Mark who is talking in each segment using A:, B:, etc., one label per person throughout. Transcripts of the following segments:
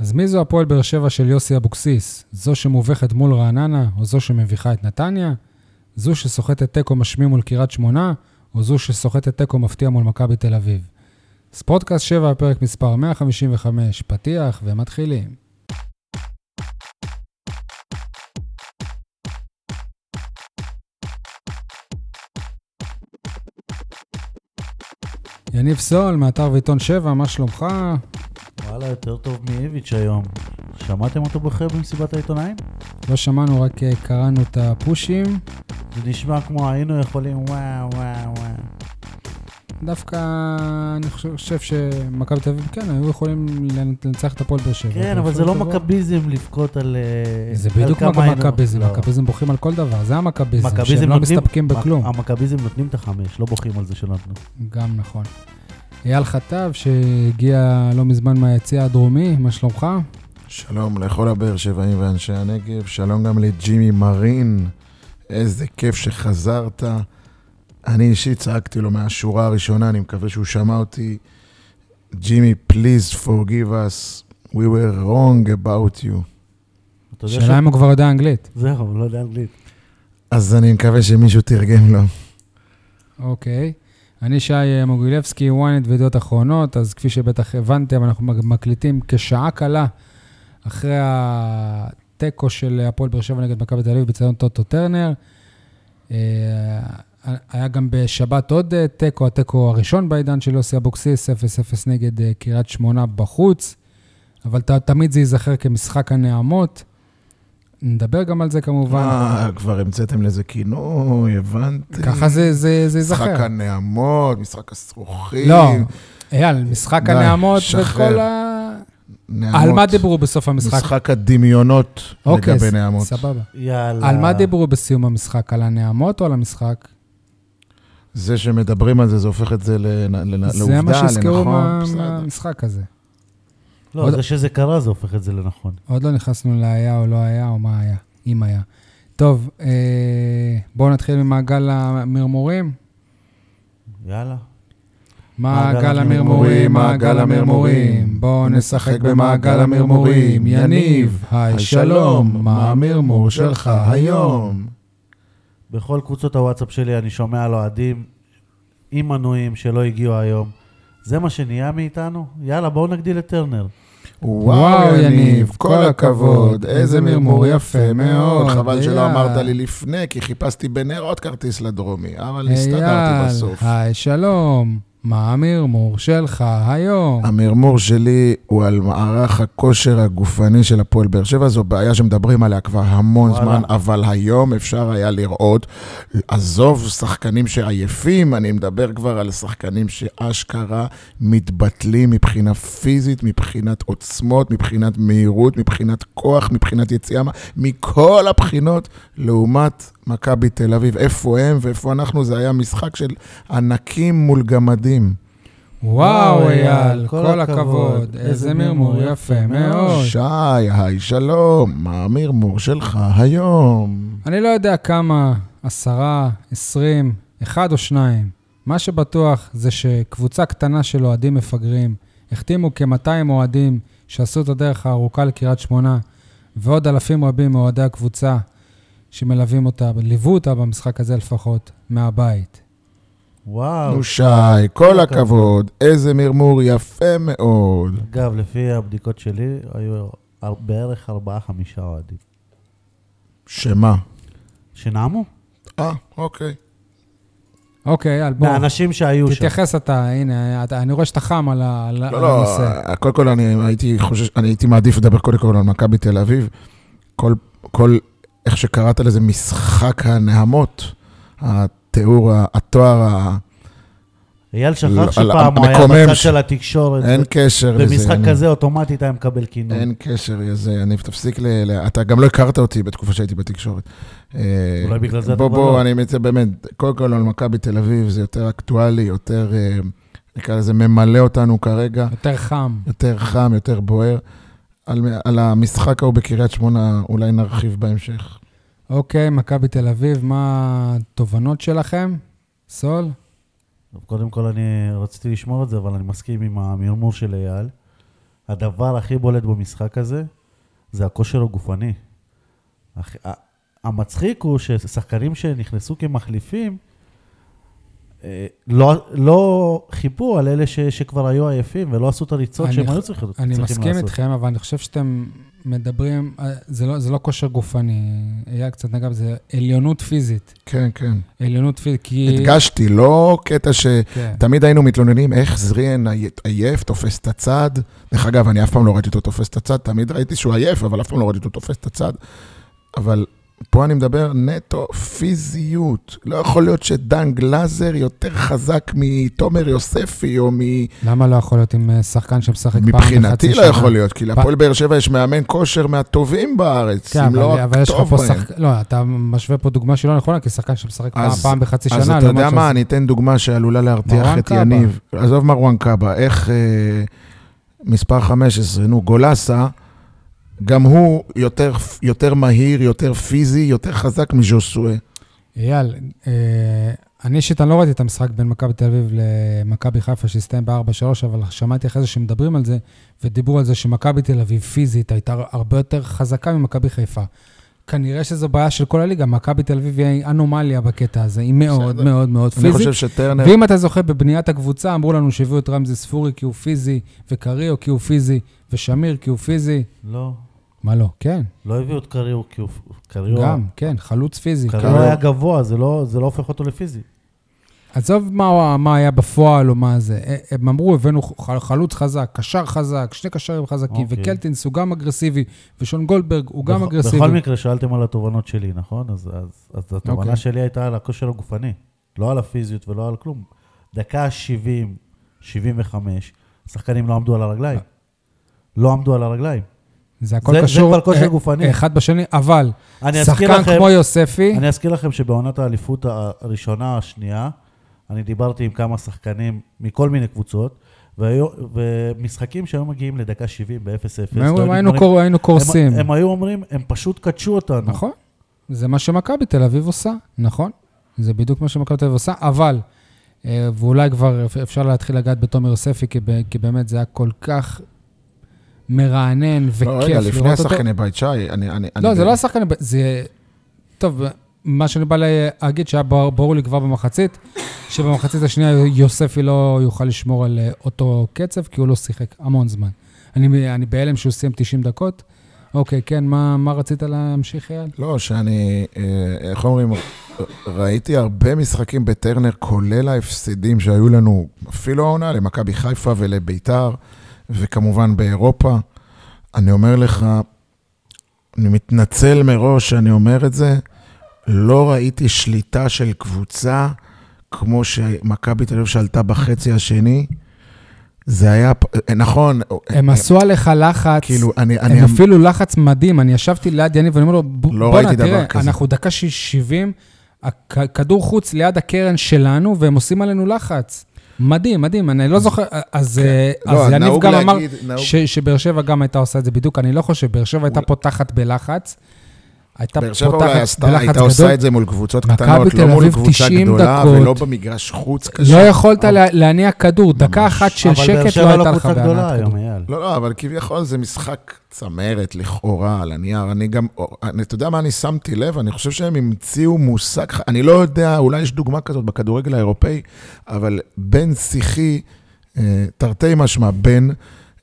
A: אז מי זו הפועל באר שבע של יוסי אבוקסיס? זו שמובכת מול רעננה, או זו שמביכה את נתניה? זו שסוחטת תיקו משמים מול קריית שמונה, או זו שסוחטת תיקו מפתיע מול מכבי תל אביב? ספורטקאסט 7, פרק מספר 155, פתיח ומתחילים. יניב סול, מאתר ועיתון 7, מה שלומך?
B: וואלה, יותר טוב מאיביץ' היום. שמעתם אותו בוחר במסיבת העיתונאים?
A: לא שמענו, רק אה, קראנו את הפושים.
B: זה נשמע כמו היינו יכולים וואו וואו וואו.
A: דווקא אני חושב שמכבי תל אביב, כן, היו יכולים לנצח את הפועל באר שבע.
B: כן, אבל זה לא מכביזם לבכות על אה,
A: זה
B: על
A: בדיוק
B: כמה
A: מה-
B: היינו-
A: מכביזם,
B: לא.
A: מכביזם בוכים על כל דבר, זה המכביזם,
B: מכביזם
A: שהם לא
B: נותנים-
A: מסתפקים בכלום.
B: המ- המכביזם נותנים את החמש, לא בוכים על זה שלא נתנו.
A: גם נכון. אייל חטב, שהגיע לא מזמן מהיציע הדרומי, מה שלומך?
C: שלום לכל הבאר שבעים ואנשי הנגב, שלום גם לג'ימי מרין, איזה כיף שחזרת. אני אישית צעקתי לו מהשורה הראשונה, אני מקווה שהוא שמע אותי. ג'ימי, please forgive us, we were wrong about you.
B: אתה יודע
A: שאלה אם הוא כבר יודע אנגלית.
B: ש... זהו, הוא לא יודע אנגלית.
C: אז אני מקווה שמישהו תרגם לו.
A: אוקיי. אני שי אה, מוגילבסקי, ynet וידיעות אחרונות, אז כפי שבטח הבנתם, אנחנו מג- מקליטים כשעה קלה אחרי התיקו של הפועל באר שבע נגד מכבי תל אביב בצדון טוטו טרנר. אה, היה גם בשבת עוד אה, תיקו, התיקו הראשון בעידן של יוסי אבוקסיס, 0-0 נגד אה, קריית שמונה בחוץ, אבל ת- תמיד זה ייזכר כמשחק הנעמות. נדבר גם על זה כמובן.
C: אה, כבר המצאתם לזה כינוי, הבנתי.
A: ככה זה- זה זה ייזכר.
C: משחק הנעמות, משחק הסרוכים.
A: לא, אייל, משחק
C: די,
A: הנעמות
C: שחרר.
A: וכל ה...
C: נעמות.
A: על מה דיברו בסוף המשחק?
C: משחק הדמיונות
A: אוקיי,
C: לגבי
A: ס-
C: נעמות.
A: סבבה.
B: יאללה.
A: על מה דיברו בסיום המשחק? על הנעמות או על המשחק?
C: זה שמדברים על זה, זה הופך את זה לנ- לנ-
A: זה
C: לעובדה,
A: מה שיזכרו
C: לנכון,
A: מה-
C: בסדר.
A: מהמשחק הזה.
B: לא, זה שזה קרה זה הופך את זה לנכון.
A: עוד לא נכנסנו להיה או לא היה או מה היה, אם היה. טוב, אה, בואו נתחיל ממעגל המרמורים.
B: יאללה.
A: מעגל המרמורים, מעגל המרמורים, בואו נשחק במעגל המרמורים. יניב, היי שלום, מה המרמור שלך היום?
B: בכל קבוצות הוואטסאפ שלי אני שומע על אוהדים עם מנויים שלא הגיעו היום. זה מה שנהיה מאיתנו? יאללה, בואו נגדיל את טרנר.
C: וואו, יניב, כל הכבוד, איזה מרמור יפה מאוד. חבל שלא
A: אייל.
C: אמרת לי לפני, כי חיפשתי בנר עוד כרטיס לדרומי, אבל הסתדרתי בסוף.
A: אייל, היי שלום, מה המרמור שלך היום?
C: המרמור שלי הוא על מערך הכושר הגופני של הפועל באר שבע, זו בעיה שמדברים עליה כבר המון
B: וואלה.
C: זמן, אבל היום אפשר היה לראות, עזוב שחקנים שעייפים, אני מדבר כבר על שחקנים שאשכרה מתבטלים מבחינה פיזית, מבחינת עוצמות, מבחינת מהירות, מבחינת כוח, מבחינת יציאה, מה- מכל הבחינות, לעומת מכבי תל אביב. איפה הם ואיפה אנחנו, זה היה משחק של ענקים מול גמדים.
A: וואו, אייל, כל הכבוד, איזה מרמור יפה מאוד.
C: שי, היי שלום, מה המרמור שלך היום?
A: אני לא יודע כמה, עשרה, עשרים, אחד או שניים. מה שבטוח זה שקבוצה קטנה של אוהדים מפגרים החתימו כ-200 אוהדים שעשו את הדרך הארוכה לקריית שמונה, ועוד אלפים רבים מאוהדי הקבוצה שמלווים אותה, ליוו אותה במשחק הזה לפחות, מהבית.
B: וואו.
C: נו שי, כל הכבוד, איזה מרמור יפה מאוד.
B: אגב, לפי הבדיקות שלי, היו הר- בערך ארבעה-חמישה אוהדים.
C: שמה?
B: שנעמו?
C: אה, אוקיי.
A: אוקיי, אייל, בוא.
B: מהאנשים שהיו שם.
A: תתייחס אתה, הנה, אתה- אני רואה שאתה חם על ה- על ה-
C: לא,
A: על
C: לא,
A: הנושא.
C: קודם כל אני הייתי חושש, אני הייתי מעדיף לדבר קודם כל על מכבי תל אביב. כל, כל, איך שקראת לזה, משחק הנהמות, התיאור, ה- התואר, ה-
B: אייל שכח
C: לא, על-
B: שפעם הוא היה
C: המקומם
B: בצד
C: ש-
B: של התקשורת.
C: אין קשר לזה.
B: במשחק
C: אני-
B: כזה אוטומטית היה מקבל כינוי.
C: אין קשר, יא זה, יניב, תפסיק ל... ל- אתה גם לא הכרת אותי בתקופה שהייתי בתקשורת. אה,
B: אולי בגלל זה אתה
C: בוא,
B: כבר
C: בוא,
B: לא.
C: אני מציע באמת, קודם כל על מכבי תל אביב, זה יותר אקטואלי, יותר, אה, נקרא לזה, ממלא אותנו כרגע,
A: יותר חם.
C: יותר חם, יותר בוער. על, על המשחק ההוא בקריית שמונה, אולי נרחיב בהמשך.
A: אוקיי, מכבי תל אביב, מה התובנות שלכם? סול?
B: טוב, קודם כל, אני רציתי לשמור את זה, אבל אני מסכים עם המרמור של אייל. הדבר הכי בולט במשחק הזה זה הכושר הגופני. הח- ה- המצחיק הוא ששחקנים שנכנסו כמחליפים, אה, לא, לא חיפו על אלה ש, שכבר היו עייפים ולא עשו את הריצות
A: אני
B: שהם
A: ח-
B: היו צריכים צריכים
A: אני
B: לעשות.
A: מסכים איתכם, אבל אני חושב שאתם מדברים, אה, זה לא- זה לא כושר גופני, אייל קצת נגע בזה, עליונות פיזית.
C: כן, כן.
A: עליונות פיזית, כי...
C: הדגשתי, לא קטע ש...
A: כן.
C: תמיד היינו מתלוננים איך זריאן עי- עייף, תופס את הצד. דרך אגב, אני אף פעם לא ראיתי אותו תופס את הצד, תמיד ראיתי שהוא עייף, אבל אף פעם לא ראיתי אותו תופס את הצד. אבל פה אני מדבר נטו פיזיות. לא יכול להיות שדן גלאזר יותר חזק מתומר יוספי או מ...
A: למה לא יכול להיות עם אה, שחקן שמשחק פעם בחצי שנה?
C: מבחינתי לא יכול להיות, כי להפועל באר שבע יש מאמן כושר מהטובים בארץ,
A: כן,
C: אם
A: אבל-
C: לא
A: אבל יש לך
C: הטוב
A: פה
C: בהם.
A: שחקן, לא, אתה משווה פה דוגמה שהיא לא נכונה, כי שחקן שמשחק פעם-
C: אז-
A: פעם בחצי שנה, לא
C: אז אתה
A: לעומת
C: יודע מה,
A: ש-
C: אני אתן דוגמה שעלולה להרתיח
A: מרואן
C: את
A: קאבה.
C: יניב. עזוב מרואן קאבה, איך אה, מספר 15, נו, גולסה, גם הוא יותר, יותר מהיר, יותר פיזי, יותר חזק מז'וסואה.
A: אייל, אה, אני אישית, אני לא ראיתי את המשחק בין מכבי תל אביב למכבי חיפה שהסתיים ב-4-3, אבל שמעתי אחרי זה שמדברים על זה, ודיברו על זה שמכבי תל אביב פיזית הייתה הרבה יותר חזקה ממכבי חיפה. כנראה שזו בעיה של כל הליגה, מכבי תל אביב היא אנומליה בקטע הזה, היא מאוד
C: בסדר.
A: מאוד מאוד
C: אני
A: פיזית.
C: חושב שטרנר,
A: ואם אתה זוכר, בבניית הקבוצה אמרו לנו שהביאו את רמזי ספורי כי הוא פיזי, וקריו כי הוא פיזי, ושמיר כי הוא פיזי.
B: לא,
A: מה לא? כן,
B: לא הביאו את קריו, כי הוא... קריו,
A: גם, כן, חלוץ פיזי.
B: קריו
C: לא. קריו.
B: היה גבוה, זה לא, זה לא הופך אותו לפיזי.
A: עזוב מה, הוא- מה היה בפועל או מה זה. אה, הם אמרו, הבאנו ח- חלוץ חזק, קשר חזק, שני קשרים חזקים,
B: אוקיי.
A: וקלטינס הוא גם אגרסיבי, ושון גולדברג הוא גם
B: בכ-
A: אגרסיבי.
B: בכל מקרה, שאלתם על התובנות שלי, נכון? אז, אז, אז התובנה
A: אוקיי.
B: שלי הייתה על הכושר הגופני, לא על הפיזיות ולא על כלום. דקה ה-70, 75, שחקנים לא עמדו על הרגליים. לא עמדו על הרגליים.
A: אוקיי. זה הכל
B: זה- זה
A: קשור
B: כבר כושר
A: אה,
B: גופני.
A: אה, אחד בשני, אבל
B: אני אזכיר
A: שחקן
B: לכם,
A: כמו יוספי,
B: אני אזכיר לכם שבעונת האליפות הראשונה, השנייה, אני דיברתי עם כמה שחקנים מכל מיני קבוצות, והיו, ומשחקים שהיו מגיעים לדקה 70 ב-0-0.
A: הם היו- היינו קור- היינו קורסים.
B: לא הם, הם היו אומרים, הם פשוט קדשו אותנו.
A: נכון. זה מה שמכבי תל אביב עושה, נכון. זה בדיוק מה שמכבי תל אביב עושה, אבל, אה, ואולי כבר אפ- אפשר להתחיל לגעת בתומר יוספי, כי ב- כי באמת זה היה כל כך מרענן וכיף
C: לא,
A: לראות אותו.
C: רגע, לפני השחקני בית שי, אני... אני-
A: לא,
C: אני-
A: זה לא השחקן, זה... טוב, מה שאני בא להגיד שהיה ברור ברור לי כבר במחצית, שבמחצית השנייה יוספי לא יוכל לשמור על אה, אותו קצב, כי הוא לא שיחק המון זמן. אני, אני בהלם שהוא סיים 90 דקות. אוקיי, כן, מה, מה רצית להמשיך, אייל?
C: לא, שאני, אה, איך אומרים, ראיתי הרבה משחקים בטרנר, כולל ההפסדים שהיו לנו, אפילו העונה, למכבי חיפה ולביתר, וכמובן באירופה. אני אומר לך, אני מתנצל מראש שאני אומר את זה, לא ראיתי שליטה של קבוצה כמו שמכבי תל אביב שלטה בחצי השני. זה היה, פ- נכון,
A: הם עשו עליך לחץ,
C: כאילו, אני...
A: הם
C: אני-
A: אפילו לחץ מדהים. אני ישבתי ליד יניב ואני אומר לו, "ב-
C: לא
A: בואנה,
C: ראיתי דבר
A: תראה,
C: כזה."
A: אנחנו דקה שיש- 70, הכ- כדור חוץ ליד הקרן שלנו, והם עושים עלינו לחץ. מדהים, מדהים, אני לא זוכר, אז אה,
C: לא,
A: אז יניב
C: נהוג
A: גם אמר
C: להגיד- נהוג-
A: ש- שבאר שבע גם הייתה עושה את זה בדיוק, אני לא חושב, באר שבע הייתה פותחת בלחץ. הייתה
C: באר שבע אולי
A: פותחת
C: עשתה,
A: בלחץ
C: הייתה עושה
A: גדול.
C: את זה מול קבוצות
A: מכבי
C: קטנות,
A: תל
C: לא מול
A: אביב
C: קבוצה
A: 90
C: גדולה
A: דקות.
C: ולא במגרש חוץ
A: לא
C: קשה.
A: יכולת לה- להניע כדור, דקה אחת של שקט לא
B: אבל באר
A: הייתה
B: שבע לא
A: לך
B: קבוצה
A: בהנעת
B: גדולה היום,
A: כדור.
B: אייל.
C: לא, לא, אבל כביכול זה משחק צמרת, לכאורה, על הנייר. אני גם, אני, אתה יודע מה אני שמתי לב? אני חושב שהם המציאו מושג, ח- אני לא יודע, אולי יש דוגמה כזאת בכדורגל האירופאי, אבל בן שיחי, אה, תרתי משמע, בן,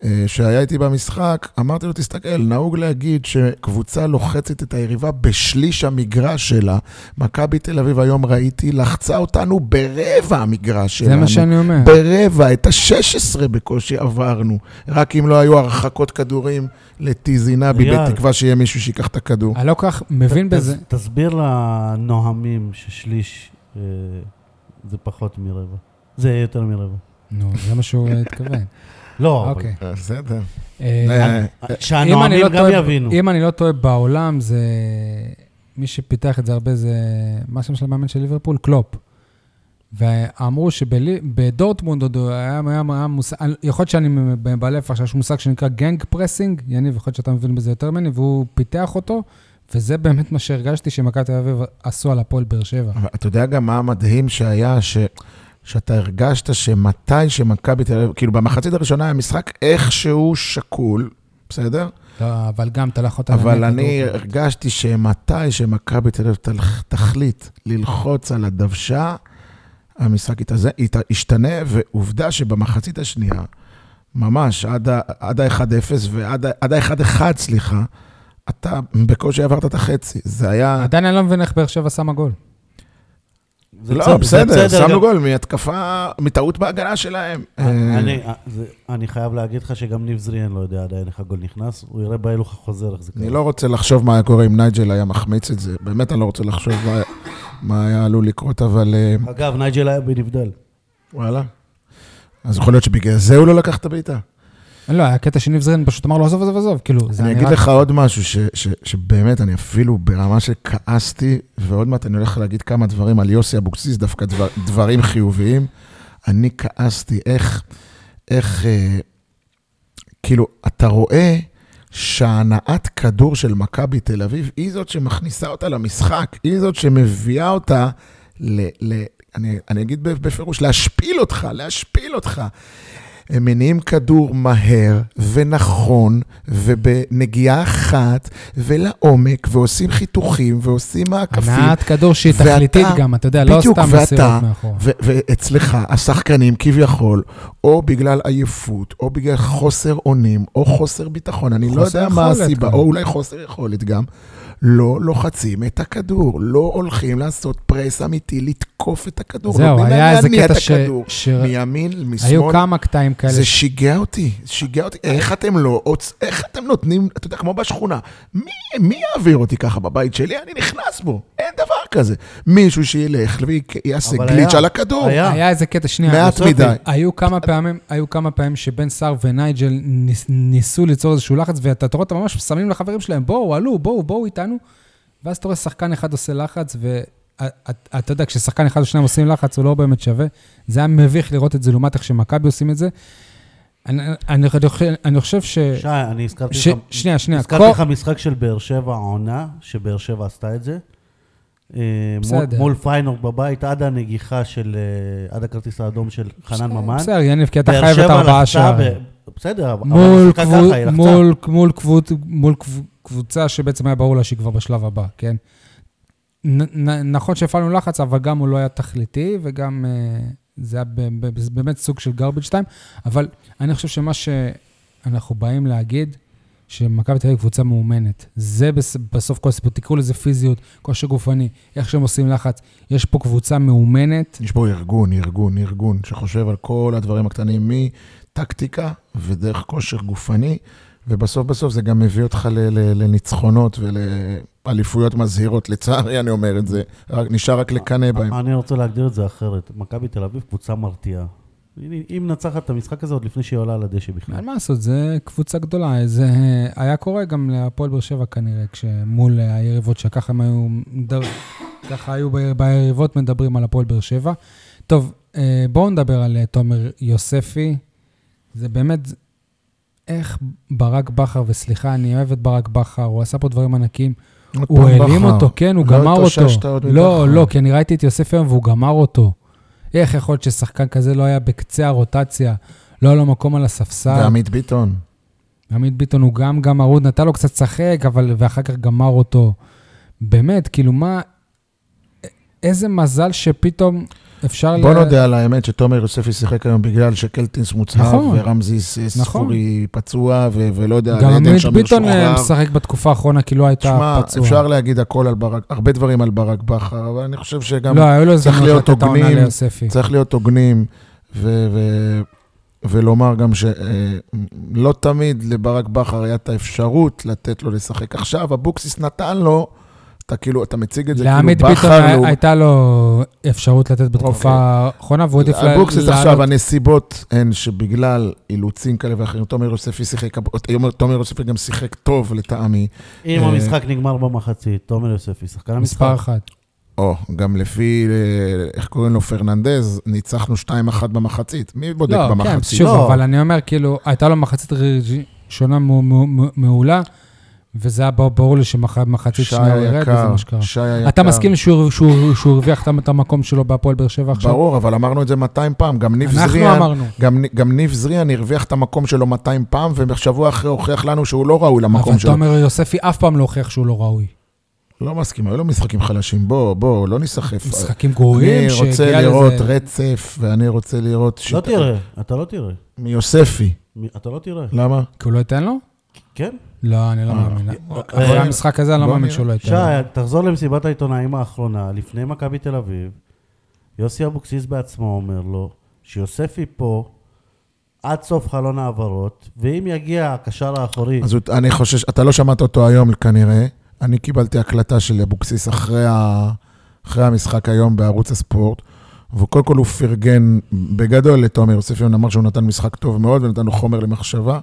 C: אה, שהיה איתי במשחק, אמרתי לו, תסתכל, נהוג להגיד שקבוצה לוחצת את היריבה בשליש המגרש שלה. מכבי תל אביב היום ראיתי, לחצה אותנו ברבע המגרש שלנו.
A: זה מה שאני אומר.
C: ברבע, את ה-16 בקושי עברנו, רק אם לא היו הרחקות כדורים לטיזינבי,
B: אייל.
C: בתקווה שיהיה מישהו שיקח את הכדור.
A: אני לא כל כך מבין
B: ת- תס-
A: בזה.
B: תסביר לנוהמים ששליש אה, זה פחות מרבע. זה יותר מרבע.
A: נו, זה מה שהוא אה, התכוון.
B: לא, אבל...
A: אוקיי.
C: אה, בסדר.
A: אה,
C: אה,
A: אם אני
B: שהנוהמים
A: לא
B: גם
A: טועה-
B: יבינו.
A: אם אני לא טועה, בעולם זה... מי שפיתח את זה הרבה זה... מה השם של המאמן של ליברפול? קלופ. ואמרו שבדורטמונד עוד היה, היה, היה מושג, אני- יכול להיות שאני מבעלה עכשיו, יש מושג שנקרא גנג פרסינג, יניב, יכול להיות שאתה מבין בזה יותר ממני, והוא פיתח אותו, וזה באמת מה שהרגשתי שמכבי תל אביב עשו על הפועל באר שבע.
C: אבל אתה יודע גם מה המדהים שהיה, ש... שאתה הרגשת שמתי שמכבי תל אביב, כאילו במחצית הראשונה היה משחק איכשהו שקול, בסדר?
A: לא, אבל גם תלך אותה...
C: אבל
A: לנטע
C: אני
A: דורפמן.
C: הרגשתי שמתי שמכבי תל אביב תל- תחליט ללחוץ על הדוושה, המשחק יתאז- ית- ישתנה, ועובדה שבמחצית השנייה, ממש עד ה- עד ה-1-0 ועד ה- עד ה-1-1, סליחה, אתה בקושי עברת את החצי. זה היה...
A: עדיין אני לא מבין איך באר שבע שמה גול.
B: זה
C: לא,
B: זה
C: בסדר,
B: גם-
C: שמנו גול מהתקפה, מטעות בהגנה שלהם. אה,
B: אני, זה- אני חייב להגיד לך שגם ניב זריאן לא יודע עדיין איך הגול נכנס, הוא יראה בהילוך החוזר איך זה קרה.
C: אני לא רוצה לחשוב מה היה קורה אם נייג'ל היה מחמיץ את זה. באמת אני לא רוצה לחשוב מה- מה היה עלול לקרות, אבל... אה,
B: אגב, נייג'ל היה בנבדל.
C: וואלה. אז יכול להיות שבגלל זה הוא לא לקח את הבעיטה.
A: לא, היה קטע שניב זרין פשוט אמר לו, עזוב, עזוב, עזוב, כאילו, זה
C: אני
A: היה
C: אגיד
A: נראה...
C: לך עוד משהו, ש, ש, שבאמת, אני אפילו ברמה שכעסתי, ועוד מעט אני הולך להגיד כמה דברים על יוסי אבוקסיס, דווקא דבר, דברים חיוביים. אני כעסתי איך, איך, אה, כאילו, אתה רואה שהנעת כדור של מכבי תל אביב היא זאת שמכניסה אותה למשחק, היא זאת שמביאה אותה ל... ל אני, אני אגיד בפירוש, להשפיל אותך, להשפיל אותך. הם מניעים כדור מהר ונכון ובנגיעה אחת ולעומק, ועושים חיתוכים ועושים מעקפים.
A: הנעת כדור שהיא
C: ואתה-
A: תכליתית גם, אתה יודע, לא
C: בדיוק,
A: סתם
C: ואתה,
A: מסירות נכון. מאחורה.
C: ו- ואצלך, השחקנים כביכול, או בגלל עייפות, או בגלל חוסר אונים, או חוסר ביטחון, אני לא
A: חוסר
C: יודע מה
A: יכולת
C: הסיבה,
A: גם.
C: או אולי חוסר יכולת גם, לא לוחצים את הכדור, לא הולכים לעשות פרס אמיתי, לתקוף את הכדור.
A: זהו,
C: נותנים להם
A: היה איזה
C: להניע
A: קטע
C: את
A: ש-
C: הכדור.
A: ש-
C: מימין,
A: היו
C: משמאל,
A: כמה קטעים כאלה. אה.
C: זה שיגע אותי, שיגע אותי. איך אתם לא, עוצ- איך אתם נותנים, אתה יודע, כמו בשכונה, מי, מי יעביר אותי ככה בבית שלי? אני נכנס בו, אין דבר כזה. מישהו שילך ויעשה
B: אבל
C: גליץ'
B: היה,
C: על הכדור.
B: היה.
A: היה איזה קטע, שנייה.
C: מעט
B: בסוף
C: מדי.
A: היו כמה פעמים, היו כמה פעמים שבן סער ונייג'ל ניס, ניסו ליצור איזשהו לחץ, ואתה אתה רואה אותם ממש שמים לחברים שלהם, בואו, עלו, בואו, בואו איתנו. ואז אתה רואה שחקן אחד עושה לחץ, ואתה יודע, כששחקן אחד או שניים עושים לחץ, הוא לא באמת שווה. זה היה מביך לראות את זה לעומת איך שמכבי עושים את זה. אני, אני, אני, חושב- אני חושב ש...
B: שי, אני הזכרתי
A: אה, ש-
B: לך...
A: שנייה, שנייה,
B: הזכרתי
A: כל-
B: לך משחק של באר שבע העונה, שבאר שבע עשתה את זה. אה, מול-
A: בסדר.
B: מול פיינור בבית, עד הנגיחה של... אה, עד הכרטיס האדום של חנן ממן.
A: בסדר, יניב, כי אתה
B: כן. באר
A: חייב את
B: שבע
A: ארבעה
B: לחצה
A: שערים.
B: ב- בסדר, אבל
A: מול,
B: שיחקה
A: קבוצ...
B: ככה, היא לחצה.
A: מול, מול, קבוצ... מול קב- קבוצה שבעצם היה ברור לה שהיא כבר בשלב הבא, כן? נ, נ, נכון שהפעלנו לחץ, אבל גם הוא לא היה תכליתי, וגם אה, זה היה ב, ב, זה באמת סוג של garbage time, אבל אני חושב שמה שאנחנו באים להגיד, שמכבי תל אביב קבוצה מאומנת. זה בס, בסוף כל הסיפור, תקראו לזה פיזיות, כושר גופני, איך שהם עושים לחץ. יש פה קבוצה מאומנת.
C: יש פה ארגון, ארגון, ארגון, שחושב על כל הדברים הקטנים, מטקטיקה ודרך כושר גופני, ובסוף בסוף זה גם מביא אותך ל- ל- לניצחונות ולאליפויות מזהירות. לצערי, אני אומר את זה, רק- נשאר רק לקנא בהם.
B: אה, אני רוצה להגדיר את זה אחרת. מכבי תל אביב קבוצה מרתיעה. היא היא מנצחת את המשחק הזה עוד לפני שהיא עולה על הדשא בכלל.
A: אין מה לעשות, זה קבוצה גדולה. זה אה, היה קורה גם להפועל באר שבע כנראה, כשמול אה, היריבות שככה הם היו, מדר- ככה היו ב- ביריבות מדברים על הפועל באר שבע. טוב, אה, בואו נדבר על אה, תומר יוספי. זה באמת, איך ברק בכר, וסליחה, אני אוהב את ברק בכר, הוא עשה פה דברים ענקיים.
C: עוד
A: הוא
C: פעם
A: העלים
C: בכר.
A: אותו, כן, הוא
C: לא
A: גמר
C: התאוששת
A: אותו.
C: עוד
A: לא,
C: מבכר.
A: לא, כי אני ראיתי את יוסף היום והוא גמר אותו. איך יכול להיות ששחקן כזה לא היה בקצה הרוטציה, לא היה לו מקום על הספסל?
C: ועמית ביטון.
A: עמית ביטון הוא גם גמר, הוא נתן לו קצת לשחק, אבל ואחר כך גמר אותו. באמת, כאילו מה, א- איזה מזל שפתאום אפשר... ל-
C: בוא נודה על האמת שתומר יוספי שיחק היום בגלל שקלטינס מוצהב,
A: נכון.
C: ורמזי ס- ספורי פצוע, ו- ולא יודע,
A: גם
C: עדן
A: עמית
C: שמיר
A: ביטון אה,
C: שוחרר.
A: משחק בתקופה האחרונה, כי לא
C: תשמע,
A: הייתה פצוע.
C: אפשר להגיד הכל על ברק, הרבה דברים על ברק בכר, אבל אני חושב שגם
A: לא, היו לו הזדמנות
C: להיות
A: לתת העונה
C: הוגנים,
A: ליוספי.
C: צריך להיות הוגנים, ו- ו- ולומר גם שלא תמיד לברק בכר היה את האפשרות לתת לו לשחק. עכשיו, אבוקסיס נתן לו, אתה כאילו, אתה מציג את זה
A: לעמית
C: כאילו
A: ביטון
C: בכר,
A: היה-
C: לעומת
A: הייתה לו אפשרות לתת בתקופה
C: אוקיי.
A: האחרונה, והוא עדיף לה-
C: אבוקסיס
A: לעלות.
C: עכשיו, הנסיבות הן שבגלל אילוצים כאלה ואחרים, תומר יוספי שיחק, היום תומר יוספי גם שיחק טוב לטעמי.
B: אם
C: אה,
B: המשחק נגמר במחצית, תומר יוספי, שחקן המשחק.
A: מספר אחת.
C: או, גם לפי, אה, איך קוראים לו, פרננדז, ניצחנו 2-1 במחצית. מי בודק
A: לא, כן,
C: במחצית?
A: שוב,
B: לא.
A: אבל אני אומר, כאילו, הייתה לו מחצית ראשונה מעולה, וזה היה ברור- ברור לי שמחצית
C: שי
A: שנייה הוא ירד, וזה
C: היקר,
A: מה שקרה.
C: שי היקר.
A: אתה מסכים שהוא שהוא- שהוא הרוויח את- את המקום שלו בהפועל באר שבע עכשיו?
C: ברור, אבל אמרנו את זה 200 פעם. גם ניב
A: אנחנו
C: זריאן,
A: אמרנו.
C: גם, נ- גם ניב זריאן הרוויח את המקום שלו 200 פעם, ובשבוע אחרי הוכיח לנו שהוא לא ראוי
A: אבל
C: למקום
A: אתה
C: שלו.
A: אומר, יוספי אף פעם לא הוכיח שהוא לא ראוי.
C: לא מסכים, היו לו משחקים חלשים. בוא, בוא, לא ניסחף.
A: משחקים
C: אני
A: גרועים,
C: רוצה
A: שהגיע
C: לראות
A: לזה...
C: רצף, ואני רוצה לראות...
B: לא
C: שיטה-
B: תראה, אתה לא תראה.
C: מיוספי.
B: מי- אתה לא תראה.
C: למה?
A: כי הוא לא ייתן לו?
B: כן?
A: לא, אני לא מאמין. אחרי
B: אה,
A: המשחק הזה, אני לא
C: בוא
A: מאמין
C: נראה.
A: שהוא לא ייתן
B: שי,
A: לו.
B: תחזור למסיבת העיתונאים האחרונה, לפני מכבי תל אביב, יוסי אבוקסיס בעצמו אומר לו שיוספי פה עד סוף חלון ההעברות, ואם יגיע הקשר האחורי,
C: אז הוא- אני חושש, אתה לא שמעת אותו היום כנראה. אני קיבלתי הקלטה של אבוקסיס אחרי, ה, אחרי המשחק היום בערוץ הספורט, וקודם כל הוא פרגן בגדול לתומר יוספיון, אמר שהוא נתן משחק טוב מאוד ונתן לו חומר למחשבה,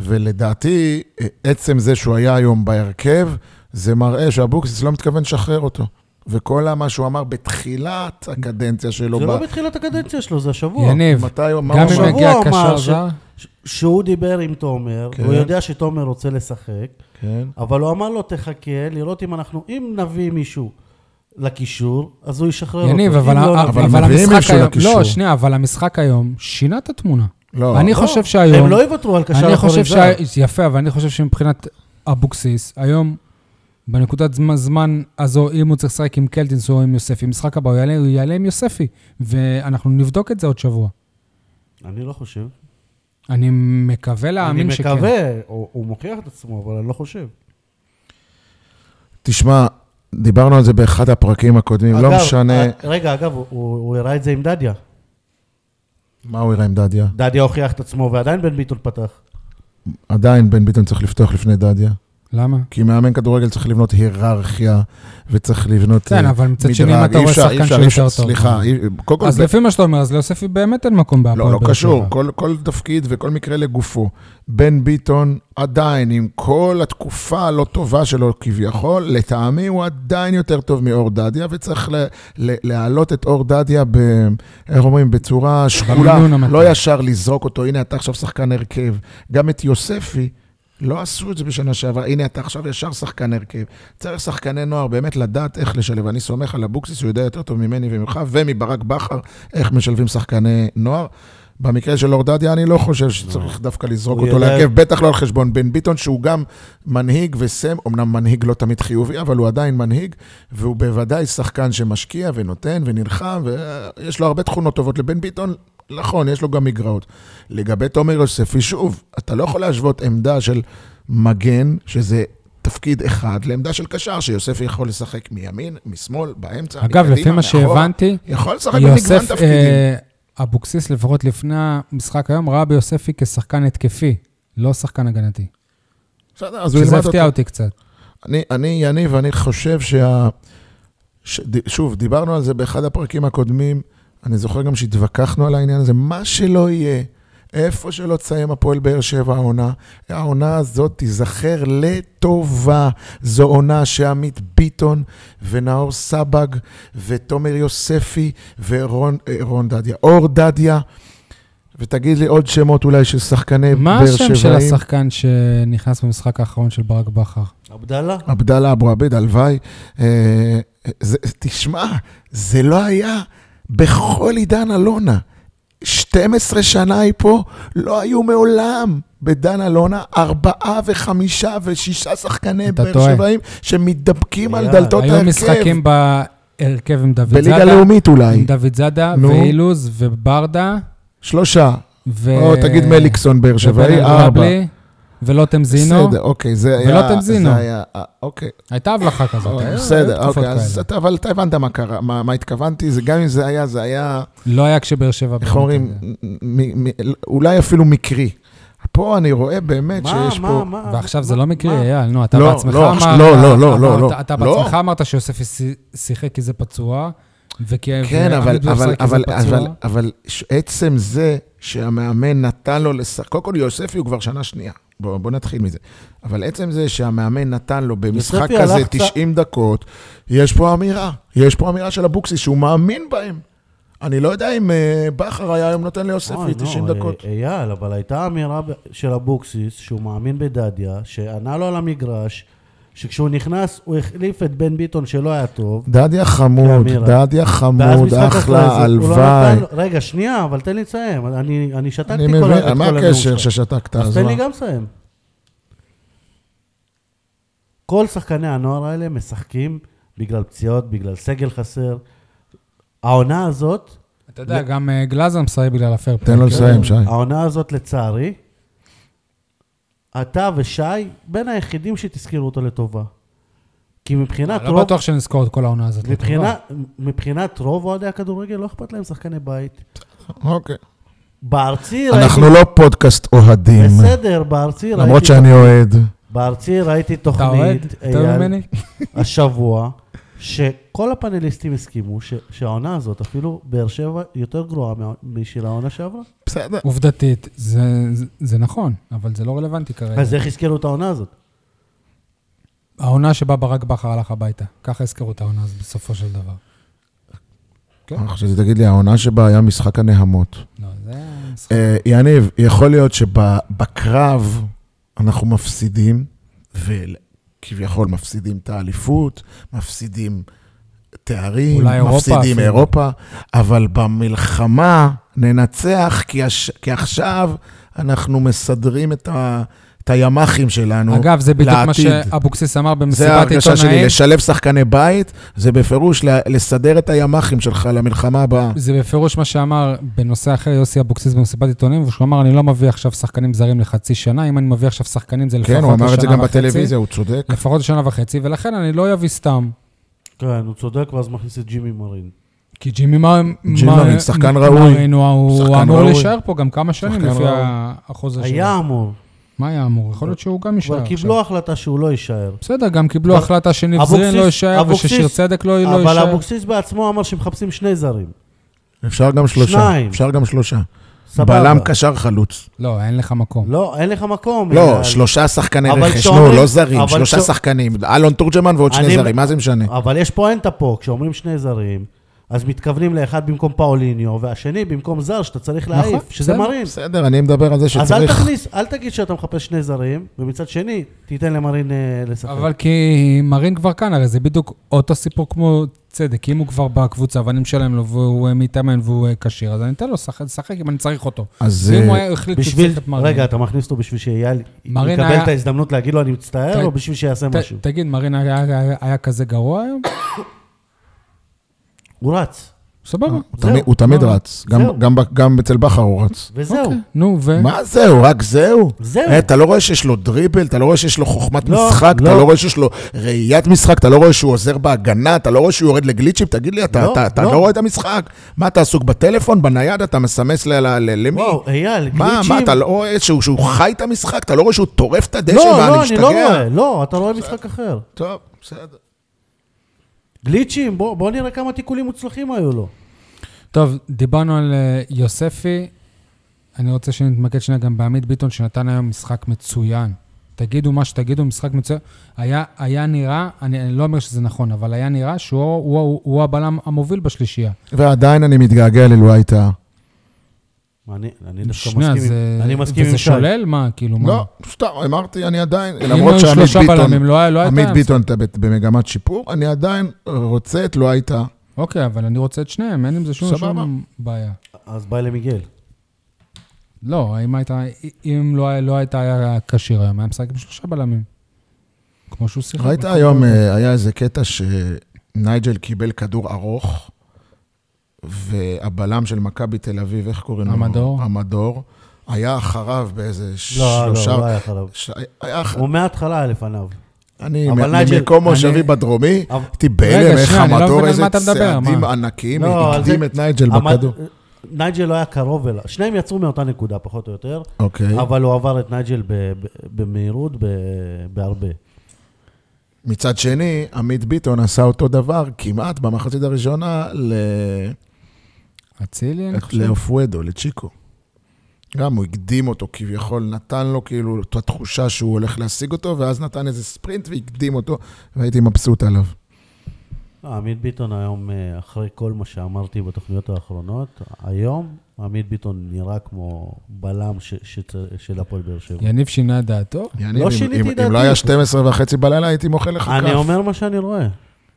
C: ולדעתי, עצם זה שהוא היה היום בהרכב, זה מראה שאבוקסיס לא מתכוון לשחרר אותו. וכל מה שהוא אמר בתחילת הקדנציה שלו,
B: זה
C: ב...
B: לא בתחילת הקדנציה שלו, זה השבוע.
A: יניב,
C: מתי הוא
A: גם
C: אמר?
A: אם
B: השבוע
A: יגיע
B: אמר
A: קשר
B: ש-
A: זר,
B: ש- שהוא דיבר עם תומר,
C: כן.
B: הוא יודע שתומר רוצה לשחק,
C: כן.
B: אבל הוא אמר לו תחכה, לראות אם אנחנו, אם נביא מישהו לקישור, אז הוא ישחרר אותו.
A: יניב,
B: אם
A: אבל
B: לא,
A: ה-
B: נביא-
C: אבל
A: אבל
C: מביאים
A: המשחק
C: מישהו
A: היום...
C: לקישור.
A: לא, שנייה, אבל המשחק היום שינה את התמונה.
C: לא,
A: אני
B: לא,
A: חושב שהיום...
B: הם לא יוותרו על קשר אחורי
A: אני חושב
B: זר.
A: ש... יפה, אבל אני חושב שמבחינת אבוקסיס, היום, בנקודת זמן, זמן הזו, אם הוא צריך לשחק עם קלטינס או עם יוספי, משחק הבא, הוא יעלה, הוא יעלה עם יוספי, ואנחנו נבדוק את זה עוד שבוע.
B: אני לא חושב.
A: אני מקווה
B: אני
A: להאמין שכן.
B: מקווה, הוא הוא מוכיח את עצמו, אבל אני לא חושב.
C: תשמע, דיברנו על זה באחד הפרקים הקודמים, לא
B: אגב,
C: משנה
B: אה, רגע, אגב, הוא- הוא הוא הראה את זה עם דדיה.
C: מה הוא יראה עם דדיה.
B: דדיה הוכיח את עצמו, ועדיין בן ביטון פתח.
C: עדיין בן ביטון צריך לפתוח לפני דדיה,
A: למה?
C: כי מאמן כדורגל צריך לבנות היררכיה, וצריך לבנות
A: כן,
C: אה,
A: אבל מצד שני, אם
C: מדרג.
A: אתה
C: אי
A: רואה
C: אפשר- אי
A: שחקן
C: אפשר-
A: שהוא
C: אי אפשר-
A: יותר טוב.
C: סליחה, אי- קודם כל,
A: אז
C: ב-
A: לפי מה שאתה אומר, אז ליוספי באמת אין מקום בהפועל
C: לא, לא
A: באר
C: קשור,
A: שבע.
C: כל- כל תפקיד וכל מקרה לגופו. בן ביטון עדיין, עם כל התקופה הלא טובה שלו כביכול, לטעמי הוא עדיין יותר טוב מאור דדיה, וצריך ל- ל- להעלות את אור דדיה, ב, איך אומרים, בצורה שקולה,
A: במינון המתאים.
C: לא ישר לזרוק אותו, הנה אתה עכשיו שחקן הרכב. גם את יוספי, לא עשו את זה בשנה שעברה, הנה אתה עכשיו ישר שחקן הרכב. צריך שחקני נוער באמת לדעת איך לשלב. אני סומך על אבוקסיס, הוא יודע יותר טוב ממני וממך, ומברק בכר, איך משלבים שחקני נוער. במקרה של אור דדיה, אני לא חושב שצריך דווקא לזרוק
B: הוא
C: אותו
B: יודע-
C: להרכב, בטח לא על חשבון בן ביטון, שהוא גם מנהיג וסם, אמנם מנהיג לא תמיד חיובי, אבל הוא עדיין מנהיג, והוא בוודאי שחקן שמשקיע ונותן ונלחם, ויש לו הרבה תכונות טובות לבן ביטון. נכון, יש לו גם מגרעות. לגבי תומר יוספי, שוב, אתה לא יכול להשוות עמדה של מגן, שזה תפקיד אחד, לעמדה של קשר, שיוספי יכול לשחק מימין, משמאל, באמצע,
A: אגב,
C: מקדימה,
A: לפי מה
C: מאחורה.
A: שהבנתי,
C: יכול לשחק במגוון
A: יוסף,
C: תפקידים.
A: אה, אבוקסיס, לפחות לפני המשחק היום, ראה ביוספי כשחקן התקפי, לא שחקן הגנתי.
C: בסדר, אז הוא
A: שזה
C: ילמד אותו.
A: הפתיע אותי קצת.
C: אני, אני, יניב, אני חושב שה... ש... ד- שוב, דיברנו על זה באחד הפרקים הקודמים, אני זוכר גם שהתווכחנו על העניין הזה, מה שלא יהיה, איפה שלא תסיים הפועל באר שבע העונה, העונה הזאת תיזכר לטובה. זו עונה שעמית ביטון ונאור סבג ותומר יוספי ורון אה, רון דדיה, אור דדיה, ותגיד לי עוד שמות אולי של שחקני
A: מה
C: אה, באר שבעים.
A: השם של השחקן שנכנס במשחק האחרון של ברק בכר?
B: עבדאללה?
C: עבדאללה אבו עביד, הלוואי. אה, זה- תשמע, זה לא היה בכל עידן אלונה. 12 שנה היא פה, לא היו מעולם בדן אלונה ארבעה וחמישה ושישה שחקני
A: אתה
C: באר
A: טועה.
C: שבעים שמתדפקים על
B: היה,
C: דלתות
A: היו
C: ההרכב.
A: משחקים בהרכב עם דוד
C: בליגה
A: זאדה,
C: לאומית
A: עם
C: אולי,
A: דוד זאדה,
C: נו.
A: ואילוז, וברדה,
C: שלושה.
A: ו...
C: או תגיד מליקסון באר שבעי,
A: ובן
C: ארבע.
A: אלגבלי, ולוטם זינו.
C: בסדר, אוקיי, זה היה...
A: ולא אתם זינו.
C: זה היה- אה, אוקיי,
A: הייתה הבלחה כזאת.
C: אוקיי,
A: היו-
C: בסדר,
A: אה, היו תקופות
C: אוקיי, אז
A: כאלה.
C: אתה- אבל אתה הבנת מה קרה, מה מה התכוונתי, זה- גם אם זה היה, זה היה...
A: לא היה כשבאר שבע...
C: איך אומרים, מ- מ- אולי אפילו מקרי. פה אני רואה באמת
B: מה,
C: שיש
B: מה,
C: פה...
B: אה, מה?
A: ועכשיו זה לא מקרי,
B: מה?
A: אייל, נו, אתה
C: לא,
A: בעצמך
C: לא,
A: אמרת...
C: לא, לא, לא,
A: אמרת-
C: לא, לא.
A: אתה
C: לא.
A: בעצמך אמרת שיוספי ש- שיחק כי זה פצוע, וכי...
C: כן, אבל-
A: ועמית
C: אבל-
A: שיחק כי זה
C: אבל-
A: פצוע.
C: אבל- אבל ש- עצם זה שהמאמן נתן לו לשחק, קודם כל יוספי הוא כבר שנה שנייה. בואו בוא נתחיל מזה. אבל עצם זה שהמאמן נתן לו במשחק
B: יוספי
C: כזה
B: הלך קצת-
C: 90 דקות, יש פה אמירה. יש פה אמירה של אבוקסיס שהוא מאמין בהם. אני לא יודע אם אה, בכר היה היום נותן ליוספי
B: אוי,
C: 90
B: לא,
C: דקות.
B: אה, אייל, אבל הייתה אמירה ב- של אבוקסיס, שהוא מאמין בדדיה, שענה לו על המגרש, שכשהוא נכנס, הוא החליף את בן ביטון שלא היה טוב.
C: דדיה חמוד,
B: לאמירה.
C: דדיה
B: ואז
C: חמוד,
B: משחק אחרי זה,
C: אחלה,
B: הוא לא
C: הלוואי.
B: נתן לו- רגע, שנייה, אבל תן לי לסיים. אני אני שתקתי כל
C: אני
B: ה- את כל
C: מבין, מה
B: הנאום
C: הקשר
B: שלך.
C: ששתקת?
B: אז
C: אז
B: תן
C: מה?
B: לי גם לסיים. כל שחקני הנוער האלה משחקים בגלל פציעות, בגלל סגל חסר. העונה הזאת,
A: אתה יודע, גם אה, גלאזר מסיים בגלל כן? הפייר פליי.
C: תן
B: אוקיי.
C: לו לסיים, שי.
B: העונה הזאת לצערי, אתה ושי בין היחידים שתזכרו אותו לטובה. כי
C: אה,
B: מבחינת
A: לא
B: רוב,
A: בטוח שנזכור את כל העונה הזאת.
B: מבחינה, מבחינת רוב אוהדי הכדורגל לא אכפת להם שחקני בית.
C: אוקיי.
B: בארצי ראיתי...
C: אנחנו לא פודקאסט אוהדים,
B: בסדר, בארצי ראיתי...
C: למרות שאני אוהד.
B: בארצי ראיתי
A: אתה אוהד?
B: תוכנית,
A: יותר
B: אייל,
A: ממני?
B: השבוע, שכל הפאנליסטים הסכימו ש, שהעונה הזאת, אפילו באר שבע, יותר גרועה מה- משל העונה שעברה.
C: בסדר.
A: עובדתית, זה- זה- זה נכון, אבל זה לא רלוונטי כרגע.
B: אז איך הזכירו את העונה הזאת?
A: העונה שבה ברק בכר הלך הביתה. ככה הזכרו את העונה הזאת בסופו של דבר.
C: אני חושב שתגיד לי, העונה שבה היה משחק הנהמות.
A: לא, זה היה משחק.
C: אה, יניב, יכול להיות שבקרב אנחנו מפסידים, וכביכול מפסידים את האליפות, מפסידים תארים,
A: אולי אירופה
C: מפסידים
A: אפילו.
C: אירופה, אבל במלחמה ננצח, כי, הש... כי עכשיו אנחנו מסדרים את, ה... את הימ"חים שלנו
A: אגב, זה בדיוק מה
C: לעתיד.
A: שאבוקסיס אמר
C: זה
A: במסיבת
C: ההרגשה שלי,
A: עיתונאים.
C: לשלב שחקני בית, זה בפירוש ל- לסדר את הימ"חים שלך למלחמה הבאה.
A: זה בפירוש מה שאמר בנושא אחר יוסי אבוקסיס במסיבת עיתונאים, והוא אמר, אני לא מביא עכשיו שחקנים זרים לחצי שנה, אם אני מביא עכשיו שחקנים זה לפחות
C: כן,
A: לשנה
C: הוא
A: וחצי.
C: אמר את זה גם בטלוויזיה, הוא צודק.
A: לפחות לשנה וחצי, ולכן אני לא אביא סתם.
B: כן, הוא צודק, ואז מכניס את ג'ימי מרין.
A: כי ג'ימי מר...
C: ג'ימי מרין, שחקן ראוי.
A: מרין הוא- הוא
C: שחקן
A: אמור
C: ראוי.
A: להישאר פה גם כמה שנים
C: שחקן
A: לפי
C: ראוי.
A: האחוז השני.
B: היה אמור,
A: מה היה אמור? יכול להיות שהוא גם יישאר
B: כבר
A: עכשיו.
B: קיבלו החלטה שהוא לא יישאר.
A: בסדר, גם קיבלו
B: אבל-
A: החלטה שנבזרין לא
B: אבוקסיס-
A: יישאר,
B: אבוקסיס-
A: וששיר צדק לא לא
B: אבל
A: יישאר.
B: אבוקסיס בעצמו אמר שמחפשים שני זרים.
C: אפשר גם שלושה.
B: שניים.
C: אפשר גם שלושה.
B: סבבה.
C: בלם קשר חלוץ.
A: לא, אין לך מקום.
B: לא, אין לך מקום. אה,
C: לא,
B: אייל.
C: שלושה שחקני
B: אבל
C: רכש, נו,
B: כשאומרים-
C: לא זרים,
B: אבל
C: שלושה
B: כש-
C: שחקנים. אלון תורג'מן ועוד שני
B: אני- אה,
C: זרים, מה זה משנה?
B: אבל יש פואנטה פה, כשאומרים שני זרים, אז מתכוונים לאחד במקום פאוליניו, והשני במקום זר שאתה צריך
A: נכון,
B: להעיף, שזה
A: בסדר,
B: מרין.
C: בסדר, אני מדבר על זה
B: אז אל
C: שצריך...
B: תכניס, אל תגיד שאתה מחפש שני זרים, ומצד שני, תיתן למרין אה, לשחק.
A: אבל כי מרין כבר כאן, הרי זה בדיוק אותו סיפור כמו צדק. אם הוא כבר בקבוצה ואני משלם לו והוא אה, מתאמן והוא אה, כשיר, אז אני אתן לו לשחק- לשחק אם אני צריך אותו.
C: אז
A: ואם
C: אה,
A: הוא היה החליט שהוא
B: בשביל,
A: צריך את מרין.
B: רגע, אתה מכניס אותו בשביל שאייל
A: מרין
B: יקבל
A: היה-
B: את ההזדמנות להגיד לו אני מצטער,
A: ת-
B: או בשביל שיעשה
A: ת-
B: משהו? אה,
A: תגיד, מרין היה- היה- היה כזה גרוע היום?
B: הוא רץ,
A: סבבה.
C: הוא תמיד-
B: זהו.
C: הוא תמיד
A: אה,
C: רץ, גם-
B: זהו.
C: גם ב- גם אצל בכר הוא רץ.
B: וזהו.
A: אוקיי, נו, ו...
C: מה זהו, רק זהו?
B: זהו.
C: אה, אתה לא רואה שיש לו דריבל, אתה לא רואה שיש לו חוכמת
B: לא,
C: משחק, אתה
B: לא.
C: לא רואה שיש לו ראיית משחק, אתה לא רואה שהוא עוזר בהגנה, אתה לא רואה שהוא יורד לגליצ'ים, תגיד לי, אתה-
B: לא,
C: אתה אתה
B: לא.
C: לא רואה את המשחק? מה, אתה עסוק בטלפון, בנייד, אתה מסמס ל- ל- ל- למי?
B: וואו, אייל,
C: מה, מה,
B: גליצ'ים.
C: אתה לא רואה שהוא, שהוא חי את המשחק? אתה לא רואה שהוא טורף את הדשא?
B: לא,
C: מה,
B: לא,
C: משתגע?
B: אני לא רואה, לא, אתה רואה משחק אחר.
C: טוב, בסדר.
B: גליצ'ים, בוא בוא נראה כמה תיקולים מוצלחים היו לו.
A: טוב, דיברנו על אה, יוספי. אני רוצה שנתמקד שנייה גם בעמית ביטון, שנתן היום משחק מצוין. תגידו מה שתגידו, משחק מצוין. היה, היה נראה, אני, אני לא אומר שזה נכון, אבל היה נראה שהוא הוא, הוא, הוא הבלם המוביל בשלישייה.
C: ועדיין אני מתגעגע ללואי טאה.
B: אני אני דווקא
A: שנייה,
B: מסכים
A: זה...
B: עם- אני מסכים עם
A: וזה
B: שי.
A: שולל? מה, כאילו, מה?
C: לא, סתם, אמרתי, אני עדיין,
A: אם
C: למרות
A: היו
C: שעמית
A: שלושה בלמים,
C: ביטון,
A: לא היה- לא הייתה...
C: עמית ביטון אתה ב- במגמת שיפור, אני עדיין רוצה את לואי טאה.
A: אוקיי, אבל אני רוצה את שניהם, אין עם זה שום,
C: סבבה.
A: שום בעיה.
B: אז ביי למיגל.
A: לא, אם, הייתה, אם לא, היה- לא הייתה היה כשיר היום, היה משחק עם שלושה בלמים. כמו שהוא שיחק.
C: ראית
A: בכל-
C: היום, אה, היה איזה קטע שנייג'ל קיבל כדור ארוך, והבלם של מכבי תל אביב, איך קוראים לו?
A: עמדור.
C: עמדור. היה אחריו באיזה
B: לא, לא,
C: שלושה...
B: לא היה אחריו.
C: ש- היה אחריו.
B: הוא מההתחלה היה לפניו.
C: אני
B: אבל
C: מ-
B: נג'ל,
C: ממקום
A: אני-
C: מושבי בדרומי,
B: אבל-
C: הייתי
A: רגע,
C: בהלם איך
A: שנייה, אני לא מבין
C: המדור,
A: על
C: איזה
A: מה אתה מדבר,
C: צעדים
A: מה?
C: ענקיים,
B: לא, על
C: הקדים
B: זה-
C: את נייג'ל
B: המד-
C: בכדור.
B: נייג'ל לא היה קרוב אליו. שניהם יצאו מאותה נקודה, פחות או יותר,
C: אוקיי,
B: אבל הוא עבר את נייג'ל ב- ב- במהירות ב- בהרבה.
C: מצד שני, עמית ביטון עשה אותו דבר כמעט במחצית הראשונה ל-
A: אצילי, אני חושב.
C: לאופואדו, לצ'יקו. גם הוא הקדים אותו כביכול, נתן לו כאילו את התחושה שהוא הולך להשיג אותו, ואז נתן איזה ספרינט והקדים אותו, והייתי מבסוט עליו.
B: לא, עמית ביטון היום, אה, אחרי כל מה שאמרתי בתוכניות האחרונות, היום עמית ביטון נראה כמו בלם ש- שצ- של הפועל באר שבע.
A: יניב שינה את דעתו?
C: יניב,
B: לא
C: אם-
B: שיניתי
C: אם-
B: דעתי.
C: אם לא היה 12 וחצי בלילה, הייתי מוחא לך
B: אני
C: כף.
B: אומר מה שאני רואה.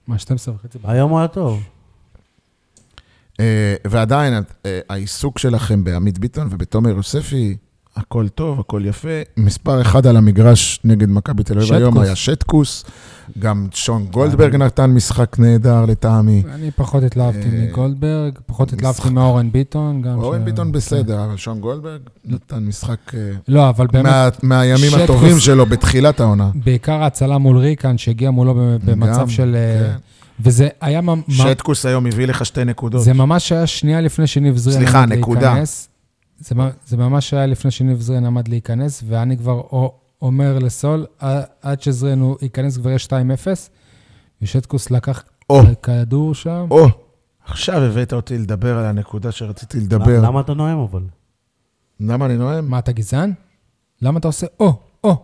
A: מה, 12 וחצי?
B: היום הוא היה טוב.
C: אה, ועדיין, אה, העיסוק שלכם בעמית ביטון ובתומר יוספי, הכל טוב, הכל יפה. מספר אחד על המגרש נגד מכבי תל אביב היום
A: שטקוס. אה,
C: היה שטקוס. גם שון גולדברג נתן משחק נהדר לטעמי.
A: אני פחות התלהבתי
C: אה,
A: מגולדברג, פחות התלהבתי
C: משחק.
A: מאורן ביטון. גם
C: אורן
A: ש- כן.
C: ביטון בסדר, אבל שון גולדברג נתן משחק אה,
A: לא, אבל באמת,
C: מה- מהימים
A: שטקוס.
C: הטובים שלו בתחילת העונה.
A: בעיקר ההצלה מול ריקן, שהגיע מולו ב- במצב
C: גם,
A: של... אה,
C: כן.
A: וזה היה... ממ-
C: שטקוס היום הביא לך שתי נקודות.
A: זה ממש היה שנייה לפני שניב זרין
C: סליחה,
A: עמד
C: נקודה.
A: להיכנס. זה, מ- זה ממש היה לפני שניב זרין עמד להיכנס, ואני כבר או- אומר לסול, "ע- עד שזרין הוא ייכנס כבר יש 2-0, ושטקוס לקח
C: או,
A: כדור שם.
C: או, עכשיו הבאת אותי לדבר על הנקודה שרציתי לדבר.
B: למה אתה נואם אבל?
C: למה אני נואם?
A: מה, אתה גזען? למה אתה עושה או, או?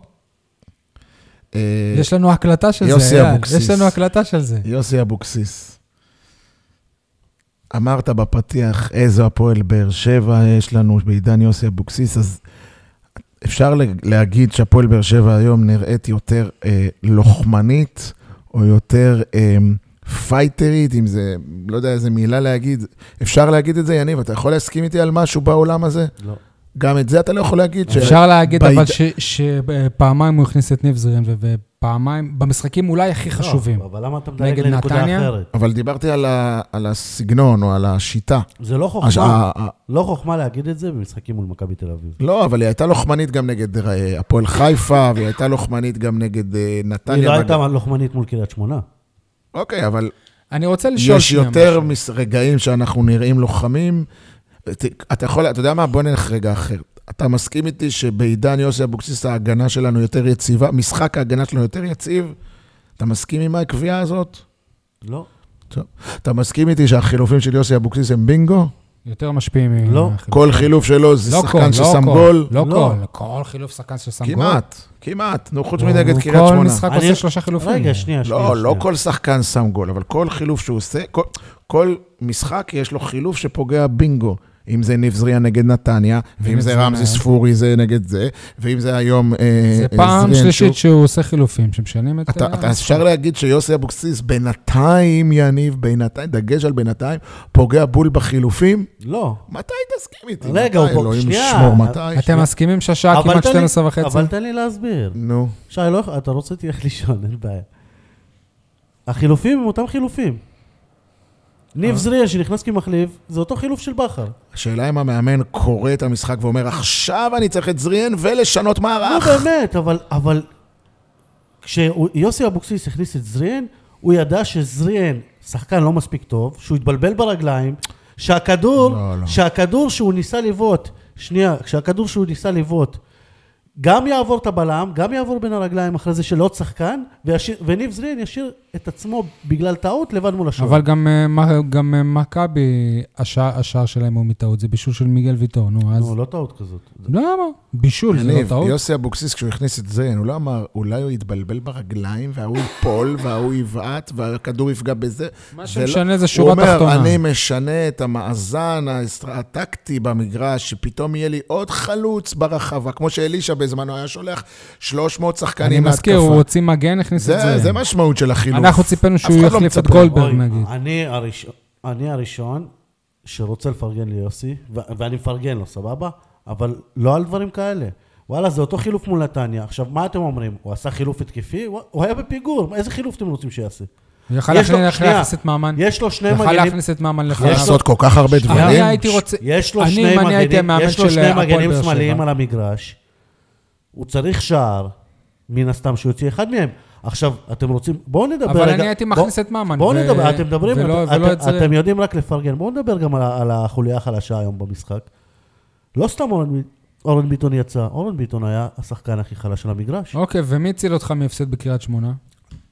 C: אה,
A: יש לנו הקלטה של
C: יוסי
A: זה, אייל.
C: אבוקסיס.
A: יש לנו הקלטה של זה.
C: יוסי אבוקסיס, אמרת בפתיח איזו הפועל באר שבע יש לנו בעידן יוסי אבוקסיס, אז אפשר ל- להגיד שהפועל באר שבע היום נראית יותר אה, לוחמנית, או יותר אה, פייטרית, אם זה, לא יודע איזה מילה להגיד. אפשר להגיד את זה, יניב? אתה יכול להסכים איתי על משהו בעולם הזה?
B: לא.
C: גם את זה אתה לא יכול להגיד? ש-
A: אפשר להגיד
C: בעיד-
A: אבל שפעמיים הוא הכניס את ניב זרין, ו- ופעמיים, במשחקים אולי הכי חשובים.
B: לא, אבל למה אתה מדלג
A: נגד
B: לנקודה
A: נתניה?
B: אחרת?
C: אבל דיברתי על, ה, על הסגנון או על השיטה. אה,
B: זה לא
C: הש-
B: חוכמה.
C: ה- ה-
B: לא חוכמה להגיד את זה במשחקים מול מכבי תל אביב.
C: לא, אבל היא הייתה לוחמנית גם נגד אה, הפועל חיפה, והיא הייתה לוחמנית גם נגד אה, נתניה.
B: היא לא
C: בג-
B: הייתה לוחמנית מול קריית שמונה.
C: אוקיי, אבל
A: אני רוצה לשאול
C: יש
A: שנייה
C: יותר
A: משהו.
C: מס- רגעים שאנחנו נראים לוחמים. ת- אתה יכול, אתה יודע מה? בוא נלך רגע אחר. אתה מסכים איתי שבעידן יוסי אבוקסיס ההגנה שלנו יותר יציבה, משחק ההגנה שלנו יותר יציב? אתה מסכים עם הקביעה הזאת?
B: לא.
C: אתה מסכים איתי שהחילופים של יוסי אבוקסיס הם בינגו?
A: יותר משפיעים.
B: לא,
A: מהחילופים.
C: כל חילוף שלו זה
A: לא כל,
C: שחקן
A: לא
C: ששם
A: כל,
C: גול?
A: לא
B: לא.
A: כל, כל חילוף שחקן ששם גול.
C: כמעט, כמעט. נו, חוץ
A: הוא-
C: מנגד
A: הוא
C: קריית שמונה.
A: כל משחק
B: אני-
A: עושה שלושה חילופים.
B: רגע, שנייה, שנייה.
C: לא, לא
B: שנייה.
C: כל שחקן שם גול, אבל כל חילוף שהוא עושה, כל, כל משחק יש לו חילוף שפוגע בינגו. אם זה ניב זריה נגד נתניה, ואם זה
A: זריה.
C: רמזי ספורי זה נגד זה, ואם זה היום... אה,
A: זה
C: אה,
A: פעם
C: זריאן
A: שלישית
C: שוב.
A: שהוא עושה חילופים, שמשנים את...
C: אתה,
A: ה-
C: אתה אפשר להגיד שיוסי אבוקסיס בינתיים יניב, בינתיים, דגש על בינתיים, פוגע בול בחילופים?
B: לא.
C: מתי תסכים איתי?
B: רגע, הוא
C: מתי?
B: פה-
C: אלוהים
B: שנייה.
C: ישמור, מתי?
A: אתם מסכימים שהשעה
B: אבל
A: כמעט
B: תן לי-
A: 12 וחצי?
B: אבל תן לי להסביר.
C: נו,
B: שי, לא, אתה רוצה תלך לישון, אין בעיה. החילופים הם אותם חילופים. ניב זריה שנכנס כמחליף, זה אותו חילוף של בכר.
C: השאלה אם המאמן קורא את המשחק ואומר, עכשיו אני צריך את זריאן ולשנות
B: לא
C: מערך.
B: באמת, אבל, אבל כשיוסי אבוקסיס הכניס את זריאן, הוא ידע שזריאן שחקן לא מספיק טוב, שהוא התבלבל ברגליים, שהכדור,
C: לא, לא.
B: שהכדור שהוא ניסה לבעוט, שנייה, שהכדור שהוא ניסה לבעוט, גם יעבור את הבלם, גם יעבור בין הרגליים אחרי זה של עוד שחקן, וישיר, וניב זריאן ישאיר את עצמו בגלל טעות לבד מול השוער.
A: אבל גם, אה, מה- גם אה, מכבי, השער השער שלהם הוא מטעות, זה בישול של מיגל ויטור, נו, אז...
B: נו, לא טעות כזאת.
A: למה? בישול, זה לא
C: יניב,
A: טעות.
C: יוסי אבוקסיס, כשהוא הכניס את זריאן, הוא לא אמר, אולי הוא יתבלבל ברגליים, וההוא ייפול, וההוא יבעט, והכדור יפגע בזה.
A: מה
C: זה
A: שמשנה זה
C: לא-
A: שורה
C: הוא
A: תחתונה.
C: אומר, אני משנה את המאזן האסטר- הטקטי במגרש, שפתאום יהיה לי עוד חלוץ ברחבה, כמו שאלישע בזמנו היה שולח 300
A: אני
C: שחקנים
A: מזכיר,
C: להתקפה.
A: הוא הוציא מגן, הכניס את
C: זה,
A: זה.
C: זה משמעות של החילוף.
A: אנחנו ציפינו
C: אף
A: שהוא
C: אחד לא
A: יחליף את
C: מצפה.
A: גולדברג,
B: אוי,
A: נגיד.
B: אני הראשון, אני הראשון שרוצה לפרגן ליוסי, ו- ואני מפרגן לו, סבבה? אבל לא על דברים כאלה. וואלה, זה אותו חילוף מול נתניה. עכשיו, מה אתם אומרים? הוא עשה חילוף התקפי? הוא- הוא היה בפיגור, איזה חילוף אתם רוצים שיעשה?
A: הוא יכל
B: יש לו-
A: להכניס-
B: שנייה,
A: להכניס את ממן.
B: יש לו שני
A: הוא יכל
B: מגנים,
A: להכניס את ממן
C: יכול
A: לפניו.
C: לעשות כל כך הרבה
A: אבל אני
C: דברים.
A: הייתי רוצה...
B: יש לו
A: אני-
B: שני
A: אם אני הייתי
B: מגנים,
A: המאמן
B: יש לו
A: של אה,
B: שני
A: הפועל
B: מגנים
A: באר שבע.
B: שמאליים על המגרש. הוא צריך שער, מן הסתם שהוא יוציא אחד מהם. עכשיו, אתם רוצים, בואו נדבר
A: אבל
B: רגע.
A: אני הייתי
B: בוא-
A: מכניס את ממן,
B: בואו
A: ו-
B: נדבר, אתם מדברים,
A: ולא-
B: אתם-
A: ולא
B: אתם-
A: את זה.
B: אתם יודעים רק לפרגן. בואו נדבר גם על ה- על החוליה החלשה היום במשחק. לא סתם אורן ב- אורן ביטון יצא, אורן ביטון היה השחקן הכי חלש של המגרש.
A: אוקיי, ומי הציל אותך מהפסד בקריית שמונה?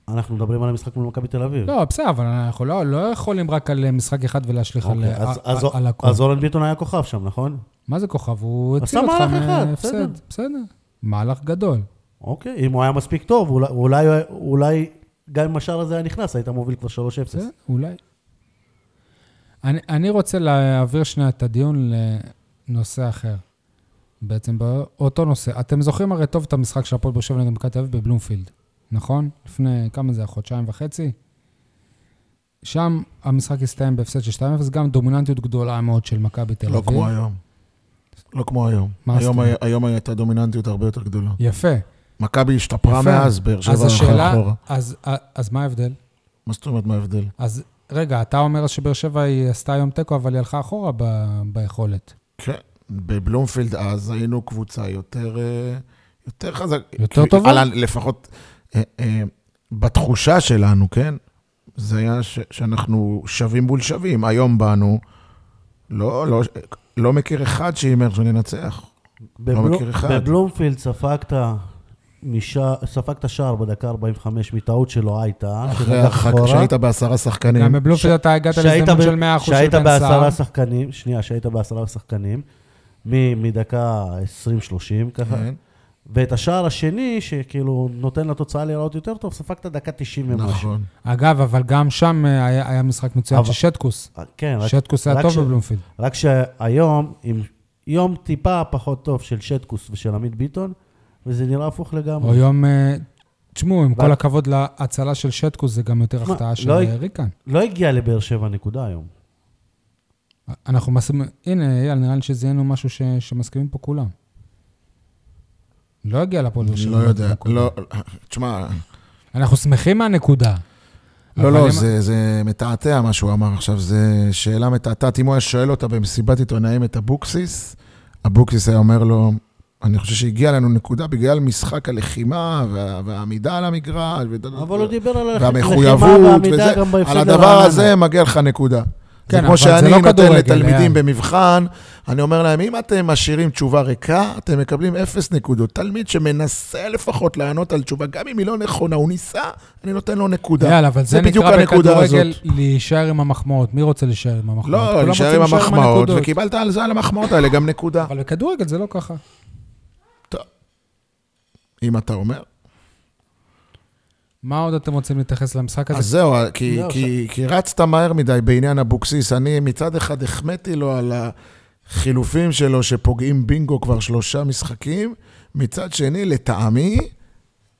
B: אנחנו מדברים על המשחק מול מכבי תל אביב.
A: לא, בסדר, אבל אנחנו לא- לא יכולים רק על אה, משחק אחד ולהשליך על
B: אוקיי,
A: אה,
B: אז- אז-
A: על הכול.
B: אז אורן ביטון היה כוכב שם, נכון?
A: מה זה כוכב? הוא הציל
B: עשה
A: אותך
B: מהלך אחד, בסדר.
A: מהפסד. בסדר, מהלך גדול.
B: אוקיי, אם הוא היה מספיק טוב, אולי, אולי, אולי גם אם השער הזה היה נכנס, היית מוביל כבר 3-0.
A: בסדר, אולי. אני, אני רוצה להעביר שנייה את הדיון לנושא אחר. בעצם באותו נושא. אתם זוכרים הרי טוב את המשחק של הפועל באר שבע נגד מכבי תל אביב בבלומפילד, נכון? לפני, כמה זה היה? חודשיים וחצי? שם המשחק הסתיים בהפסד של 2-0, גם דומיננטיות גדולה מאוד של מכבי תל אביב.
C: לא כמו היום. לא כמו היום.
A: מה זאת
C: היום
A: אומרת?
C: היה- היום הייתה דומיננטיות הרבה יותר גדולה.
A: יפה.
C: מכבי השתפרה
A: יפה.
C: מאז, באר שבע
A: אז
C: הלכה
A: השאלה,
C: אחורה.
A: אז, אז מה ההבדל?
C: מה זאת אומרת, מה ההבדל?
A: אז רגע, אתה אומר שבאר שבע היא עשתה היום תיקו, אבל היא הלכה אחורה ב, ביכולת.
C: כן, בבלומפילד אז היינו קבוצה יותר, אה, יותר חזק.
A: יותר
C: כי-
A: טובה?
C: על ה- לפחות אה, אה, בתחושה שלנו, כן? זה היה ש- שאנחנו שווים מול שווים. היום באנו, לא, לא, לא מכיר אחד שהימר שננצח.
B: בבלו-
C: לא מכיר אחד.
B: בבלומפילד ספגת... משע- ספגת שער בדקה 45 מטעות שלא הייתה,
C: אחרי
B: שלקח
C: הרחק
B: אחורה.
C: שהיית בעשרה שחקנים.
A: גם בבלומפילד אתה הגעת
B: שהיית
A: להזדמנות
B: ב-
A: של 100% של בן סער.
B: שהיית בעשרה שחקנים, שנייה, שהיית בעשרה שחקנים, מ- מדקה 20-30 ככה,
C: כן.
B: ואת השער השני, שכאילו נותן לתוצאה להיראות יותר טוב, ספגת דקה 90 ומשהו.
C: נכון.
A: אגב, אבל גם שם אה, היה, היה משחק מצוין
B: אבל-
A: של שטקוס.
B: כן, רק-
A: שטקוס היה
B: רק
A: טוב
B: ש-
A: בבלומפילד.
B: רק שהיום, עם יום טיפה פחות טוב של שטקוס ושל עמית ביטון, וזה נראה הפוך
A: או
B: לגמרי.
A: יום... אה, תשמעו, עם
B: אבל-
A: כל הכבוד להצלה של שטקוס, זה גם יותר
B: מה,
A: החטאה של
B: לא
A: אה,
B: הג-
A: ריקן.
B: לא הגיע לבאר שבע נקודה היום.
A: אנחנו מסכימים... הנה, אייל, נראה לי שזיהינו משהו ש... שמסכימים פה כולם. לא הגיע לפועל באר שבע.
C: לא יודע,
A: נקודה.
C: לא, תשמע,
A: אנחנו שמחים מהנקודה.
C: לא,
A: אבל
C: לא,
A: אם-
C: זה, זה מתעתע מה שהוא אמר עכשיו, זו שאלה מתעתעת. אם הוא היה שואל אותה במסיבת עיתונאים את אבוקסיס, אבוקסיס היה אומר לו, אני חושב שהגיעה לנו נקודה בגלל משחק הלחימה וה, והעמידה על המגרש. ו-
B: אבל הוא דיבר על הלחימה
C: והמחויבות
B: והעמידה
C: וזה,
B: גם בהפסד
C: על הדבר
B: לרעננה.
C: הזה מגיע לך נקודה.
A: כן,
C: זה
A: אבל
C: כמו
A: זה
C: שאני
A: לא
C: נותן
A: כדורגל,
C: לתלמידים
A: אייל.
C: במבחן, אני אומר להם, אם אתם משאירים תשובה ריקה, אתם מקבלים אפס נקודות. תלמיד שמנסה לפחות לענות על תשובה, גם אם היא לא נכונה, הוא ניסה, אני נותן לו נקודה.
A: יאללה, אבל זה
C: זה בדיוק
A: נקרא
C: הנקודה
A: בכדורגל
C: הזאת.
A: להישאר עם המחמאות. מי רוצה להישאר עם המחמאות?
C: לא,
A: כולם
C: נשאר
A: רוצים
C: עם
A: להישאר
C: המחמאות,
A: הנקודות.
C: וקיבלת על זה, על המחמאות האלה, גם נקודה.
A: אבל בכדורגל זה לא ככה.
C: טוב. אם אתה אומר.
A: מה עוד אתם רוצים להתייחס למשחק הזה?
C: אז זהו, אה, כי-
B: לא,
C: כי- כי רצת מהר מדי בעניין אבוקסיס. אני מצד אחד החמאתי לו על החילופים שלו שפוגעים בינגו כבר שלושה משחקים, מצד שני, לטעמי,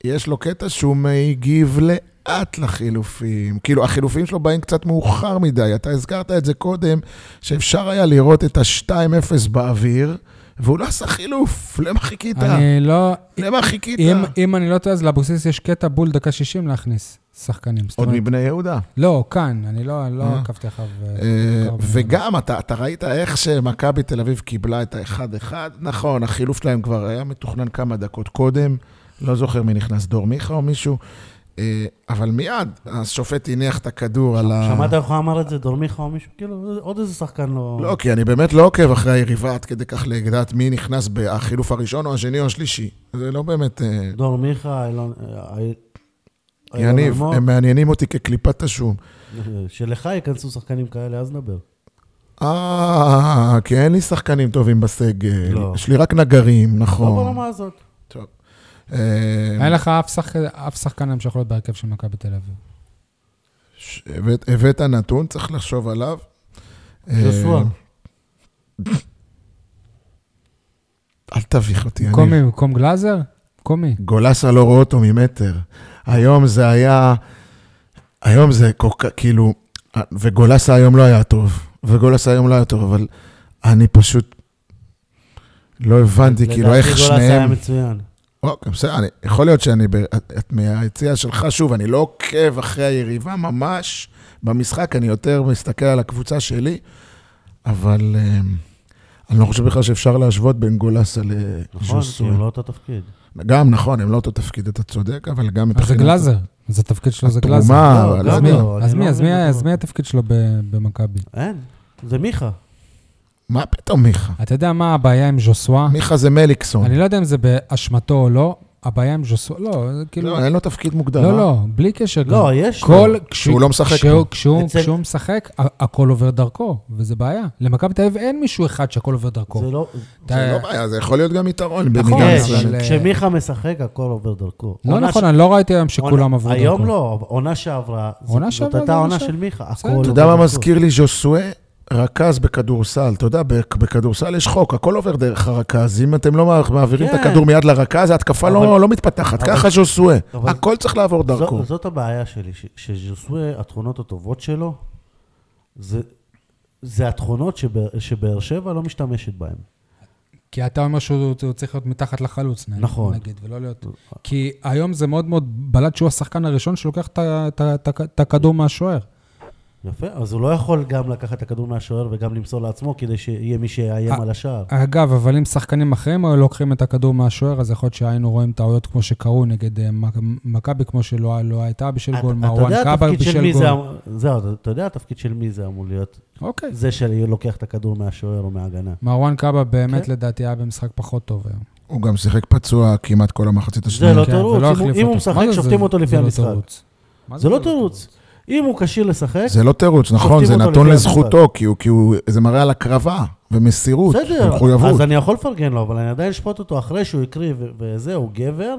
C: יש לו קטע שהוא מגיב לאט לחילופים. כאילו, החילופים שלו באים קצת מאוחר מדי. אתה הזכרת את זה קודם, שאפשר היה לראות את ה-2-0 באוויר, והוא לא עשה חילוף. למה חיכית?
A: אני לא...
C: למה חיכית?
A: אם, אם אני לא טועה, אז לאבוקסיס יש קטע בול דקה 60 להכניס שחקנים. זאת
C: עוד
A: אומרת,
C: מבני יהודה.
A: לא, כאן, אני לא אני לא
C: אה.
A: עקבתי אחריו. אה,
C: אה,
A: אחריו.
C: וגם, אתה, אתה ראית איך שמכבי תל אביב קיבלה את ה-1-1. נכון, החילוף שלהם כבר היה מתוכנן כמה דקות קודם, לא זוכר מי נכנס, דור מיכה או מישהו, אה, אבל מיד השופט הניח את הכדור על ה...
B: שמעת איך הוא אמר את זה, דורמיכה או מישהו? כאילו, עוד איזה שחקן לא...
C: לא, כי אני באמת לא עוקב אחרי היריבה עד כדי כך לדעת מי נכנס בחילוף הראשון או השני או השלישי. זה לא באמת... אה,
B: דור מיכה, אילון... אה,
A: לא,
B: אילון
C: יניב,
B: אלמוג.
C: הם מעניינים אותי כקליפת השום.
B: שלך ייכנסו שחקנים כאלה, אז נדבר.
C: אה, כי אין לי שחקנים טובים בסגל.
B: לא.
C: יש לי רק נגרים,
B: לא
C: נכון.
B: ברמה הזאת.
C: טוב. אה,
A: אין לך אף שחק- אף שחקן היום שיכול להיות בהרכב של מכבי תל אביב.
C: ש- הבאת- הבאת נתון, צריך לחשוב עליו.
B: יוסוע.
C: אה, אל תביך אותי,
A: במקום
C: אני...
A: מי? במקום גלאזר? במקום מי?
C: גולסה לא רואה אותו ממטר. היום זה היה... היום זה כל כך, כאילו... אה, וגולסה היום לא היה טוב. וגולסה היום לא היה טוב, אבל אני פשוט... לא הבנתי, כאילו,
B: לדעתי
C: איך
B: גולס היה
C: שניהם...
B: מצוין.
C: אוקיי, בסדר, אני, יכול להיות שאני, ב, את- את מהיציע שלך, שוב, אני לא עוקב אחרי היריבה ממש במשחק, אני יותר מסתכל על הקבוצה שלי, אבל אה, אני לא חושב בכלל שאפשר להשוות בין גולסה
B: נכון, כי
C: לג'וסוי.
B: הוא לא אותו תפקיד.
C: גם, נכון, הם לא אותו תפקיד, אתה צודק, אבל גם
A: אז זה
C: מבחינת...
A: גלאזר. אז התפקיד שלו זה גלאזר.
C: התרומה,
B: לא,
C: אבל-
A: אז
B: גלאזר.
A: מי?
B: לא,
A: אז
B: אני
A: מי?
B: לא
A: אז
B: מבין
A: מי-
B: אותו.
A: אז מי התפקיד שלו ב- במכבי?
B: אין, זה מיכה.
C: מה פתאום מיכה?
A: אתה יודע מה הבעיה עם ז'וסווה?
C: מיכה זה מליקסון.
A: אני לא יודע אם זה באשמתו או לא, הבעיה עם ז'וסואר, לא, זה כאילו...
C: לא, אין לו תפקיד מוגדר.
A: לא,
C: אה?
A: לא, בלי קשר. גם.
C: כן.
B: לא, יש לו.
A: כל...
C: שהוא לא משחק
A: כשהוא-
C: פה.
A: כשהוא-
B: אצל-
A: כשהוא משחק, ה- הכל עובר דרכו, וזה בעיה. למכבי תל אביב אין מישהו אחד שהכל עובר דרכו.
B: זה לא...
A: אתה-
C: זה לא בעיה, זה יכול להיות גם יתרון
A: נכון,
C: במידה
A: כן,
B: יש,
C: מסוימת.
A: אבל-
B: כשמיכה משחק, הכל עובר דרכו.
A: לא
B: עונה
A: נכון,
B: ש-
A: אני לא ראיתי היום
B: עונה-
A: שכולם עברו דרכו.
B: היום לא, עונה שעברה. זאת-
A: עונה שעברה
B: זאת
A: זה
B: הייתה
A: עונה
B: עונה
A: שעברה.
B: של מיכה. הכל
A: בסדר.
B: עובר
C: אתה יודע מה
B: דרכו.
C: מזכיר לי? ז'וסווה, רכז בכדורסל. אתה יודע, בכ- בכדורסל יש חוק, הכל עובר דרך הרכז. אם אתם לא מע- מעבירים את
B: כן.
C: הכדור מיד לרכז, ההתקפה לא
B: אבל-
C: לא מתפתחת.
B: אבל-
C: ככה ז'וסווה.
B: אבל-
C: הכל צריך לעבור
B: זו-
C: דרכו.
B: זאת הבעיה שלי, ש- שז'וסווה, התכונות הטובות שלו, זה- זה התכונות שבאר- שבאר שבע לא משתמשת בהן.
A: כי אתה אומר שהוא הוא צריך להיות מתחת לחלוץ, נ-
B: נכון.
A: נגיד, ולא להיות... כי היום זה מאוד מאוד בלט שהוא השחקן הראשון שלוקח את ה- את ה- את ה- את הכדור מהשוער.
B: יפה, אז הוא לא יכול גם לקחת את הכדור מהשוער וגם למסור לעצמו כדי שיהיה מי שיאיים
A: א-
B: על השער.
A: אגב, אבל אם שחקנים אחרים היו לוקחים את הכדור מהשוער, אז יכול להיות שהיינו רואים טעויות כמו שקרו נגד אה, מק- מכבי, כמו שלא לא הייתה בשל
B: אתה-
A: גול,
B: אתה
A: מרואן
B: יודע
A: קאבר
B: התפקיד של מי
A: בשל
B: זה
A: גול.
B: אמ- זהו, אתה- אתה יודע התפקיד של מי זה אמור להיות?
A: אוקיי.
B: זה שלוקח את הכדור מהשוער או מההגנה.
A: מרואן קאבה באמת
B: כן.
A: לדעתי היה במשחק פחות טוב היום.
C: הוא גם שיחק פצוע כמעט כל המחצית
B: זה
C: השנייה.
B: לא
A: כן, ולא
B: תירוץ, אם הוא-
A: החליף
B: אם הוא
A: אותו.
B: משחק,
A: מה זה-
B: שופטים
A: זה-
B: אותו לפי
A: זה לא
B: המשחק.
A: תירוץ. מה
B: זה לא תירוץ. אם הוא כשיר לשחק,
C: זה לא תירוץ, נכון?
B: שופטים
C: זה
B: אותו
C: נתון
B: לפי
C: לזכותו, כי הוא- כי הוא- זה מראה על הקרבה ומסירות
B: בסדר,
C: ומחויבות.
B: אז אני יכול לפרגן לו, אבל אני עדיין אשפוט אותו אחרי שהוא הקריא ו- וזה, הוא גבר,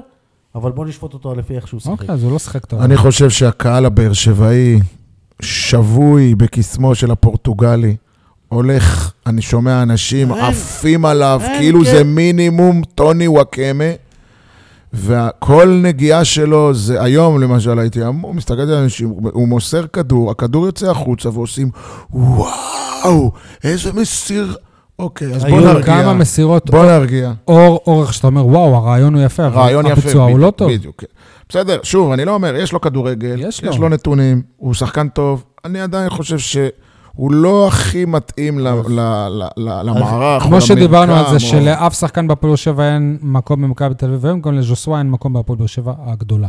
B: אבל בוא נשפוט אותו לפי איך שהוא שיחק.
A: אוקיי, אז הוא לא שיחק טוב.
C: אני חושב שהקהל הבאר שבעי שבוי בקסמו של הפורטוגלי. הולך, אני שומע אנשים
B: אין.
C: עפים עליו,
B: אין,
C: כאילו
B: כן.
C: זה מינימום טוני וואקמה. וכל נגיעה שלו זה, היום למשל הייתי אמור, מסתכל על אנשים, הוא הוא מוסר כדור, הכדור יוצא החוצה ועושים, וואו, איזה מסיר... אוקיי, אז בוא
B: היו
A: היו
C: נרגיע.
A: כמה מסירות
C: בוא נרגיע.
A: אור אורך שאתה אומר, וואו, הרעיון הוא יפה, אבל
C: רעיון יפה.
A: הביצוע הוא לא
C: בדיוק,
A: טוב.
C: בדיוק. כן. בסדר, שוב, אני לא אומר, יש לו כדורגל,
A: יש
C: יש
A: לו.
C: לו נתונים, הוא שחקן טוב, אני עדיין חושב שהוא לא הכי מתאים ל- ל- ל- ל- למערך.
A: כמו
C: או
A: שדיברנו על
C: למרקם,
A: זה,
C: או-
A: שלאף שחקן בהפועל באר שבע אין מקום במכבי תל אביב, היום גם לז'וסווה אין מקום בהפועל באר שבע הגדולה.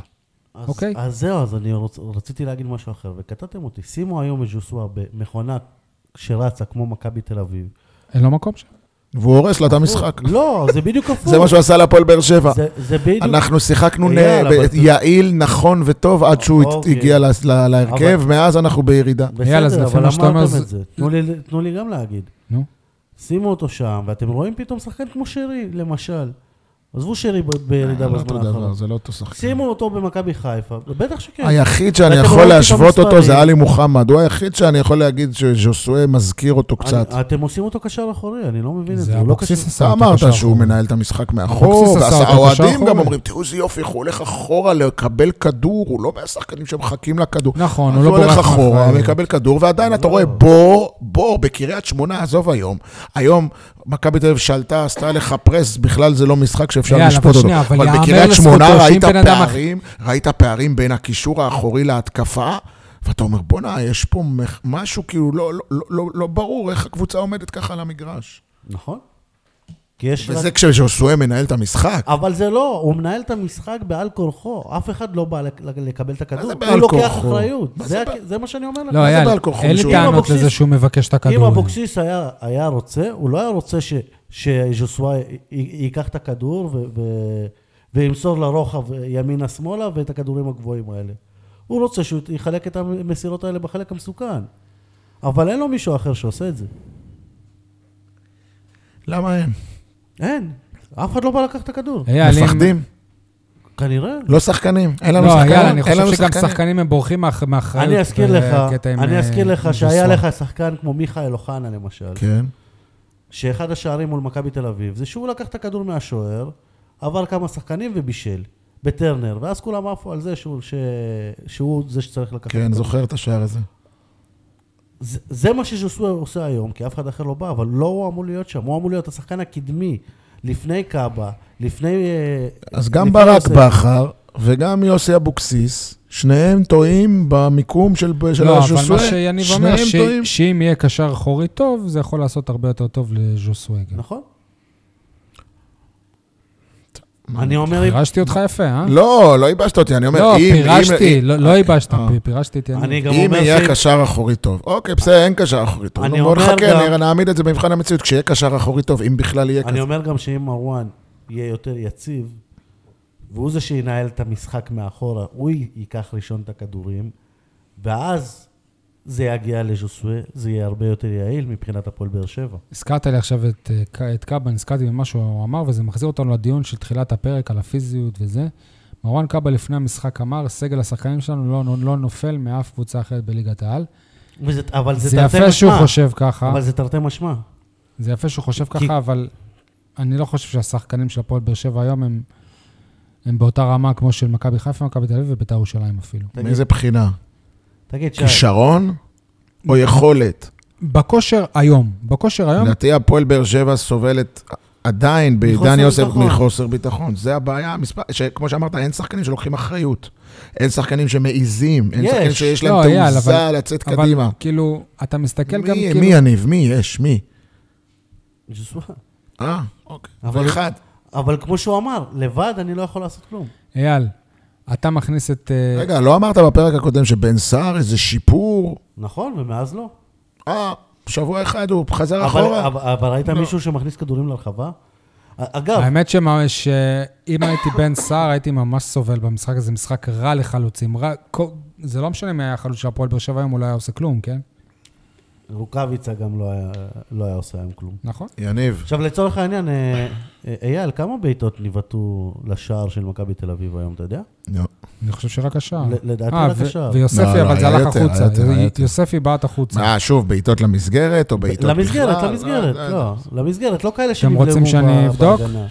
B: אז-
A: אוקיי.
B: אז זהו, אז אני רוצ- רציתי להגיד משהו אחר, וקטעתם אותי. שימו היום את ז'וסואה במכונה שרצה כמו מכבי תל אביב.
A: אין לו מקום שם.
C: והוא הורס לה את המשחק.
B: לא, זה בדיוק הפוך.
C: זה מה שהוא עשה להפועל באר שבע.
B: זה- זה בדיוק...
C: אנחנו שיחקנו
B: אייל,
C: נה-
B: אבל
C: ב-
B: זה-
C: יעיל, נכון וטוב עד שהוא הת-
B: אוקיי.
C: הגיע ל- ל- להרכב, מאז אנחנו בירידה.
A: יאללה, זה
B: בסדר,
A: לפי
B: אבל
A: מה שאתה אומר,
B: אמרתם
A: זה-
B: את זה. תנו לי- תנו לי גם להגיד.
A: נו.
B: שימו אותו שם, ואתם רואים פתאום שחקן כמו שרי, למשל. עזבו שרי ב-
C: זה
B: בירידה
C: לא אותו
B: בזמן האחרון.
C: דבר, זה לא אותו שחקן.
B: שימו אותו במכבי חיפה, בטח שכן.
C: היחיד שאני
B: ואתם
C: יכול
B: רואים
C: להשוות
B: פתאום
C: אותו זה
B: מספרים.
C: עלי מוחמד, הוא היחיד שאני יכול להגיד שז'וסואה מזכיר אותו קצת.
B: אני- אתם עושים אותו קשר אחורי, אני לא מבין את זה.
A: זה
B: הוא לא
A: אבוקסיס
B: קשר-
A: עשה
C: אתה
A: אותו
C: אמרת
A: קשר
C: שהוא
A: אחורי.
C: מנהל את המשחק מאחור,
A: אבוקסיס עשה אותו
C: והאוהדים
A: קשר
C: גם
A: אחורי.
C: אומרים, תראו איזה יופי, הוא הולך אחורה לקבל כדור, הוא לא מהשחקנים שמחכים לכדור.
A: נכון,
C: אז
A: הוא לא
C: הוא
A: בורח
C: הולך אחורה,
A: מאחורי.
C: מקבל כדור, ועדיין אתה
B: לא.
C: רואה בור, בור בקריית שמונה, עזוב היום. היום מכבי תל אביב שלטה, עשתה לך פרס, בכלל זה לא משחק
A: יאללה,
C: שאפשר
A: אבל
C: לשפוט אותו.
A: שנייה, אבל
C: אבל
A: יאמר
C: בקריית
A: לזכותו
C: שמונה
A: שאם
C: ראית
A: בן אדם אח-
C: פערים, ראית פערים בין הקישור האחורי להתקפה. ואתה אומר, בואנה, יש פה מח- משהו כאילו לא, לא, לא, לא, לא ברור איך הקבוצה עומדת ככה על המגרש.
B: נכון. כי יש... רק-
C: וזה כשז'וסואה מנהל את המשחק.
B: אבל זה לא, הוא מנהל את המשחק בעל כורחו. אף אחד לא בא לק- לקבל את
C: מה
B: הכדור.
C: זה
B: הוא
C: בעל
B: לוקח
C: כורחו?
B: אחריות.
C: מה
B: זה
C: זה
B: הכ-
C: בעל-
B: זה מה שאני אומר לך.
A: לא,
C: זה
A: אייל,
C: בעל כורחו?
A: אין לי
C: שהוא-
A: טענות
B: אבוקסיס-
A: לזה שהוא מבקש את
B: אם
A: הכדור.
B: אבוקסיס היה, היה רוצה, הוא לא היה רוצה ש- שז'וסואה י- י- ייקח את הכדור ו, ו, וימסור לרוחב ימינה-שמאלה ואת הכדורים הגבוהים האלה. הוא רוצה שהוא יחלק את המסירות האלה בחלק המסוכן. אבל אין לו מישהו אחר שעושה את זה.
C: למה הם?
B: אין. אף אחד לא בא לקחת את הכדור.
A: אייל, אם-
C: מפחדים.
B: כנראה.
C: לא שחקנים. אין לנו
A: לא,
C: שחקנים.
A: יאללה, אני
C: אין לנו
A: חושב שגם
C: שחקנים.
A: שחקנים הם בורחים מאח- מאחריות.
B: אני אזכיר לך,
A: בקטע עם,
B: אני
A: אה,
B: אזכיר לך שהיה
A: ז'וסווה.
B: לך שחקן כמו מיכאל אוחנה למשל,
C: כן.
B: שאחד השערים מול מכבי תל אביב, זה שהוא לקח את הכדור מהשוער, עבר כמה שחקנים ובישל, בטרנר, ואז כולם עפו על זה שהוא, ש... שהוא זה שצריך לקחת. את
C: כן,
B: הכדור.
C: זוכר את השער הזה.
B: זה, זה מה שז'וסווה עושה היום, כי אף אחד אחר לא בא, אבל לא הוא אמור להיות שם, הוא אמור להיות השחקן הקדמי, לפני קאבה, לפני... אה,
C: אז גם
B: לפני
C: ברק
B: יוסף.
C: בכר וגם יוסי אבוקסיס, שניהם טועים במיקום של של
A: לא, אבל מה
C: ז'וסואה.
A: שיניב אומר,
C: שניהם
A: ש-
C: טועים.
A: שאם יהיה קשר אחורי טוב, זה יכול לעשות הרבה יותר טוב לז'וסווה. גם.
B: נכון? אני אומר, אם-
A: פירשתי אותך יפה, אה?
C: לא, לא ייבשת אותי, אני אומר,
A: לא,
C: אם... אם-
A: פירשתי,
C: אם-
A: לא- לא ייבשת,
C: אה.
A: פ- פירשתי את יניב.
B: אני גם
C: אם
B: אומר
C: יהיה
B: ש-
C: קשר אחורי טוב. אוקיי, בסדר, אין קשר אחורי טוב.
B: אני
C: נו, בוא
B: אומר
C: נחכה,
B: גם-
C: נראה, נעמיד את זה במבחן המציאות, כשיהיה קשר אחורי טוב, אם בכלל יהיה
B: אני
C: כזה.
B: אומר גם שאם מרואן יהיה יותר יציב, והוא זה שינהל את המשחק מאחורה, הוא י- ייקח ראשון את הכדורים, ואז זה יגיע לז'וסווה, זה יהיה הרבה יותר יעיל מבחינת הפועל באר שבע.
A: הזכרת לי עכשיו את, אה, ק- את קאבה, נזכרתי במה שהוא אמר, וזה מחזיר אותנו לדיון של תחילת הפרק על הפיזיות וזה. מרואן קאבה לפני המשחק אמר, סגל השחקנים שלנו לא, לא נופל מאף קבוצה אחרת בליגת העל.
B: וזה, אבל זה,
A: זה
B: תרתי
A: יפה שהוא
B: משמע.
A: חושב אה? ככה,
B: אבל זה תרתי משמע.
A: זה יפה שהוא חושב
B: כי-
A: ככה, אבל אני לא חושב שהשחקנים של הפועל באר שבע היום הם, הם באותה רמה כמו של מכבי חיפה, מכבי תל אביב ובית"ר ירושלים אפילו.
B: תגיד,
C: מאיזה בחינה?
B: תגיד, שי,
C: כישרון או יכולת?
A: בכושר היום, בכושר היום,
C: לדעתי הפועל באר שבע סובלת עדיין בעידן
B: מחוסר
C: יוסף
B: ביטחון.
C: מחוסר ביטחון. זה הבעיה, המספר, שכמו שאמרת, אין שחקנים שלוקחים אחריות. אין שחקנים שמעיזים, אין
B: יש.
C: שחקנים שיש
A: לא,
C: להם
A: אייל,
C: תעוזה
A: אבל-
C: לצאת
A: אבל
C: קדימה.
A: כאילו, אתה מסתכל גם,
C: מי-
A: כאילו,
C: מי יניב? מי יש? מי?
B: ז'וסווה.
C: אה, אוקיי.
B: אבל-
C: ואחד.
B: אבל כמו שהוא אמר, לבד אני לא יכול לעשות כלום.
A: אייל, אתה מכניס את... אה,
C: רגע, לא אמרת בפרק הקודם שבן סער איזה שיפור?
B: נכון, ומאז לא.
C: אה, שבוע אחד הוא חזר
B: אבל,
C: אחורה.
B: אבל, אבל ראית
A: לא.
B: מישהו שמכניס כדורים לרחבה?
C: לא.
B: אגב,
A: האמת שמה- שאם הייתי בן סער, הייתי ממש סובל במשחק הזה, משחק רע לחלוצים. רע, כל- זה לא משנה מי היה החלוץ של הפועל באר שבע היום, הוא לא היה עושה כלום, כן?
B: רוקאביצה גם לא היה, לא היה עושה היום כלום.
A: נכון?
C: יניב,
B: עכשיו, לצורך העניין, אה, אה, אייל, כמה בעיטות ניבטו לשער של מכבי תל אביב היום, אתה יודע?
C: לא.
A: אני חושב שרק השער.
B: ל- לדעתי
A: אה,
B: רק
A: ו-
B: השער.
A: ויוספי,
C: לא, לא,
A: אבל זה
C: היה
A: הלך
C: יותר, היה
A: החוצה.
C: יותר, היה
A: יו-
C: יותר.
A: יוספי בעט החוצה.
C: מה, אה, שוב, בעיטות למסגרת או בעיטות בכלל?
B: למסגרת,
C: לא,
B: למסגרת,
C: לא,
B: לא. למסגרת, לא כאלה
A: אתם
B: שנבלמו
A: רוצים שאני
B: ב-
A: אבדוק?
B: בהגנה.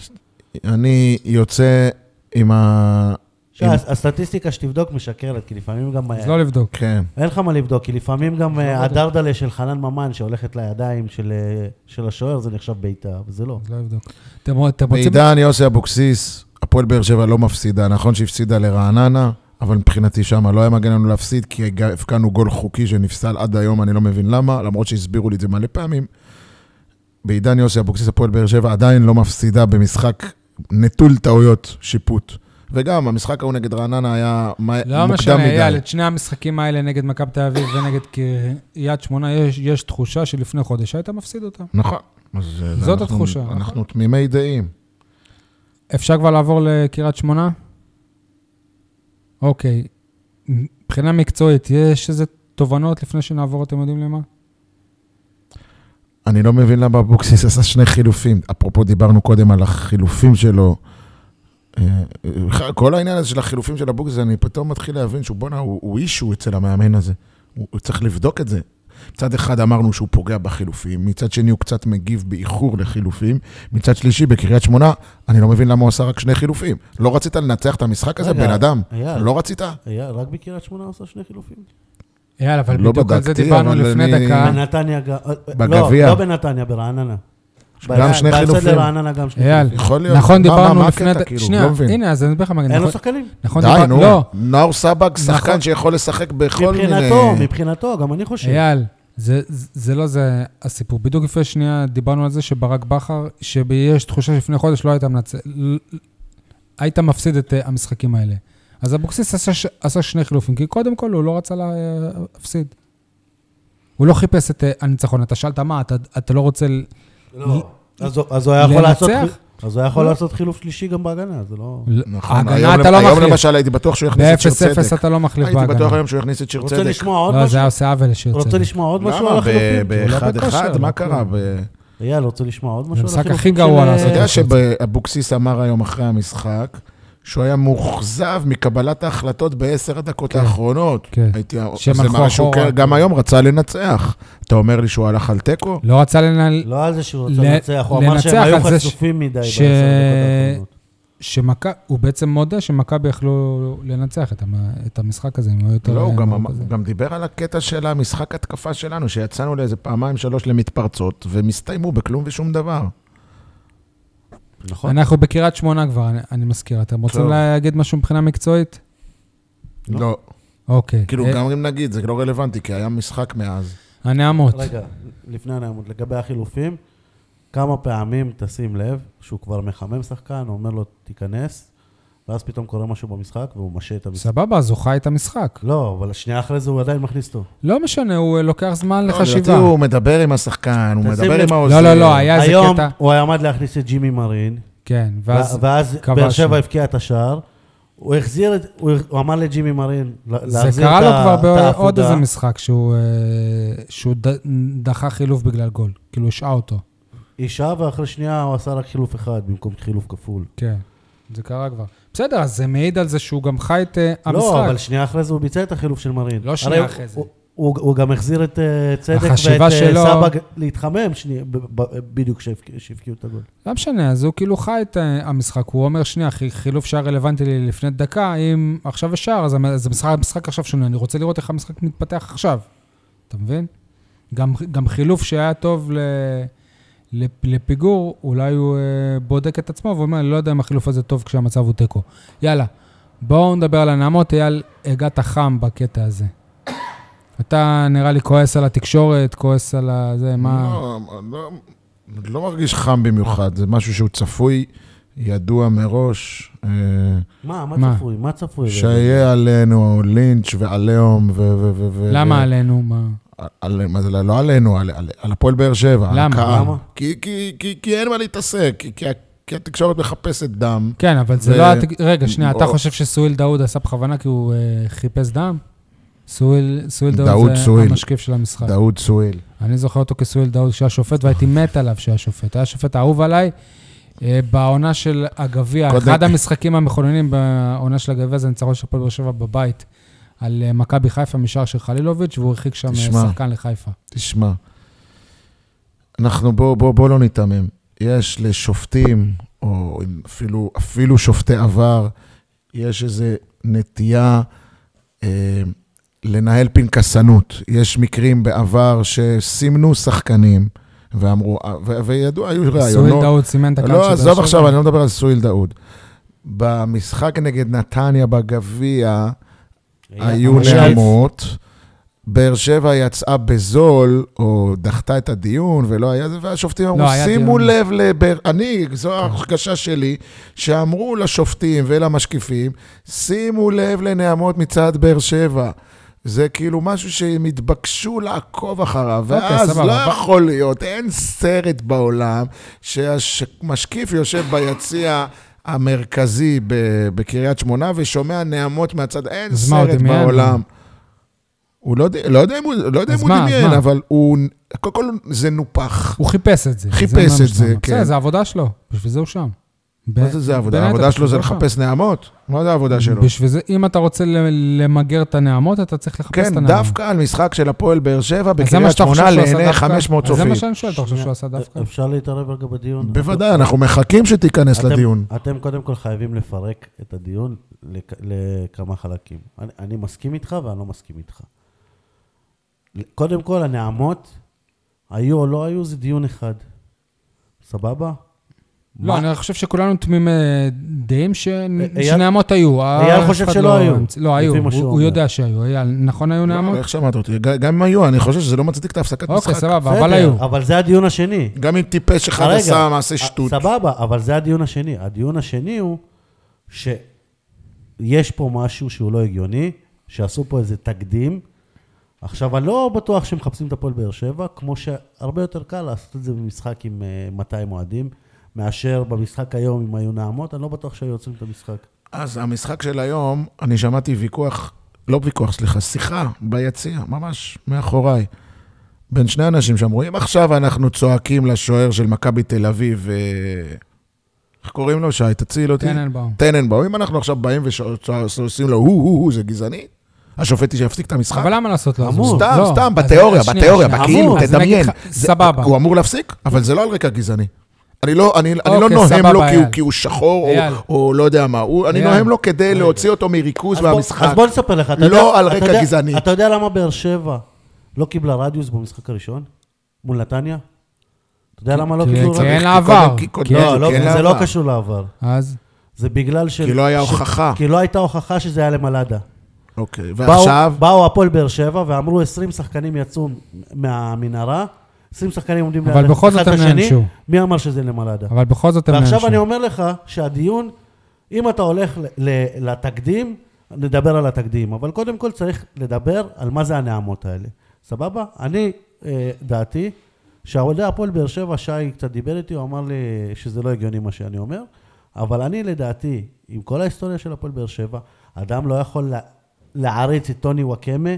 C: אני יוצא עם ה...
B: שי,
C: עם-
B: הס- לא, הסטטיסטיקה שתבדוק משקרת, כי לפעמים גם... אה,
A: אז לא לבדוק.
C: כן.
B: אין לך מה לבדוק, כי לפעמים גם
A: לא
B: אה,
A: בדק.
B: הדרדלה של חנן ממן שהולכת לידיים של, אה, של השוער, זה נחשב בעיטה, וזה לא.
A: אז לא לבדוק. אתם אתם רוצים...
C: בעידן יוסי אבוקסיס, הפועל באר שבע לא מפסידה. נכון שהפסידה לרעננה, אבל מבחינתי שם לא היה מגן לנו להפסיד, כי הג- הבקענו גול חוקי שנפסל עד היום, אני לא מבין למה, למרות שהסבירו לי את זה מלא פעמים. בעידן יוסי אבוקסיס, הפועל באר שבע עדיין לא מפסידה במשחק נטול טעויות שיפוט. וגם, המשחק ההוא נגד רעננה היה מה-
A: לא
C: מוקדם
A: משנה, אייל,
C: מדי.
A: את שני המשחקים האלה נגד מכבי תל אביב ונגד קריית שמונה, יש- יש תחושה שלפני חודש היית מפסיד אותם.
C: נכון. אז, אה,
A: זאת
C: אנחנו-
A: התחושה, נכון.
C: אנחנו תמימי דעים.
A: אפשר כבר לעבור לקריית שמונה? אוקיי. מבחינה מקצועית, יש איזה תובנות לפני שנעבור, אתם יודעים למה?
C: אני לא מבין למה אבוקסיס עשה שני חילופים. אפרופו, דיברנו קודם על החילופים שלו. אה, אה, כל העניין הזה של החילופים של אבוקסיס, אני פתאום מתחיל להבין שהוא בואנה, הוא, הוא אישו אצל המאמן הזה. הוא, הוא צריך לבדוק את זה. מצד אחד אמרנו שהוא פוגע בחילופים, מצד שני הוא קצת מגיב באיחור לחילופים, מצד שלישי בקריית שמונה, אני לא מבין למה הוא עשה רק שני חילופים. לא רצית לנצח את המשחק הזה,
B: רגע,
C: בן אדם?
B: אייל.
C: לא רצית?
B: היה רק בקריית שמונה עושה שני חילופים.
A: יאללה, אבל
C: לא
A: בדיוק על זה
C: בדקתי,
A: דיברנו
C: אבל
A: לפני
C: אני-
A: דקה.
B: בנתניה גם... אה, אה,
C: בגביע.
B: לא, לא בנתניה, ברעננה.
C: גם שני
B: בהפסד
C: חילופים.
B: לרעננה גם שני
A: אייל,
B: חילופים.
C: יכול להיות.
A: נכון,
C: מה- מה-
A: דיברנו
C: מה
A: לפני...
C: הקטע,
A: ד-
C: כאילו?
A: שנייה,
C: לא מבין.
A: הנה, אז אני אסביר לך מה...
B: אין לו
A: נכון-
B: שחקנים.
A: נכון,
C: די,
A: דיברנו...
C: נו.
A: לא,
C: נאור סבג, שחקן
A: נכון.
C: שיכול לשחק בכל מיני...
B: מבחינתו, מבחינתו, גם אני חושב.
A: אייל, זה- זה זה לא זה הסיפור. בדיוק לפני שנייה דיברנו על זה שברק בכר, שיש תחושה שלפני חודש לא היית מנצח... היית מפסיד את אה, המשחקים האלה. אז אבוקסיס עשה, ש- עשה שני חילופים, כי קודם כל הוא לא רצה לה- להפסיד. הוא לא חיפש את אה, הניצחון. אתה שאלת מה, אתה, אתה לא רוצה... ל-
B: לא. אז הוא- אז הוא היה יכול לעשות...
A: לנצח?
B: אז הוא היה יכול
A: לא.
B: לעשות חילוף שלישי גם בהגנה, זה לא...
C: נכון,
A: ההגנה
C: היום,
A: אתה לא
C: היום
A: מחליף.
C: למשל הייתי בטוח שהוא יכניס את שיר
A: ב-0-0
C: צדק.
A: אתה לא מחליף
C: הייתי
A: בהגנה.
C: בטוח היום שהוא יכניס את שיר צדק.
B: רוצה לשמוע עוד
A: לא, זה
B: משהו?
A: היה עושה עוול לשיר
B: רוצה
A: צדק.
B: לשמוע עוד משהו על
C: למה?
B: החילופים?
A: בכושר,
C: ב-1-1?
A: לא
C: מה קרה? ב-
B: אייל, רוצה לשמוע עוד משהו על
A: המשחק
B: החילופים? אה,
A: הכי גרוע
B: של-
A: לעשות.
C: אתה יודע
A: חושב.
C: שאבוקסיס אמר היום אחרי המשחק שהוא היה מאוכזב מקבלת ההחלטות בעשר הדקות האחרונות.
A: כן.
C: הייתי...
A: שהם
C: זה
A: הלכו
C: מראה שהוא
A: אחורה.
C: כן, גם היום רצה לנצח. אתה אומר לי שהוא הלך על תיקו?
A: לא רצה לנהל...
B: לא על זה שהוא רצה
A: ל-
B: לנצח, הוא אמר
A: לנצח
B: שהם היו
A: על זה ש-
B: חשופים מדי
A: ש-
B: בעשר דקות האחרונות.
A: שמכבי, הוא בעצם מודה שמכבי יכלו לנצח את, המ... את המשחק הזה, אם הוא היה יותר...
C: לא, הוא גם
A: מרוכז.
C: אמר- הוא גם דיבר על הקטע של המשחק התקפה שלנו, שיצאנו לאיזה פעמיים שלוש למתפרצות, והם הסתיימו בכלום ושום דבר.
B: נכון.
A: אנחנו בקריית שמונה כבר, אני, אני מזכיר. אתם רוצים
C: טוב.
A: להגיד משהו מבחינה מקצועית?
B: לא.
C: לא.
A: אוקיי.
C: כאילו,
A: אה,
C: גם אם נגיד, זה לא רלוונטי, כי היה משחק מאז.
A: הנעמות.
B: רגע, לפני הנעמות, לגבי החילופים, כמה פעמים תשים לב שהוא כבר מחמם שחקן, הוא אומר לו תיכנס, ואז פתאום קורה משהו במשחק והוא משה את המשחק.
A: סבבה, אז הוא חי את המשחק.
B: לא, אבל השנייה אחרי זה הוא עדיין מכניס אותו.
A: לא משנה, הוא אה, לוקח זמן
C: לא,
A: לחשיבה.
C: לדעתי הוא מדבר עם השחקן,
B: תשים
C: הוא מדבר
B: לב.
C: עם העוזר.
A: לא, לא, לא, היה איזה
B: היום
A: קטע.
B: הוא עמד להכניס את ג'ימי מרין,
A: כן,
B: ואז
A: ואז
B: ואז
A: כבשנו.
B: באר שבע הבקיע את השער, הוא החזיר את, הוא, הוא אמר לג'ימי מרין, לה-
A: זה
B: להחזיר
A: קרה
B: את
A: לו
B: ה-
A: כבר
B: את
A: בעוד
B: העפודה.
A: איזה משחק שהוא, אה, שהוא ד- דחה חילוף בגלל גול, כאילו השעה אותו.
B: אישה, ואחרי שנייה הוא עשה רק חילוף אחד במקום חילוף כפול.
A: כן, זה קרה כבר. בסדר, אז זה מעיד על זה שהוא גם חי את אה, המשחק.
B: לא, אבל שנייה אחרי זה הוא ביצע את החילוף של מרין.
A: לא שנייה
B: הרי
A: אחרי זה.
B: הוא, הוא, הוא גם החזיר את אה, צדק ואת
A: החשיבה
B: אה,
A: שלו-
B: סבא ג- להתחמם שנייה, ב- ב- בדיוק כשהבק- כשהבקיעו את הגול.
A: לא משנה, אז הוא כאילו חי את אה, המשחק. הוא אומר, שנייה, חי- חילוף שער רלוונטי לי לפני דקה, אם עכשיו השער, אז המ- אז המשחק, המשחק עכשיו שונה. אני רוצה לראות איך המשחק מתפתח עכשיו. אתה מבין? גם, גם חילוף שהיה טוב ל, לפ, לפיגור, אולי הוא אה, בודק את עצמו ואומר, לא יודע אם החילוף הזה טוב כשהמצב הוא תיקו. יאללה, בואו נדבר על הנעמות. אייל, הגעת חם בקטע הזה. אתה נראה לי כועס על התקשורת, כועס על ה... זה, מה...
C: לא, לא, לא מרגיש חם במיוחד, זה משהו שהוא צפוי, ידוע מראש, אה,
B: מה, מה,
A: מה?
B: צפוי? מה צפוי?
C: שיהיה עלינו לינץ' ועליהום ו... ו- ו- ו-
A: למה עלינו? מה?
C: על, מה זה, לא עלינו, על, על, על הפועל באר שבע,
A: למה?
C: על הקהל.
B: למה?
C: כי, כי, כי, כי אין מה להתעסק, כי, כי, ה- כי התקשורת מחפשת דם.
A: כן, אבל זה
C: ו-
A: לא... הת- רגע, שנייה, אתה
C: או-
A: חושב שסואל דאוד עשה בכוונה כי הוא אה, חיפש דם? סואל סואל
C: דאוד
A: דאוד זה
C: סואל.
A: המשקיף של המשחק.
C: דאוד סואל.
A: אני זוכר אותו כסואל דאוד שהיה שופט, והייתי מת עליו שהיה שופט. היה שופט אהוב עליי. אה, בעונה של הגביע,
C: קודם-
A: אחד המשחקים המכוננים בעונה של הגביע זה ניצחון של הפועל באר שבע בבית, על אה, מכבי חיפה משער של חלילוביץ', והוא הרחיק שם אה,
C: תשמע.
A: שחקן לחיפה.
C: תשמע, אנחנו, בוא, בוא, בוא לא ניתמם. יש לשופטים, או אפילו, אפילו שופטי עבר, יש איזו נטייה אה, לנהל פנקסנות. יש מקרים בעבר שסימנו שחקנים, ואמרו, ו- וידוע, היו ראיונות.
A: סואל דאוד סימן את הקהל של
C: לא,
A: באר
C: עזוב
A: שבע.
C: עכשיו, אני לא מדבר על סואיל דאוד. במשחק נגד נתניה בגביע היו
B: אבל שי-
C: נעמות. באר שבע יצאה בזול, או דחתה את הדיון, ולא היה זה, והשופטים אמרו,
A: לא, היה
C: שימו
A: דיון." כן.
C: לב לבאר... אני, זו ההרגשה שלי, שאמרו לשופטים ולמשקיפים, שימו לב לנעמות מצד באר שבע. זה כאילו משהו שהם התבקשו לעקוב אחריו,
A: אוקיי,
C: ואז
A: סבבה,
C: לא
A: אבל-
C: יכול להיות, אין סרט בעולם שהמשקיף יושב ביציע המרכזי ב- בקריית שמונה ושומע נעמות מהצד, אין
A: אז מה, הוא
C: סרט
A: דמיין?
C: בעולם. הוא לא, יודע- לא יודע אם הוא, לא יודע אם
A: אז
C: הוא
A: מה, אז
C: דמיין,
A: מה?
C: אבל הוא, קודם כל זה נופח.
A: הוא חיפש את זה.
C: חיפש
A: מה
C: את
A: שאתה
C: זה,
A: אומר.
C: כן.
A: בסדר, זה העבודה שלו, בשביל זה הוא שם. ב-
C: מה זה זה
A: בין
C: העבודה?
A: היתר,
C: העבודה שלו זה
A: בשביל הוא שם.
C: לחפש נעמות? מה זה העבודה שלו?
A: בשביל זה, אם אתה רוצה ל- למגר את הנעמות, אתה צריך לחפש את
C: כן,
A: הנעמות.
C: דווקא על משחק של הפועל באר שבע
A: אז זה מה
C: בקריית
A: שאתה חושב
C: שמונה
A: שהוא עשה
C: לעיני
A: דווקא?
C: 500
A: אז זה
C: צופים.
A: מה שאני שואל, אתה חושב שהוא עשה דווקא?
B: אפשר להתערב רגע בדיון?
C: בוודאי, אנחנו מחכים שתיכנס
B: אתם-
C: לדיון.
B: אתם קודם כל חייבים לפרק את הדיון לכ- לכמה חלקים. אני, אני מסכים איתך ואני לא מסכים איתך. קודם כל, הנעמות, היו או לא היו, זה דיון אחד. סבבה?
A: לא,
B: מה- אה,
A: אני חושב שכולנו תמימי דעים ש-
B: אייל-
A: שנעמות היו. אף
B: חושב
A: אחד
B: שלא
A: לא
B: היו,
A: המציא- לא,
B: לפי
A: היו,
B: מה
A: הוא
B: שהוא
A: הוא
B: אומר.
A: יודע שהיו. אייל, נכון היו נעמות?
C: איך שמעת אותי? ג- גם אם היו, אני חושב שזה לא מצדיק את ההפסקת
A: אוקיי,
C: משחק.
A: סבבה, אבל
B: בסדר,
A: היו.
B: אבל זה הדיון השני.
C: גם אם טיפש אחד
B: רגע,
C: עשה מעשה
B: א-
C: שטות.
B: סבבה, אבל זה הדיון השני. הדיון השני הוא שיש פה משהו שהוא לא הגיוני, שעשו פה איזה תקדים. עכשיו, אני לא בטוח שמחפשים את הפועל באר שבע, כמו שהרבה יותר קל לעשות את זה במשחק עם אה, 200 אוהדים, מאשר במשחק היום אם היו נעמות, אני לא בטוח שהיו יוצאים את המשחק.
C: אז המשחק של היום, אני שמעתי ויכוח, לא ויכוח, סליחה, שיחה ביציע, ממש מאחוריי, בין שני אנשים שאמרו, אם עכשיו אנחנו צועקים לשוער של מכבי תל אביב, אה, איך קוראים לו, שי? תציל אותי.
A: טננבאום.
C: טננבאום. אם אנחנו עכשיו באים ועושים לו, הוא, הוא, הוא, זה גזעני, השופט שיפסיק את המשחק.
A: אבל למה לעשות לו?
B: אמור.
A: אז הוא-
C: סתם,
A: לא.
C: סתם,
A: אז
C: בתיאוריה,
A: שנייה,
C: בתיאוריה,
A: שנייה.
C: בכאילו,
A: אמור, אז אני
C: תדמיין.
A: אגיד לך, סבבה.
C: הוא אמור להפסיק, אבל זה לא על רקע גזעני. אני לא, אני, אני לא
A: אוקיי,
C: נוהם
A: סבבה,
C: לו כי הוא,
A: אייל.
C: כי הוא שחור, או,
A: אייל.
C: או לא יודע מה. הוא, אני
A: אייל.
C: נוהם לו כדי להוציא אותו מריכוז
B: אז בוא-
C: מהמשחק.
B: אז בוא נספר לך. אתה
C: לא
B: יודע-
C: על
B: אתה
C: רקע
B: יודע-
C: גזעני.
B: אתה יודע למה באר שבע לא קיבלה רדיוס במשחק הראשון? מול נתניה? אתה יודע למה לא
A: כי-
B: קיבלו
A: כי אין
B: רדיוס?
C: כי
A: כן, לעבר.
C: קודם- כי קודם-
A: כן.
B: לא, לא,
C: כן,
B: זה לא
C: לעבר.
B: קשור לעבר.
A: אז?
B: זה בגלל ש...
C: כי לא היה
B: ש-
C: הוכחה.
B: כי לא הייתה הוכחה שזה היה למלאדה.
C: אוקיי,
B: באו-
C: ועכשיו,
B: באו הפועל באר שבע ואמרו 20 שחקנים יצאו מהמנהרה, 20 שחקנים עומדים
A: אבל
B: ליד
A: בכל זאת הם
B: השני,
A: נענשו.
B: מי אמר שזה למלאדה?
A: אבל בכל זאת הם
B: ועכשיו אני
A: נענשו.
B: אומר לך שהדיון, אם אתה הולך ל- ל- לתקדים, נדבר על התקדים, אבל קודם כל צריך לדבר על מה זה הנעמות האלה, סבבה? אני, אה, דעתי, שהאוהדי הפועל באר שבע, שי קצת דיבר איתי, הוא אמר לי שזה לא הגיוני מה שאני אומר, אבל אני לדעתי, עם כל ההיסטוריה של הפועל באר שבע, אדם לא יכול לה- להעריץ את טוני וואקמה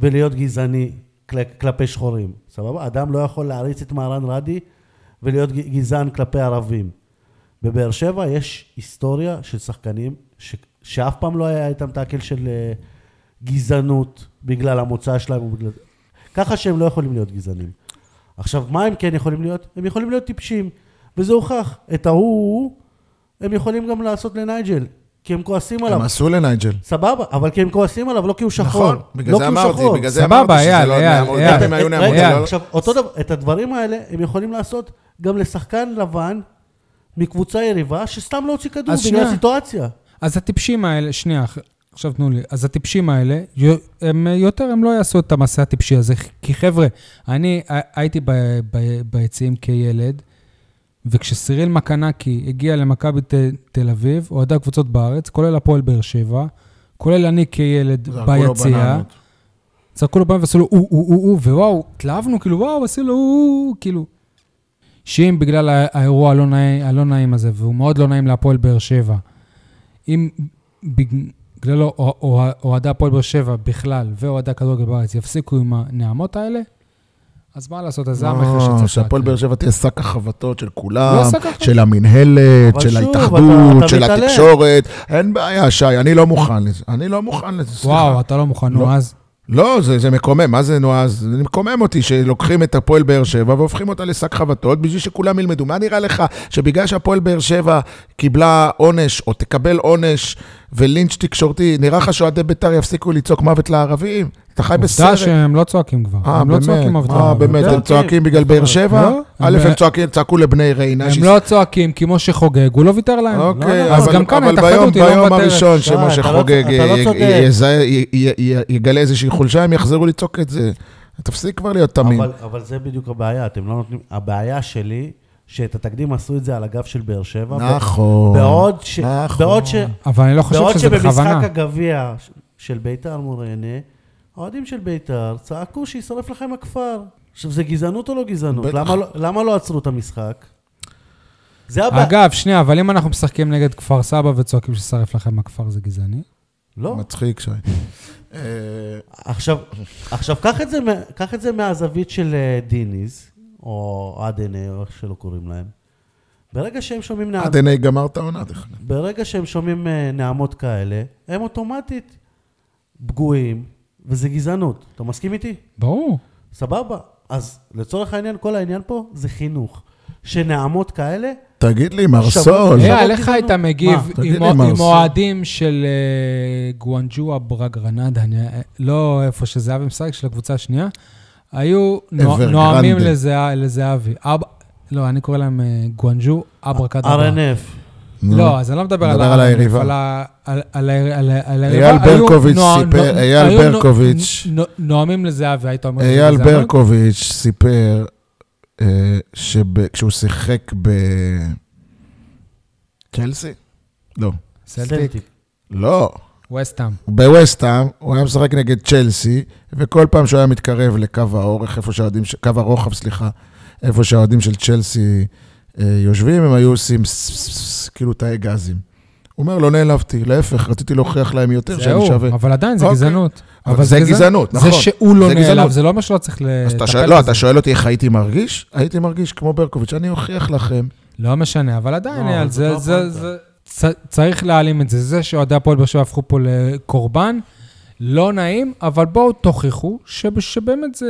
B: ולהיות גזעני כל- כלפי שחורים, סבבה? אדם לא יכול להעריץ את מהרן רדי ולהיות ג- גזען כלפי ערבים. בבאר שבע יש היסטוריה של שחקנים ש... שאף פעם לא היה איתם טאקל של אה, גזענות בגלל המוצא שלהם ובגלל... ככה שהם לא יכולים להיות גזענים. עכשיו, מה הם כן יכולים להיות? הם יכולים להיות טיפשים, וזה הוכח. את ההוא הם יכולים גם לעשות לנייג'ל, כי הם כועסים עליו.
C: הם עשו לנייג'ל.
B: סבבה, אבל כי הם כועסים עליו, לא כי הוא שחור.
C: נכון, בגלל
B: לא
C: זה
B: כי הוא
C: אמרתי,
B: שחור.
C: בגלל זה
A: סבבה,
C: אמרתי שזה
A: אייל,
C: לא
A: אייל,
C: נעמוד,
A: אייל.
C: גם אם היו
B: כן. רגע,
C: נעמוד,
A: אייל.
C: זה לא-
B: עכשיו, אותו דבר, את הדברים האלה הם יכולים לעשות גם לשחקן לבן מקבוצה יריבה שסתם לא הוציא כדור
A: אז
B: בגלל
A: שנייה.
B: הסיטואציה.
A: אז הטיפשים האלה, שנייה, אח- עכשיו תנו לי. אז הטיפשים האלה, יו- הם אה, יותר, הם לא יעשו את המסע הטיפשי הזה. כי חבר'ה, אני אה, הייתי ב- ב- ביציעים כילד, וכשסיריל מקנקי הגיע למכבי ת- תל אביב, אוהדי הקבוצות בארץ, כולל הפועל באר שבע, כולל אני כילד
C: זרקו לו
A: ביציע,
C: בננות.
A: צעקו לו פעם ועשו לו או, או, או, או, ווואו, התלהבנו, כאילו, וואו, עשו לו או, או, או, כאילו. שאם בגלל הא- האירוע הלא נעים, הלא נעים הזה, והוא מאוד לא נעים להפועל באר שבע, אם בגללו או- או- אוהדי הפועל באר שבע בכלל, ואוהדי הכדורגל בארץ יפסיקו עם הנעמות האלה, אז מה לעשות, אז זה המחיר
C: לא,
A: שצריך
C: שהפועל באר
A: להקריב.
C: שבע תהיה שק החבטות של
A: לא
C: כולם,
A: שק החבטות.
C: של המינהלת,
B: אבל
C: של
B: שוב, אתה- אתה
C: ההתאחדות, של
B: מתעלם.
C: התקשורת. אין בעיה, שי, אני לא מוכן לזה. אני לא מוכן לזה, סליחה.
A: וואו, אתה לא מוכן, נו,
C: לא.
A: אז...
C: לא, זה, זה מקומם, מה זה נועז? זה מקומם אותי שלוקחים את הפועל באר שבע והופכים אותה לשק חבטות בשביל שכולם ילמדו. מה נראה לך שבגלל שהפועל באר שבע קיבלה עונש או תקבל עונש ולינץ' תקשורתי, נראה לך שאוהדי בית"ר יפסיקו לצעוק מוות לערבים? אתה חי
A: עובדה
C: בסרט.
A: שהם לא צועקים כבר.
C: אה,
A: הם לא צועקים
C: באמת,
A: עובדה.
C: אה, באמת,
A: הם
C: הם
B: צועקים.
C: צועקים בגלל באר שבע?
A: לא.
C: א',
A: הם-
C: הם צועקים, צעקו לבני ריינה. שיש-
A: לא צועקים כי משה חוגג, הוא לא ויתר להם.
C: אוקיי,
A: לא, אז
C: אבל-
A: גם כאן
C: אבל
A: ההתאחדות
C: ביום-
A: היא לא
C: ביום
A: מוותרת.
C: הראשון
B: שי, אתה
C: שמשה
B: לא-
C: חוגג
B: אתה לא
C: י-
B: צודק.
C: י- יזהה- י- י- י- יגלה איזושהי חולשה, הם יחזרו לצעוק את זה. תפסיק כבר להיות תמים.
B: אבל, אבל זה בדיוק הבעיה, אתם לא נותנים... הבעיה שלי, שאת התקדים עשו את זה על הגב של באר שבע.
C: נכון.
B: בעוד ש... בעוד ש...
A: אבל אני לא חושב
B: בעוד
A: שזה בכוונה.
B: שבמשחק הגביע ש- של ביתר מול ריינה, האוהדים של ביתר צעקו שישרף לכם הכפר. עכשיו, זה גזענות או לא גזענות?
C: בטח.
B: למה לא- למה לא עצרו את המשחק? זה הבעיה.
A: אגב, שנייה, אבל אם אנחנו משחקים נגד כפר סבא וצועקים ששרף לכם הכפר, זה גזעני?
B: לא.
C: מצחיק, שי. אה,
B: עכשיו, עכשיו קח, את זה, מה- קח את זה מהזווית של אה, דיניז, או עדנה, או איך שלא קוראים להם. ברגע שהם שומעים נעמות,
C: עדני גמר את העונה, דרך אגב.
B: ברגע שהם שומעים אה, נעמות כאלה, הם אוטומטית פגועים, וזה גזענות. אתה מסכים איתי?
A: ברור.
B: סבבה. אז לצורך העניין, כל העניין פה זה חינוך. שנעמות כאלה,
C: תגיד לי, מרסול,
B: שבוע-
A: אייל,
B: לא
A: איך
B: גזענות.
A: אה, היית מגיב
B: מה?
C: תגיד
A: עם
C: לי,
A: עם
C: מה עושים?
A: אוהדים של אה, גואנג'ו אברה גרנדה, אני- אה, לא איפה שזהבי משחק, של הקבוצה השנייה, היו נו-
C: אבר
A: נואמים
C: גרנדה.
A: לזה- לזהבי. אב- לא, אני קורא להם אה, גואנג'ו אברה קדרה.
B: RNF.
C: נו.
A: לא, אז אני לא מדבר על
C: מדבר על
A: הרנף,
C: היריבה.
A: על ה- על- על ה- על ה- על היריבה.
C: אייל
A: היו
C: ברקוביץ'
A: נוע-
C: סיפר-
A: נו-
C: אייל
A: היו נו-
C: ברקוביץ'.
A: נו- נואמים לזהבי, היית אומר... שזה
C: אייל
A: גזענות?
C: ברקוביץ' סיפר אה, שכשהוא שיחק בצ'לסי? לא.
A: סלטיק,
C: לא.
A: וסטאם.
C: בווסטהאם, הוא היה משחק נגד צ'לסי, וכל פעם שהוא היה מתקרב לקו האורך, איפה שהאוהדים, ש- קו הרוחב, סליחה, איפה שהאוהדים של צ'לסי אה, יושבים, הם היו עושים ס- ס- ס- כאילו תאי גזים. הוא אומר, לא נעלבתי, להפך, רציתי להוכיח להם יותר שאני
A: זהו,
C: שווה.
A: אבל עדיין זה
C: אוקיי.
A: גזענות.
C: אבל זה גזענות, נכון.
A: זה שהוא לא
C: זה
A: נעלב,
C: גזענות.
A: זה לא אומר שלא צריך לטפל
C: אז
A: בזה.
C: אתה שואל, לא, אתה שואל אותי איך הייתי מרגיש? הייתי מרגיש כמו ברקוביץ', אני אוכיח לכם.
A: לא משנה, אבל עדיין,
B: לא,
A: אייל,
B: אבל זאת
A: זה...
B: לא
A: זה-
B: הפואנטה.
A: זה- צ- צריך להעלים את זה. זה שאוהדי הפועל באר שבע הפכו פה לקורבן, לא נעים, אבל בואו תוכיחו ש- שבאמת זה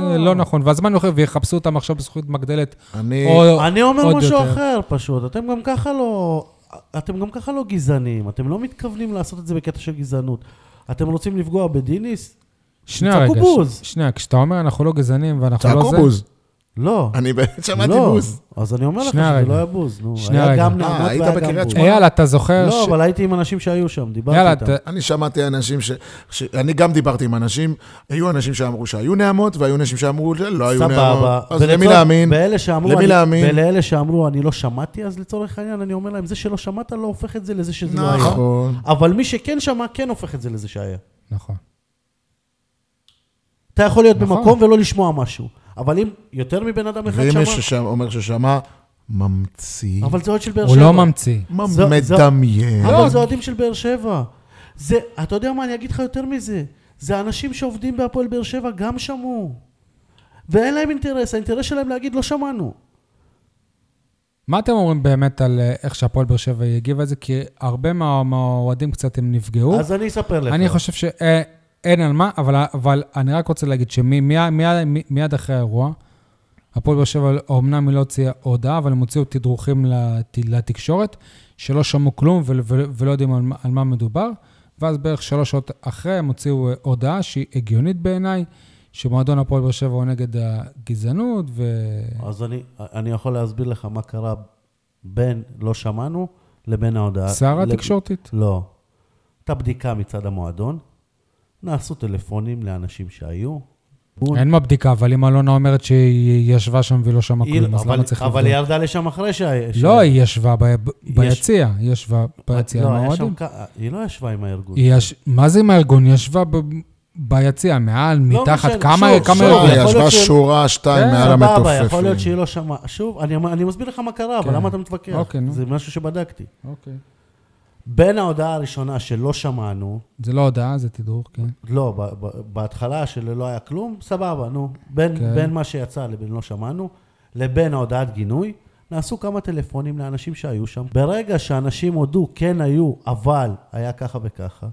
B: לא.
A: לא נכון. והזמן יוכיח ויחפשו אותם עכשיו בזכות מגדלת.
C: אה, אני...
A: או-
B: אני
A: לא, עוד
B: אומר משהו
A: יותר.
B: אחר פשוט, אתם גם ככה לא... אתם גם ככה לא גזענים, אתם לא מתכוונים לעשות את זה בקטע של גזענות. אתם רוצים לפגוע בדיניס?
A: שנייה
B: צעקו
A: רגע,
B: בוז.
A: ש- שנייה, כשאתה אומר אנחנו לא גזענים ואנחנו לא זה...
C: צעקו בוז.
B: לא.
C: אני באמת שמעתי
B: לא.
C: בוז.
B: אז אני אומר לך
A: שנייה
B: שזה
A: רגע.
B: לא היה בוז, נו.
A: שנייה
B: היה
A: רגע.
B: גם
C: אה,
B: נעמות
C: היית
B: והיה גם
C: בקריית
B: בוז.
C: שמונה?
A: אייל, אתה זוכר
B: לא,
A: ש-
B: אבל הייתי עם אנשים שהיו שם,
C: לא
B: דיברתי
A: יאללה,
B: איתם.
A: אתה-
C: אני שמעתי אנשים ש... ש... אני גם דיברתי עם אנשים, היו אנשים שאמרו שהיו נעמות, והיו אנשים שאמרו שלא היו
B: סבבה.
C: נעמות. אז למי
B: ולצורך-
C: להאמין?
B: ואלה שאמרו,
C: למי
B: אני-
C: להאמין?
B: ולאלה שאמרו, אני לא שמעתי, אז לצורך העניין, אני אומר להם, זה שלא שמעת לא הופך את זה לזה שזה לא היה.
C: נכון.
B: אבל מי שכן שמע, כן הופך את זה לזה שהיה.
A: נכון.
B: אתה יכול להיות
A: נכון.
B: במקום ולא לשמוע משהו. אבל אם יותר מבן אדם אחד
C: ואם
B: שמע...
C: מישהו שם אומר ששמע, ממציא,
B: אבל זה אוהד של באר
A: הוא
B: שבע.
A: לא ממציא.
C: ממ-
B: זו- זו-
C: מדמיין.
B: אבל זה אוהדים של באר שבע. זה, אתה יודע מה, אני אגיד לך יותר מזה. זה אנשים שעובדים בהפועל באר שבע, גם שמעו. ואין להם אינטרס, האינטרס שלהם להגיד, לא שמענו.
A: מה אתם אומרים באמת על אה, איך שהפועל באר שבע הגיבה את זה? כי הרבה מה- מהאוהדים קצת הם נפגעו.
B: אז אני אספר לך.
A: אני חושב שאין על מה, אבל, אבל אני רק רוצה להגיד שמיד אחרי האירוע, הפועל באר שבע, אומנם היא לא הוציאה הודעה, אבל הם הוציאו תדרוכים לת- לתקשורת, שלא שמעו כלום ול- ול- ולא יודעים על, מה- על מה מדובר, ואז בערך שלוש שעות אחרי הם הוציאו אה, הודעה שהיא הגיונית בעיניי, שמועדון הפועל באר שבע הוא נגד הגזענות, ו...
B: אז אני, אני יכול להסביר לך מה קרה בין לא שמענו לבין ההודעה.
A: סערה
B: לב-
A: תקשורתית.
B: לא. הייתה בדיקה מצד המועדון, נעשו טלפונים לאנשים שהיו. נכון.
A: אין מה בדיקה, אבל אם אלונה אומרת שהיא ישבה שם והיא לא שמעה
B: היא-
A: כלום, אז
B: אבל,
A: למה צריך לבדוק?
B: אבל היא ירדה לשם אחרי שהיה...
A: לא, היא ישבה ב- ביציע, היא ישבה
B: יצאה
A: ביציע עם האוהדים.
B: היא לא ישבה עם הארגון.
A: היא יש- מה זה עם הארגון? ישבה ב- ביציע, מעל,
B: לא
A: מתחת,
B: משנה,
A: כמה
B: שוב,
A: כמה...
B: שוב,
A: ארגונים?
B: יכול להיות
C: ישבה
B: שהם-
C: שורה שתיים
A: כן,
C: מעל
B: סבבה, יכול להיות שהיא
C: המתופפים.
B: לא שמעה. שוב, אני, אני מסביר לך מה קרה, אבל
A: כן.
B: למה אתה מתווכח?
A: אוקיי, נו.
B: זה משהו שבדקתי.
A: אוקיי.
B: בין ההודעה הראשונה שלא שמענו,
A: זה לא הודעה, זה תדרוך, כן.
B: לא, ב- ב- בהתחלה שלא היה כלום, סבבה, נו. בין,
A: כן.
B: כן. בין מה שיצא לבין לא שמענו, לבין ההודעת גינוי, נעשו כמה טלפונים לאנשים שהיו שם. ברגע שאנשים הודו, כן היו, אבל היה ככה וככה,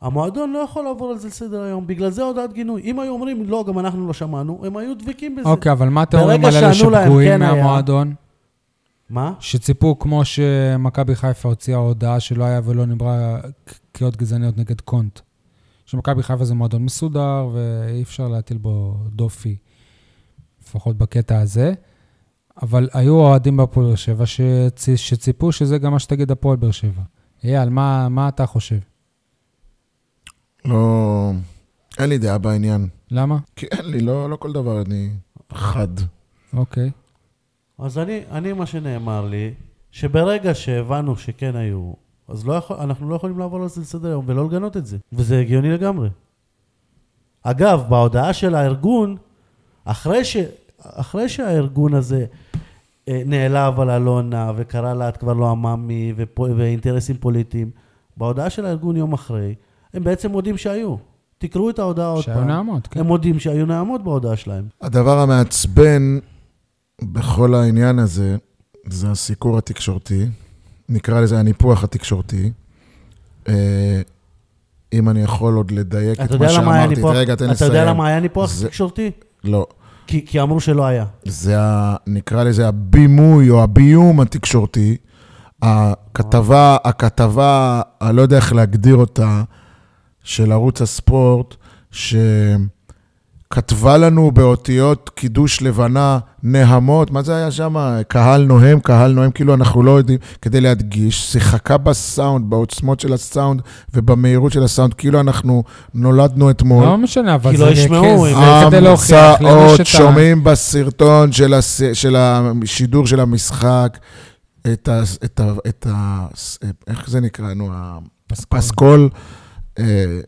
B: המועדון לא יכול לעבור על זה לסדר היום, בגלל זה הודעת גינוי. אם היו אומרים, לא, גם אנחנו לא שמענו, הם היו דבקים בזה.
A: אוקיי, אבל מה אתם אומרים
B: ברגע
A: על אלה
B: שענו להם,
A: שפגועים
B: כן היה.
A: מהמועדון?
B: מה?
A: שציפו, כמו שמכבי חיפה הוציאה הודעה שלא היה ולא נברא ק- קריאות גזעניות נגד קונט. שמכבי חיפה זה מועדון מסודר, ואי אפשר להטיל בו דופי, לפחות בקטע הזה. אבל היו אוהדים בהפועל באר שבע שצ... שציפו שזה גם מה שתגיד הפועל באר שבע. אייל, מה, מה אתה חושב?
C: לא, אין לי דעה בעניין.
A: למה?
C: כי אין לי, לא לא כל דבר אני חד.
A: אוקיי.
B: אז אני, אני, מה שנאמר לי, שברגע שהבנו שכן היו, אז לא יכול, אנחנו לא יכולים לעבור על זה לסדר היום ולא לגנות את זה, וזה הגיוני לגמרי. אגב, בהודעה של הארגון, אחרי, ש, אחרי שהארגון הזה אה, נעלב על אלונה וקרא לה את כבר לא עממי ופו, ואינטרסים פוליטיים, בהודעה של הארגון יום אחרי, הם בעצם מודים שהיו. תקראו את ההודעה עוד פעם.
A: שהיו נעמות, כן.
B: הם מודים שהיו נעמות בהודעה שלהם.
C: הדבר המעצבן בכל העניין הזה, זה הסיקור התקשורתי, נקרא לזה הניפוח התקשורתי. אה, אם אני יכול עוד לדייק את
B: אתה יודע
C: מה
B: למה היה
C: שאמרתי,
B: ניפוח?
C: רגע, תן לי
B: אתה
C: לסיים.
B: יודע למה היה ניפוח
C: זה-
B: תקשורתי?
C: לא,
B: כי, כי אמרו שלא היה.
C: זה ה... נקרא לזה הבימוי או הביום התקשורתי. הכתבה, הכתבה, אני לא יודע איך להגדיר אותה, של ערוץ הספורט, שכתבה לנו באותיות קידוש לבנה נהמות, מה זה היה שם? קהל נוהם, קהל נוהם, כאילו אנחנו לא יודעים, כדי להדגיש, שיחקה בסאונד, בעוצמות של הסאונד ובמהירות של הסאונד, כאילו אנחנו נולדנו אתמול.
A: לא משנה, אבל
B: כי
A: זה
B: לא ישמעו,
A: זה
B: אם-
A: כדי להוכיח לנו
C: המצאות,
A: שאתה...
C: שומעים בסרטון של, הס... של השידור של המשחק, את ה... את ה... את ה... איך זה נקרא, נו,
A: פסקול.
C: הפסקול, אה,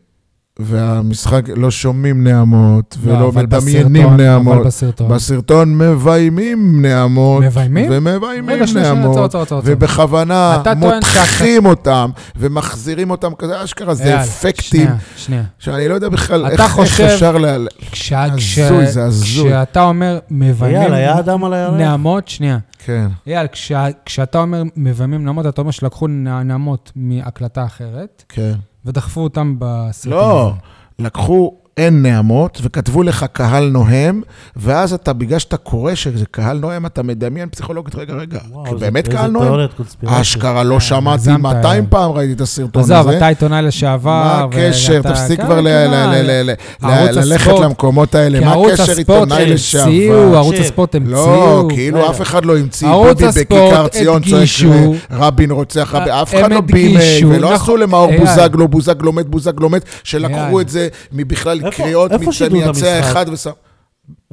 C: והמשחק, לא שומעים נעמות,
A: לא,
C: ולא
A: אבל
C: מדמיינים
A: בסרטון,
C: נעמות.
A: אבל בסרטון.
C: בסרטון מביימים נעמות.
A: מביימים?
C: ומביימים
A: רגע, שנייה, שנייה, עצור,
C: נעמות.
A: עצור, עצור. עצור.
C: ובכוונה
A: אתה טוען
C: מותחים אותם, ומחזירים אותם כזה, אשכרה, זה
A: אייל,
C: אפקטים,
A: שנייה, שנייה.
C: שאני לא יודע בכלל
A: אתה
C: איך,
A: חושב-
C: איך אפשר לה...
A: כשה- כש-
C: הזוי, זה הזוי.
A: כשאתה אומר מביימים
B: אייל, היה אדם על הירח.
A: נעמות, שנייה.
C: כן.
A: אייל, כשה- כשאתה אומר מביימים נעמות, אתה אומר שלקחו נע- נעמות מהקלטה אחרת,
C: כן.
A: ודחפו אותם בסרטון.
C: לא,
A: הזה.
C: לקחו אין נעמות וכתבו לך קהל נוהם, ואז אתה, בגלל שאתה קורא שזה קהל נוהם, אתה מדמיין פסיכולוגית, רגע, רגע,
B: וואו,
C: כי
B: איזה-
C: באמת קהל
B: איזה
C: נוהם?
B: תיאוריית קונספירציה.
C: אשכרה לא שמעתי,
A: כן, הגזמת,
C: 200
A: אה.
C: פעם ראיתי את הסרטון הזה.
A: עזוב, אתה עיתונאי לשעבר.
C: מה הקשר?
A: ואתה-
C: תפסיק
A: כן,
C: כבר ל-
A: כן,
C: ל- ל- ל-
A: ערוץ
C: ל- ללכת
A: הספורט.
C: למקומות האלה.
A: כי
C: מה
A: ערוץ
C: הקשר
A: הספורט
C: עיתונאי
A: המציאו,
C: לשעבר?
A: ערוץ
B: תקשיב,
A: הספורט המציאו.
C: לא, כאילו אף אחד לא המציא,
A: ערוץ
C: ביבי בכיכר
A: הספורט
C: ציון
A: הדגישו-
C: צועק רבין רוצח רבין,
A: הם
C: אף אחד לא
A: הדגישו,
C: בימי, ולא
A: נכון,
C: עשו למאור
A: אייל.
C: בוזגלו, בוזגלו מת, בוזגלו מת, שלקחו
A: אייל.
C: את זה מבכלל
B: איפה-
C: קריאות
B: איפה שידרו את
C: מצניצי
B: המשחק?
C: אחד ושם...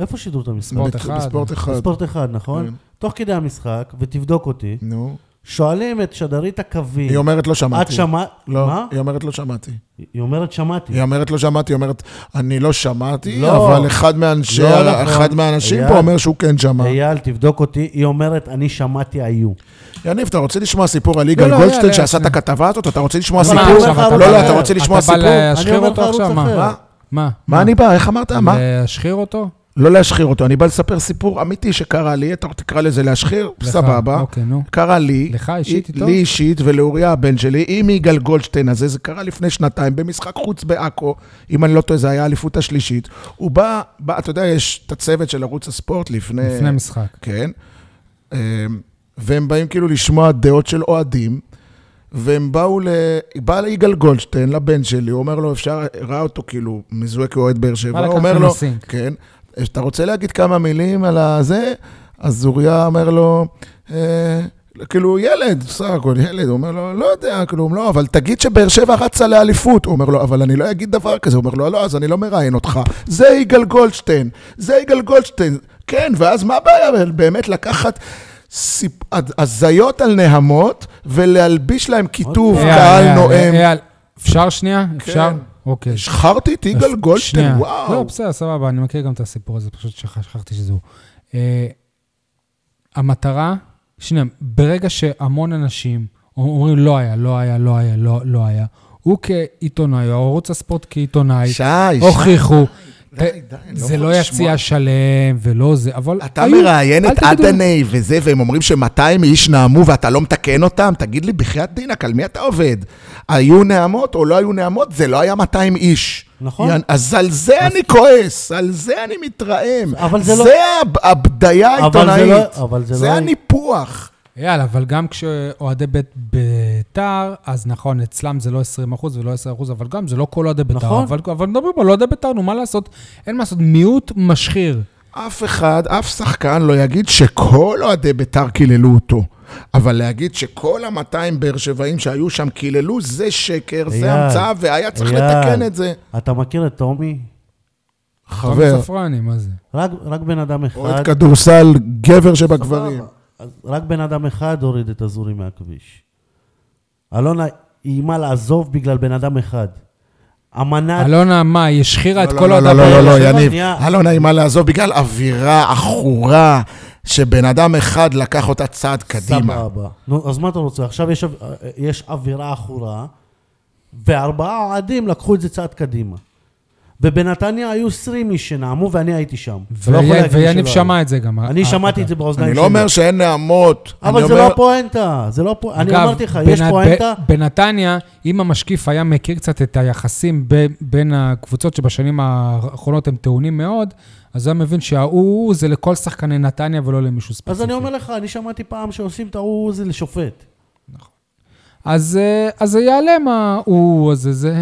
B: איפה שידרו את המשחק?
A: ספורט אחד.
C: בספורט אחד.
B: בספורט אחד, נכון?
C: כן.
B: תוך כדי המשחק, ותבדוק אותי,
C: נו,
B: שואלים את שדרית הקווים.
C: היא אומרת, לא שמעתי.
B: את שמעת?
C: לא,
B: מה?
C: היא אומרת, לא שמעתי.
B: היא אומרת, שמעתי.
C: היא אומרת, לא שמעתי, היא אומרת, אני לא שמעתי,
B: לא.
C: אבל אחד מאנשי-
B: לא נכון.
C: אחד מהאנשים
B: אייל.
C: פה אומר שהוא כן שמע.
B: אייל, תבדוק אותי. היא אומרת, אני שמעתי היו.
C: יניב, אתה רוצה לשמוע סיפור על יגאל
A: לא,
C: גולדשטיין
A: יאללה,
C: שעשה את
A: יאללה.
C: הכתבה הזאת? אתה רוצה לשמוע
B: אבל
A: מה,
C: סיפור?
B: עכשיו אתה
C: לא, לא,
B: בא-
C: אתה רוצה לשמוע
A: אתה בא
C: סיפור?
A: להשחיר
B: אני אומר
A: אותו
B: לך, ערוץ
A: עכשיו,
B: אחר.
A: מה?
B: מה?
A: מה?
C: מה אני בא? איך אמרת? מה?
A: להשחיר אותו?
C: לא להשחיר אותו, אני בא לספר סיפור אמיתי שקרה לי, אתה תקרא לזה להשחיר,
A: לך,
C: סבבה.
A: אוקיי, נו.
C: קרה לי,
A: לך אישית איתו?
C: לי אישית ולאוריה הבן שלי, עם יגאל גולדשטיין הזה, זה קרה לפני שנתיים, במשחק חוץ בעכו, אם אני לא טועה, זה היה האליפות השלישית. הוא בא, בא, אתה יודע, יש את הצוות של ערוץ הספורט לפני...
A: לפני משחק.
C: כן. אמ, והם באים כאילו לשמוע דעות של אוהדים, והם באו ל... בא ליגאל גולדשטיין, לבן שלי, הוא אומר לו, אפשר, ראה אותו כאילו, מזוהה כאוהד באר שבע,
A: בא לקחת
C: הוא אומר לו,
A: נוסינג.
C: כן, אתה רוצה להגיד כמה מילים על הזה? אז אוריה אומר לו, אה, כאילו, ילד, בסך הכל ילד, הוא אומר לו, לא יודע, כלום, לא, אבל תגיד שבאר שבע רצה לאליפות. הוא אומר לו, אבל אני לא אגיד דבר כזה. הוא אומר לו, לא, אז אני לא מראיין אותך. זה יגאל גולדשטיין, זה יגאל גולדשטיין. כן, ואז מה הבעיה באמת לקחת... סיפ- הז- הזיות על נהמות ולהלביש להם כיתוב
B: אוקיי.
A: אה,
C: קהל נואם. כן.
A: אייל, אפשר שנייה? אפשר? אוקיי.
C: שחררתי את יגאל
A: שנייה.
C: גולדשטיין,
A: לא,
C: וואו.
A: בסדר, סבבה, אני מכיר גם את הסיפור הזה, פשוט שכח- שכחתי שזה הוא. אה, המטרה, שנייה, ברגע שהמון אנשים אומרים לא היה, לא היה, לא היה, לא לא היה, הוא כעיתונאי, או ערוץ הספורט כעיתונאי,
C: שי, שי.
A: הוכיחו. ת-
C: די, די, אני לא
A: זה
C: יכול
A: לא יציע
C: לשמוע.
A: שלם ולא זה, אבל
C: אתה
A: היו.
C: מראיין
A: אל
C: את
A: תגידו.
C: עדני וזה, והם אומרים ש-200 איש נאמו ואתה לא מתקן אותם? תגיד לי, בחייאת דינק, על מי אתה עובד? היו נעמות או לא היו נעמות? זה לא היה 200 איש.
B: נכון.
C: יען- אז על זה אני כועס, על זה אני מתרעם.
B: אבל זה לא-
C: זה הב- הבדיה
B: אבל זה לא-
C: העיתונאית.
B: אבל זה
C: זה
B: לא-
C: הניפוח.
A: יאללה, אבל גם כשאוהדי בית ביתר, אז נכון, אצלם זה לא 20% ולא 10%, אבל גם זה לא כל אוהדי ביתר.
B: נכון.
A: אבל, אבל מדברים על אוהדי ביתר, נו, מה לעשות? אין מה לעשות, מיעוט משחיר.
C: אף אחד, אף שחקן לא יגיד שכל אוהדי ביתר קיללו אותו. אבל להגיד שכל ה-200 באר שבעים שהיו שם קיללו, זה שקר,
B: אייל,
C: זה המצאה, והיה צריך
B: אייל,
C: לתקן את זה.
B: אתה מכיר את טומי?
C: חבר,
A: תומי ספרני, מה זה?
B: רק רק בן אדם אחד.
C: אוהד כדורסל, גבר שבגברים.
B: סבבה. אז רק בן אדם אחד הוריד את הזורי מהכביש. אלונה איימה לעזוב בגלל בן אדם אחד. אמנת...
A: אלונה, מה, היא השחירה את
C: לא,
A: כל
C: לא,
A: אוהדי
C: לא, לא, לא, לא,
B: שנייה.
C: יניב. אלונה נעימה לעזוב בגלל אווירה עכורה, שבן אדם אחד לקח אותה צעד קדימה.
B: סבבה. נו, אז מה אתה רוצה? עכשיו יש, אב- יש אווירה עכורה, וארבעה אוהדים לקחו את זה צעד קדימה. ובנתניה היו 20 איש שנעמו, ואני הייתי שם. אתה לא יכול
A: ויה-
B: להגיד לי
A: ויניב
B: שלא
A: שמע
B: היו.
A: את זה גם.
B: אני
A: אה,
B: שמעתי את
A: אגב.
B: זה באוזניים
C: אני
B: שלי.
C: לא אומר שאין נעמות.
B: אבל
C: אני
B: זה
C: אומר-
B: לא הפואנטה, זה לא הפואנטה. אני
A: אגב,
B: אמרתי לך,
A: בנ-
B: יש
A: ב-
B: פואנטה,
A: בנתניה, אם המשקיף היה מכיר קצת את היחסים ב- בין הקבוצות שבשנים האחרונות הם טעונים מאוד, אז הוא היה מבין שההוא זה לכל שחקני נתניה ולא למישהו ספציפי.
B: אז אני אומר לך, אני שמעתי פעם שעושים את ההוא זה לשופט.
A: אז, אה, אז זה ייעלם ההוא הזה, זה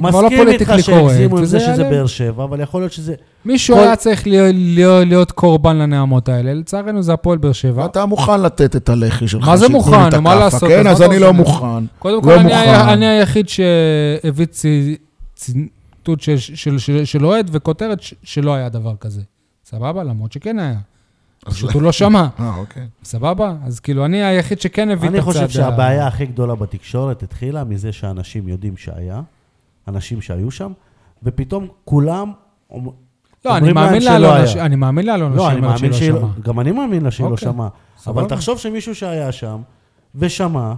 A: כבר לא
B: מסכים איתך
A: פוליטיקלי קורקט.
B: שהגזימו עם
A: וזה
B: זה שזה
A: ייעלם.
B: באר שבע, אבל יכול להיות שזה...
A: מישהו
B: כל-
A: היה צריך להיות, להיות, להיות קורבן לנעמות האלה, לצערנו זה הפועל באר שבע.
C: ואתה מוכן לתת את הלחי שלך,
A: מה זה
C: שייתנו לי
A: מוכן?
C: את
A: מה
C: הכאפה,
A: לעשות? אז
C: כן,
A: מה
C: אז
A: אתה
C: אני
A: עושה
C: לא
A: מזה?
C: מוכן.
A: קודם כל,
C: לא
A: אני,
C: מוכן.
A: ה- אני היחיד שהביא צי- ציטוט של, של, של, של אוהד וכותרת ש, שלא היה דבר כזה. סבבה? למרות שכן היה. פשוט הוא לא שמע.
C: אה, אוקיי.
A: סבבה? אז כאילו, אני היחיד שכן הביא את
B: אני
A: הצד.
B: חושב
A: ה-
B: שהבעיה הכי גדולה בתקשורת התחילה מזה שאנשים יודעים שהיה, אנשים שהיו שם, ופתאום כולם אומ-
A: לא, אני
B: אומרים להם
A: מאמין
B: שלא
A: לאלונה,
B: היה.
A: ש- אני מאמין לאלונה
B: לא, אני
A: שהיא אומרת שהיא
B: מאמין
A: לא
B: שהיא
A: שמעה.
B: לא... גם אני מאמין לה שהיא לא
A: אוקיי,
B: שמעה. אבל
A: סבבה.
B: תחשוב שמישהו שהיה שם, ושמע,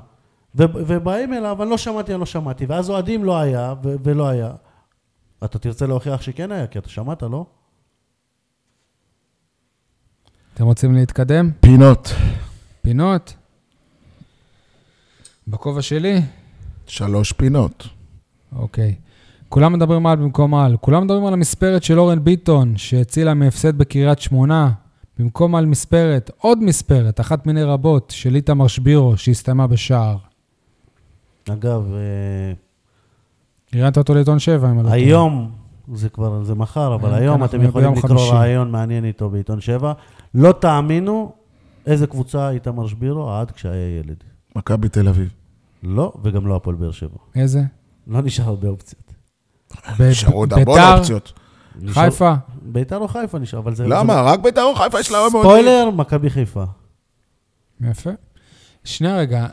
B: ו- ובאים אליו, אני לא שמעתי, אני לא שמעתי, ואז אוהדים לא היה, ו- ולא היה. אתה תרצה להוכיח שכן היה, כי אתה שמעת, לא?
A: אתם רוצים להתקדם?
C: פינות.
A: פינות? בכובע שלי?
C: שלוש פינות.
A: אוקיי. כולם מדברים על במקום על. כולם מדברים על המספרת של אורן ביטון, שהצילה מהפסד בקריית שמונה. במקום על מספרת, עוד מספרת, אחת מיני רבות, של איתמר שבירו, שהסתיימה בשער.
B: אגב, אה,
A: ראיינת אותו לעיתון 7, אם אני לא טועה.
B: היום, זה כבר, זה מחר, אבל
A: היום,
B: היום
A: כן,
B: אתם
A: אנחנו
B: יכולים
A: ביום
B: לקרוא
A: חמישי.
B: רעיון מעניין איתו בעיתון שבע. לא תאמינו איזה קבוצה איתמר שבירו עד כשהיה ילד.
C: מכבי תל אביב.
B: לא, וגם לא הפועל באר שבע.
A: איזה?
B: לא נשאר הרבה אופציות.
A: ב-
C: נשארו אה, עוד המון
A: ביתר,
C: אופציות.
B: נשאר-
A: חיפה.
B: ביתר או חיפה נשאר, אבל זה...
C: למה? רק בית"ר או חיפה יש לה
B: זה...
C: הרבה מאוד...
B: ספוילר, מכבי חיפה.
A: יפה. שנייה רגע,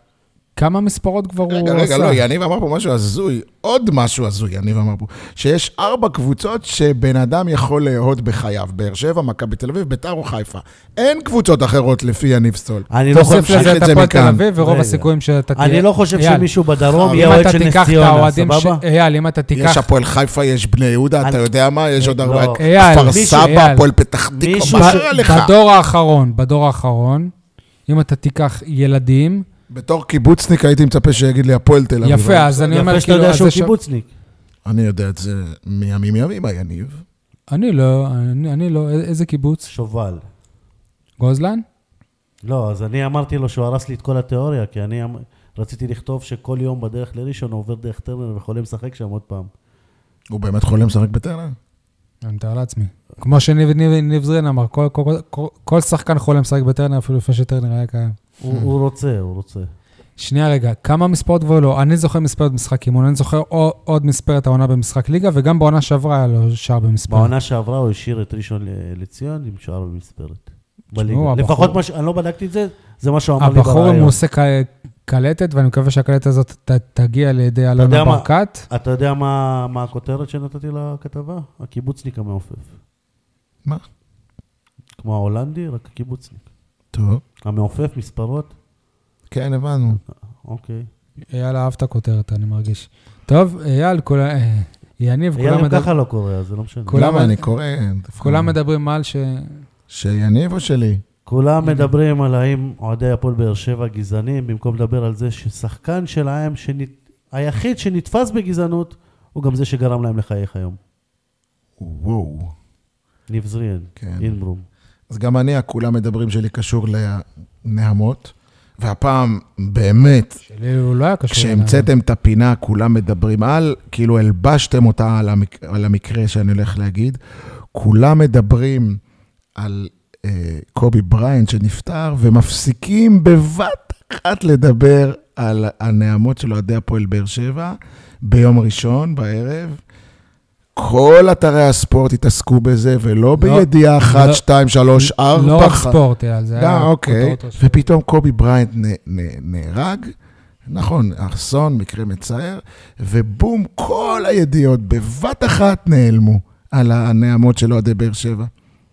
A: כמה מספרות כבר הוא
C: רגע,
A: עשה?
C: רגע, לא, יניב אמר פה משהו הזוי, עוד משהו הזוי, יניב אמר פה, שיש ארבע קבוצות שבן אדם יכול לאהוד בחייו, באר שבע, מכבי תל אביב, ביתר או חיפה. אין קבוצות אחרות לפי יניב סול.
B: אני לא
A: תוסיף
B: חושב,
C: להמשיך
A: לזה
C: את
A: את
C: זה
A: הפועל תל
C: מכאן.
A: אביב, ורוב
B: רגע.
A: הסיכויים שאתה תהיה...
B: אני לא חושב
A: אייל,
B: שמישהו בדרום
C: אם
B: יהיה
A: אם
B: אוהד
A: אתה
B: של נס
A: תיקח את
B: ציונה,
A: האוהדים ש...
B: סבבה?
A: אייל, אם אתה
C: יש
A: תיקח...
C: הפועל חיפה, יש בני יהודה, אתה
B: אני-
C: יודע מה? יש עוד
B: לא.
C: ארבעה...
A: אה, אייל,
C: כפר
A: מישהו-
C: סבא,
A: אייל.
C: הפועל פתח תקווה,
B: מישהו
C: מה
B: ש-
C: קרה לך?
A: בדור האחרון, בדור האחרון, אם אתה תיקח ילדים,
C: בתור קיבוצניק הייתי מצפה שיגיד לי הפועל תל אביב.
A: יפה, אז אני אומר,
B: יפה שאתה
A: כאילו...
B: נכון, יודע
A: אז
B: שהוא
A: זה ש-
B: קיבוצניק.
C: אני יודע את זה מימים ימימה, יניב.
A: אני לא, אני אני לא, א- איזה קיבוץ?
B: שובל.
A: גוזלן?
B: לא, אז אני אמרתי לו שהוא הרס לי את כל התיאוריה, כי אני אמ- רציתי לכתוב שכל יום בדרך לראשון הוא עובר דרך טרנר וחולה משחק שם עוד פעם.
C: הוא באמת חולם לשחק בטרנר?
A: אני מתאר לעצמי. כמו שניב ניב- ניב זרין אמר, כל- כל- כל- כל- כל שחקן חולם לשחק בטרנר אפילו לפני שטרנר היה קיים.
B: הוא הוא רוצה, הוא רוצה.
A: שנייה רגע, כמה מספרות כבר לא? אני זוכר מספרת משחק אימון, אני זוכר או- עוד מספרת העונה במשחק ליגה, וגם בעונה שעברה היה לו שער במספר.
B: בעונה שעברה הוא השאיר את ראשון ל- לציון עם שער במספרת. בליגה.
A: הבחור-
B: לפחות מה ש... אני לא בדקתי את זה, זה מה שהוא אמר לי
A: הבחור אם הוא
B: ברעיון.
A: עושה ק- קלטת, ואני מקווה שהקלטת הזאת ת- תגיע לידי אלונה
B: יודע מה?
A: ברקת.
B: אתה יודע מה מה הכותרת שנתתי לכתבה? הקיבוצניק המעופף.
C: מה?
B: כמו ההולנדי, רק הקיבוצניק.
C: טוב.
B: המעופף, מספרות,
C: כן, הבנו.
B: אוקיי.
A: אייל אהב את הכותרת, אני מרגיש. טוב, אייל, כול- אה, יניב,
B: היה
A: כולם
B: גם
A: מדבר-
B: ככה לא קורה, אז זה לא משנה.
A: כולם-
C: למה אני קורא? דווקא-
A: כולם מדברים על ש...
C: שיניב או שלי?
B: כולם
C: Mhm.
B: מדברים על האם אוהדי הפועל באר שבע גזענים, במקום לדבר על זה ששחקן שלהם, שנת- היחיד שנתפס בגזענות, הוא גם זה שגרם להם לחייך היום.
C: וואו.
B: ניב זריאן,
C: כן.
B: אינברום.
C: אז גם אני, הכולם מדברים שלי קשור לנהמות, והפעם באמת,
A: שלי הוא לא היה קשור. אליי.
C: כשהמצאתם את הפינה, כולם מדברים על, כאילו הלבשתם אותה על, המק... על המקרה שאני הולך להגיד, כולם מדברים על אה, קובי בריינט שנפטר, ומפסיקים בבת אחת לדבר על הנעמות של אוהדי הפועל באר שבע ביום ראשון בערב. כל אתרי הספורט התעסקו בזה, ולא בידיעה אחת,
A: לא.
C: שתיים, שלוש, ארבע.
A: לא רק
C: ח-
A: ספורט, אייל, זה היה...
C: גם, אוקיי,
A: כותרות ראשיות.
C: ופתאום קובי בריינט נ- נ- נהרג, נכון, אסון, מקרה מצער, ובום, כל הידיעות בבת אחת נעלמו על הנעמות של אוהדי באר שבע.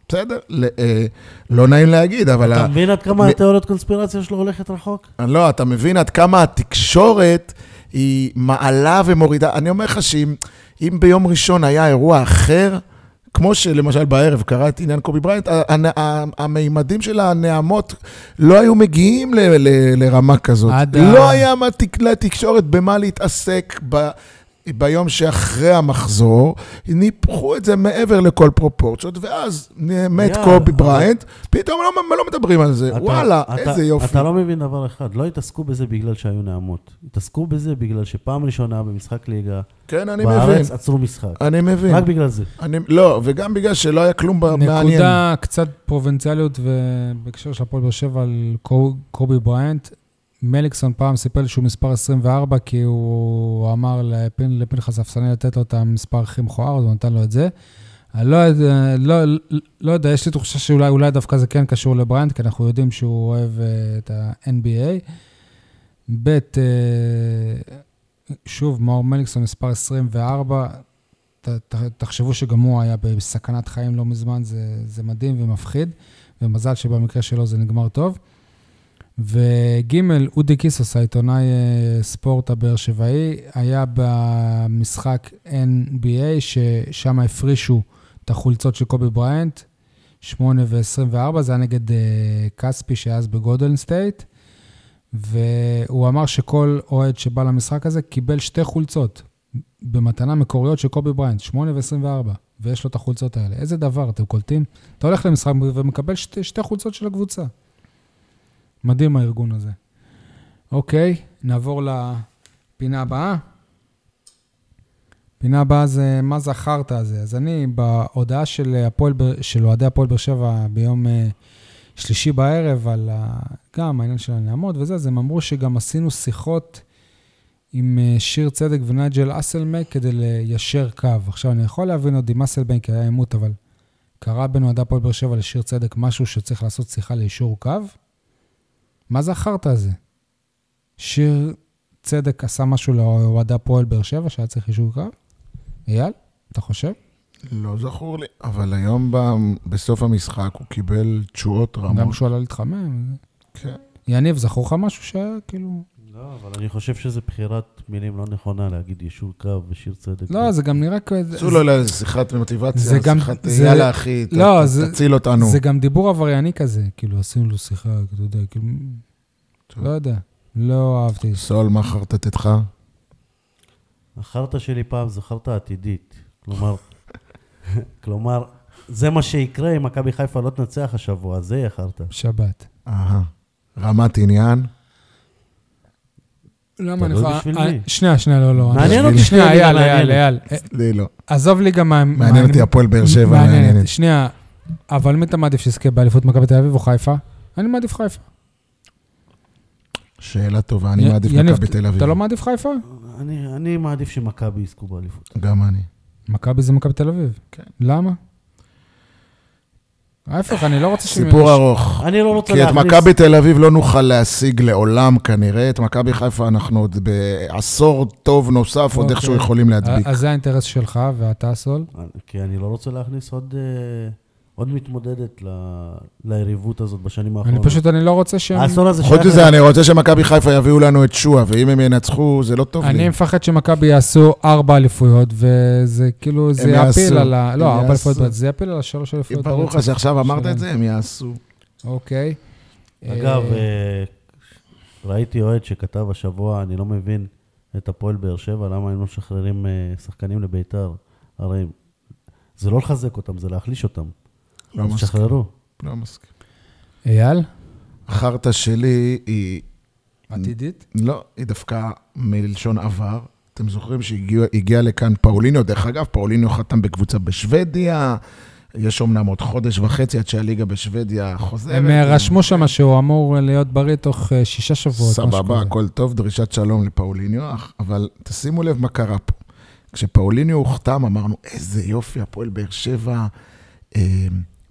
C: בסדר? ל- אה, לא נעים להגיד, אבל... ה-
B: אתה מבין עד כמה
C: מ-
B: התיאוריות קונספירציה שלו הולכת רחוק?
C: לא, אתה מבין עד כמה התקשורת היא מעלה ומורידה. אני אומר לך שאם אם ביום ראשון היה אירוע אחר, כמו שלמשל בערב קרה את עניין קובי בריינט, ה- ה- ה- הממדים של הנעמות לא היו מגיעים ל- ל- לרמה כזאת.
A: עד ה-
C: לא היה מה תק- לתקשורת במה להתעסק ב... ביום שאחרי המחזור, ניפחו את זה מעבר לכל פרופורציות, ואז מת
B: אייל,
C: קובי
B: אבל-
C: בריינט, פתאום לא, לא מדברים על זה.
B: אתה-
C: וואלה,
B: אתה-
C: איזה יופי.
B: אתה לא מבין דבר אחד, לא התעסקו בזה בגלל שהיו נעמות. התעסקו בזה בגלל שפעם ראשונה במשחק ליגה,
C: כן, אני מבין.
B: בארץ עצרו משחק.
C: אני מבין.
B: רק בגלל זה.
C: אני, לא, וגם בגלל שלא היה כלום ב- מעניין.
A: נקודה קצת פרובינציאליות ובהקשר של הפועל באר שבע על קו- קובי בריינט. מליקסון פעם סיפר לי שהוא מספר 24, כי הוא אמר לפין, לפנחס אפסני לתת לו את המספר הכי מכוער, אז הוא נתן לו את זה. אני לא, יודע- לא, לא יודע, יש לי תחושה שאולי אולי דווקא זה כן קשור לבריינט, כי אנחנו יודעים שהוא אוהב אה, את ה-NBA. ב', אה, שוב, מאור מליקסון מספר 24, ת, ת, תחשבו שגם הוא היה בסכנת חיים לא מזמן, זה, זה מדהים ומפחיד, ומזל שבמקרה שלו זה נגמר טוב. וג' אודי קיסוס, העיתונאי אה, ספורט הבאר שבעי, היה במשחק NBA, ששם הפרישו את החולצות של קובי בריינט, 8 ו-24, זה היה נגד אה, כספי שאז בגודלן סטייט, והוא אמר שכל אוהד שבא למשחק הזה קיבל שתי חולצות במתנה מקוריות של קובי בריינט, 8 ו-24, ויש לו את החולצות האלה. איזה דבר, אתם קולטים? אתה הולך למשחק ומקבל שתי, שתי חולצות של הקבוצה. מדהים הארגון הזה. אוקיי, נעבור לפינה הבאה. פינה הבאה זה מה זה החרטא הזה. אז אני בהודעה של, הפועל, באר- של אוהדי הפועל באר שבע ביום אה, שלישי בערב, על ה, גם העניין של הנעמות וזה, אז הם אמרו שגם עשינו שיחות עם אה, שיר צדק ונייג'ל אסלמק כדי ליישר קו. עכשיו, אני יכול להבין עוד עם אסלבנק היה עימות, אבל קרה בין אוהדי הפועל באר שבע לשיר צדק משהו שצריך לעשות שיחה ליישור קו? מה זה החרטא הזה? שיר צדק עשה משהו לאוהדי הפועל באר שבע, שהיה צריך אישור קרב? אייל, אתה חושב?
C: לא זכור לי, אבל היום ב- בסוף המשחק הוא קיבל תשואות
A: גם
C: רמות.
A: שהוא עלה להתחמם.
C: כן.
A: יניב, זכור לך משהו שהיה כאילו...
B: לא, אבל אני חושב שזו בחירת מילים לא נכונה להגיד יישור קו ושיר צדק.
A: לא, זה גם נראה כאילו...
C: עשו לו לאיזה לא שיחת
A: זה
C: מוטיבציה,
A: גם-
C: שיחת
A: זה-
C: יאללה אחי, ת-
A: לא,
C: ת-
A: זה-
C: תציל אותנו.
A: זה גם דיבור עברייני כזה, כאילו, עשינו לו שיחה, אתה יודע, כאילו...
C: טוב.
A: לא יודע, לא אהבתי.
C: סול, מה חרטטתך?
B: החרטא שלי פעם זו חרטא עתידית. כלומר, כלומר, זה מה שיקרה אם מכבי חיפה לא תנצח השבוע, זה יהיה חרטא.
A: שבת.
C: אהה. רמת עניין?
A: למה אני
B: תלוי
A: יכול...
B: בשביל
A: אני-
B: מי.
A: שנייה, שנייה, לא, לא.
B: מעניין
A: אני-
B: אותי
A: שנייה,
B: שנייה,
A: אייל, אייל,
B: אה, מעניין.
A: אייל. אה,
C: לי לא.
A: עזוב לי גם... מה-
C: מעניין אותי הפועל באר שבע, מעניינת.
A: מעניינת. שנייה, אבל מי אתה מעדיף שיזכה באליפות מכבי תל אביב או חיפה? אני מעדיף חיפה.
C: שאלה טובה, אני
A: י-
C: מעדיף
A: יניב,
C: מכבי תל אביב.
A: אתה לא מעדיף חיפה?
B: אני, אני מעדיף שמכבי יזכו באליפות.
C: גם אני.
A: מכבי זה מכבי תל אביב.
C: כן.
A: למה? ההפך, אני לא רוצה ש...
C: סיפור ארוך.
B: אני לא רוצה
C: כי את
B: להכניס...
C: מכבי תל אביב לא נוכל להשיג לעולם כנראה, את מכבי חיפה אנחנו עוד בעשור טוב נוסף, עוד
A: אוקיי.
C: איכשהו יכולים להדביק.
A: אז זה האינטרס שלך ואתה סול.
B: כי אני לא רוצה להכניס עוד, אה, עוד מתמודדת ל, ליריבות הזאת בשנים
A: אני
C: נכון.
B: האחרונות.
A: פשוט, אני לא רוצה שהם...
B: האסון הזה
C: חוץ
B: שייך...
C: מזה, אני רוצה שמכבי חיפה יביאו לנו את שועה, ואם הם ינצחו, זה לא טוב לי.
A: אני מפחד שמכבי יעשו ארבע אליפויות, וזה כאילו, זה יעפיל
C: יעשו,
A: על ה...
C: הם
A: לא, ארבע
C: יעשו.
A: אליפויות, זה יעפיל על השלוש אליפויות.
C: ברור לך
A: הרצוף.
C: שעכשיו אמרת
A: שלהם.
C: את זה, הם יעשו.
A: אוקיי.
B: אגב,
A: אה,
B: אה, ראיתי אוהד שכתב השבוע, אני לא מבין את הפועל באר שבע, למה הם לא משחררים אה, שחקנים לביתר. הרי זה לא לחזק אותם, זה להחליש אותם.
C: לא
B: אז
C: מסכים.
B: שחררו.
C: לא מסכים.
A: אה, אייל,
C: החרטא שלי היא
A: עתידית?
C: לא, היא דווקא מלשון עבר. אתם זוכרים שהגיע לכאן פאוליניו, דרך אגב, פאוליניו חתם בקבוצה בשוודיה, יש אמנם עוד חודש וחצי עד שהליגה בשוודיה חוזרת.
A: הם אה, רשמו שם שהוא אמור להיות בריא תוך אה, שישה שבועות. משהו
C: סבבה,
A: כזה.
C: הכל טוב, דרישת שלום לפאוליניו, אך- אבל תשימו לב מה קרה פה. כשפאוליניו הוחתם, אמרנו, איזה יופי, הפועל באר שבע אה,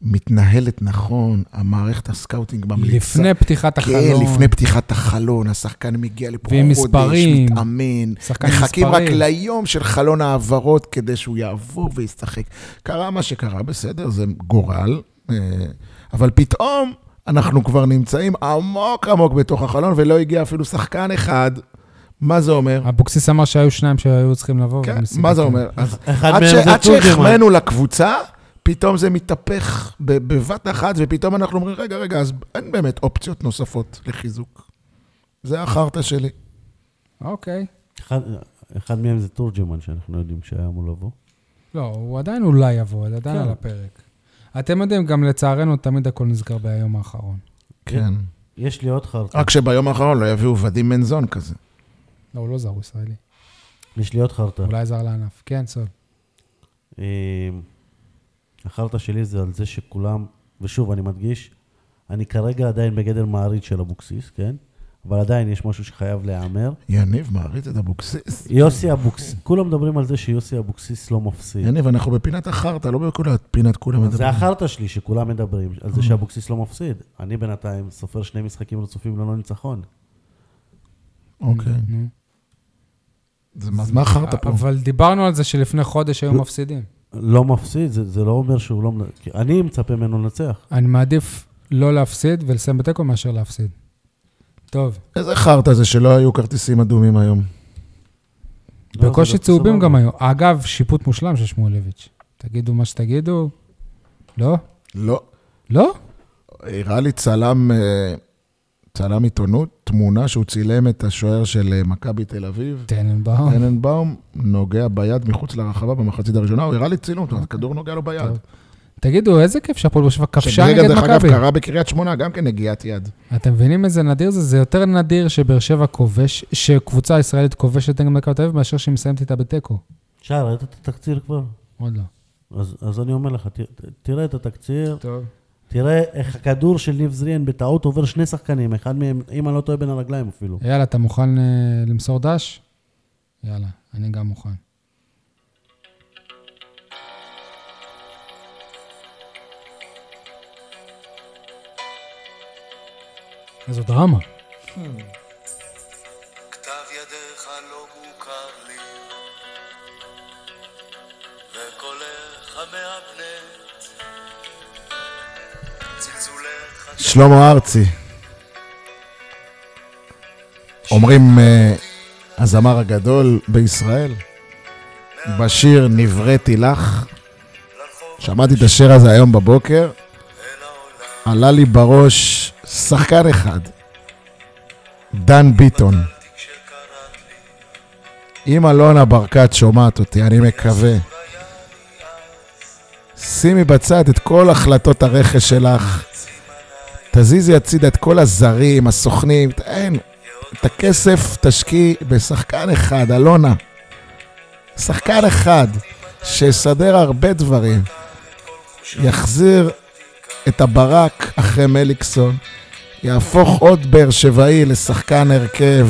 C: מתנהלת נכון, המערכת הסקאוטינג ממליצה.
A: לפני פתיחת החלום.
C: כן, לפני פתיחת החלון, השחקן מגיע לפה
A: ועם
C: חודש,
A: מספרים.
C: מתאמן.
A: שחקן
C: מחכים רק
A: מספרים.
C: ליום של חלון העברות כדי שהוא יעבור וישחק. קרה מה שקרה, בסדר, זה גורל, אה, אבל פתאום אנחנו כבר נמצאים עמוק עמוק בתוך החלון, ולא הגיע אפילו שחקן אחד. מה זה אומר?
B: אה,
A: אבוקסיס אמר שהיו שניים שהיו צריכים לבוא.
C: כן,
A: והם סיפקו.
C: מה זה אומר? אז
B: אחד
C: עד ש-
B: מהם זה
C: עד
B: תורג'מן.
C: שהחמאנו לקבוצה, פתאום זה מתהפך ב- בבת אחת, ופתאום אנחנו אומרים, רגע, רגע, אז אין באמת אופציות נוספות לחיזוק. זה החרטא שלי.
A: אוקיי.
B: אחד- אחד מהם זה תורג'מן, שאנחנו יודעים שהיה אמור לבוא.
A: לא, הוא עדיין אולי יבוא, זה עדיין
B: כן.
A: על הפרק. אתם יודעים, גם לצערנו, תמיד הכל נזכר ביום האחרון.
C: כן.
B: יש לי עוד חרטא.
C: רק שביום האחרון לא יביאו ודים מנזון כזה.
A: לא, הוא לא זר, הוא ישראלי.
B: יש לי עוד חרטא.
A: אולי זר לענף. כן, סול.
B: אה, החרטא שלי זה על זה שכולם, ושוב, אני מדגיש, אני כרגע עדיין בגדר מעריץ של אבוקסיס, כן? אבל עדיין יש משהו שחייב להיאמר.
C: יניב מעריץ את אבוקסיס.
B: יוסי אבוקסיס, כולם מדברים על זה שיוסי אבוקסיס לא מפסיד.
C: יניב, אנחנו בפינת החרטא, לא בפינת כולם
B: אז זה
C: מדברים.
B: החרטא שלי שכולם מדברים על
A: אה.
B: זה שאבוקסיס לא מפסיד. אני בינתיים סופר שני משחקים רצופים ללא ניצחון.
C: אוקיי.
A: נו.
C: אז מה- אז מה החרטא פה?
A: אבל דיברנו על זה שלפני חודש היו
B: לא.
A: מפסידים.
B: לא מפסיד, זה זה לא אומר שהוא לא... מנ- כי אני מצפה ממנו לנצח.
A: אני מעדיף לא להפסיד ולסיים בתיקו מאשר להפסיד. טוב,
C: איזה חרטא זה שלא היו כרטיסים אדומים היום.
B: לא, זה
A: בקושי
B: לא-
A: צהובים
B: סבבה.
A: גם היו. אגב, שיפוט מושלם של שמואלביץ'. תגידו מה שתגידו. לא?
C: לא.
A: לא?
C: הראה לי צלם, אה, צלם עיתונות, תמונה שהוא צילם את השוער של אה, מכבי תל אביב.
A: טננבאום.
C: טננבאום נוגע ביד מחוץ לרחבה במחצית הראשונה, הוא הראה לי צילום, הכדור נוגע לו ביד.
A: טוב. תגידו, איזה כיף שהפועל באר שבע כבשה
C: שברגע,
A: נגד
C: דרך אגב,
A: מכבי.
C: קרה בקריית שמונה, גם כן נגיעת יד.
A: אתם מבינים איזה נדיר זה? זה יותר נדיר שבאר שבע כובש, שקבוצה ישראלית כובשת נגד מכבי תל אביב, מאשר שהיא מסיימת איתה בתיקו.
B: שי, ראית את התקציר כבר?
A: עוד לא.
B: אז אז אני אומר לך, ת- ת- תראה את התקציר,
A: טוב.
B: תראה איך הכדור של ניב זריאן בטעות עובר שני שחקנים, אחד מהם, אם אני לא טועה, בין הרגליים אפילו.
A: יאללה, אתה מוכן אה, למסור דש? יאללה, אני גם מוכן. איזו דרמה.
D: לא מהבלט צלצולך
C: שלמה ארצי. אומרים אה, הזמר הגדול בישראל, בשיר נבראתי לך. שמעתי את השיר הזה היום בבוקר, עלה לי בראש שחקן אחד, דן ביטון. אם אלונה ברקת שומעת אותי, אני מקווה. שימי בצד את כל החלטות הרכש שלך. תזיזי הצידה את כל הזרים, הסוכנים, אין. את הכסף תשקיעי בשחקן אחד, אלונה. שחקן אחד שיסדר הרבה דברים. יחזיר את הברק אחרי מליקסון, יהפוך עוד באר שבעי לשחקן הרכב.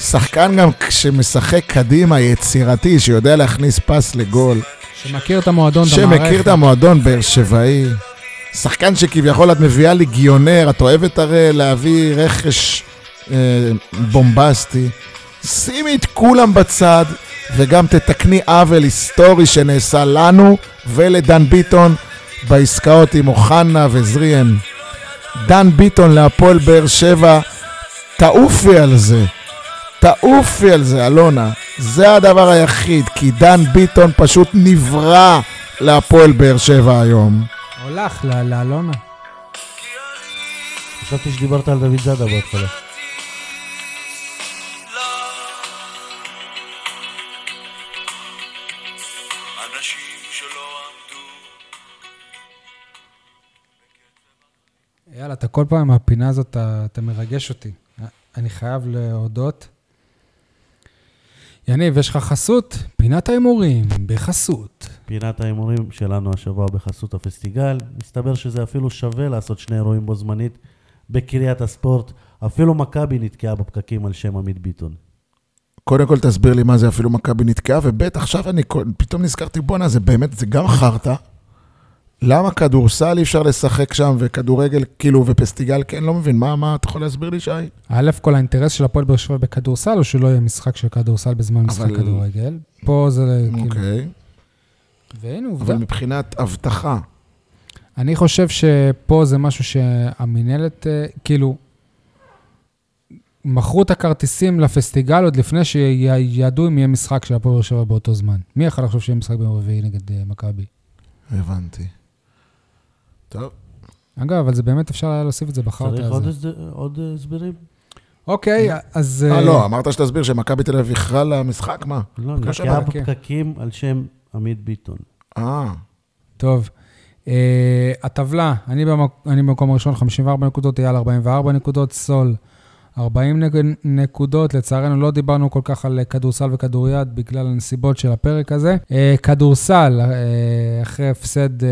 C: שחקן גם כשמשחק קדימה, יצירתי, שיודע להכניס פס לגול.
A: שמכיר את המועדון, את המערכת.
C: שמכיר את המועדון באר שבעי. שחקן שכביכול את מביאה ליגיונר, את אוהבת הרי להביא רכש אה, בומבסטי. שימי את כולם בצד, וגם תתקני עוול היסטורי שנעשה לנו ולדן ביטון בעסקאות עם אוחנה וזריאן. דן ביטון להפועל באר שבע, תעופי על זה. תעופי על זה, אלונה. זה הדבר היחיד, כי דן ביטון פשוט נברא להפועל באר שבע היום.
A: או לך, ל- לאלונה.
B: חשבתי שדיברת על דוד זאדה בהתחלה.
D: אנשים שלא עמדו
A: יאללה, אתה כל פעם, הפינה הזאת, אתה, אתה מרגש אותי. אני חייב להודות. יניב, יש לך חסות? פינת ההימורים, בחסות.
B: פינת ההימורים שלנו השבוע בחסות הפסטיגל. מסתבר שזה אפילו שווה לעשות שני אירועים בו זמנית בקריית הספורט. אפילו מכבי נתקעה בפקקים על שם עמית ביטון.
C: קודם כל תסביר לי מה זה אפילו מכבי נתקעה, וב' עכשיו אני כל- פתאום נזכרתי, בואנה, זה באמת, זה גם חרטא. למה כדורסל אי אפשר לשחק שם, וכדורגל, כאילו, ופסטיגל, כן, לא מבין, מה, מה, אתה יכול להסביר לי, שי?
A: א', כל האינטרס של הפועל באר שבע בכדורסל, הוא שלא יהיה משחק של כדורסל בזמן משחק כדורגל. פה זה כאילו...
C: אוקיי.
A: והנה עובדה.
C: אבל מבחינת אבטחה,
A: אני חושב שפה זה משהו שהמינהלת, אה, כאילו, מכרו את הכרטיסים לפסטיגל עוד לפני שידעו אם יהיה משחק של הפועל באר שבע באותו זמן. מי יכול לחשוב שיהיה משחק ביום רביעי נגד אה, מכבי?
C: הבנתי. טוב,
A: אגב, אבל זה באמת אפשר היה להוסיף את זה בחרטא
B: צריך עוד
A: הזה.
B: הסד- עוד אה, הסברים?
A: אוקיי, אז...
C: אה, לא, אמרת שתסביר שמכבי תל אביב איחרה למשחק, מה?
B: לא,
C: בבקשה,
B: נתקעה
A: ברכה.
B: בפקקים על שם עמית ביטון.
A: Mm.
C: אה,
A: טוב. אה, הטבלה, אני, במק... אני במקום הראשון, 54 נקודות, אייל 44 נקודות, סול 40 נק... נקודות. לצערנו לא דיברנו כל כך על אה, כדורסל וכדוריד בגלל הנסיבות של הפרק הזה. אה, כדורסל, אה, אחרי הפסד אה,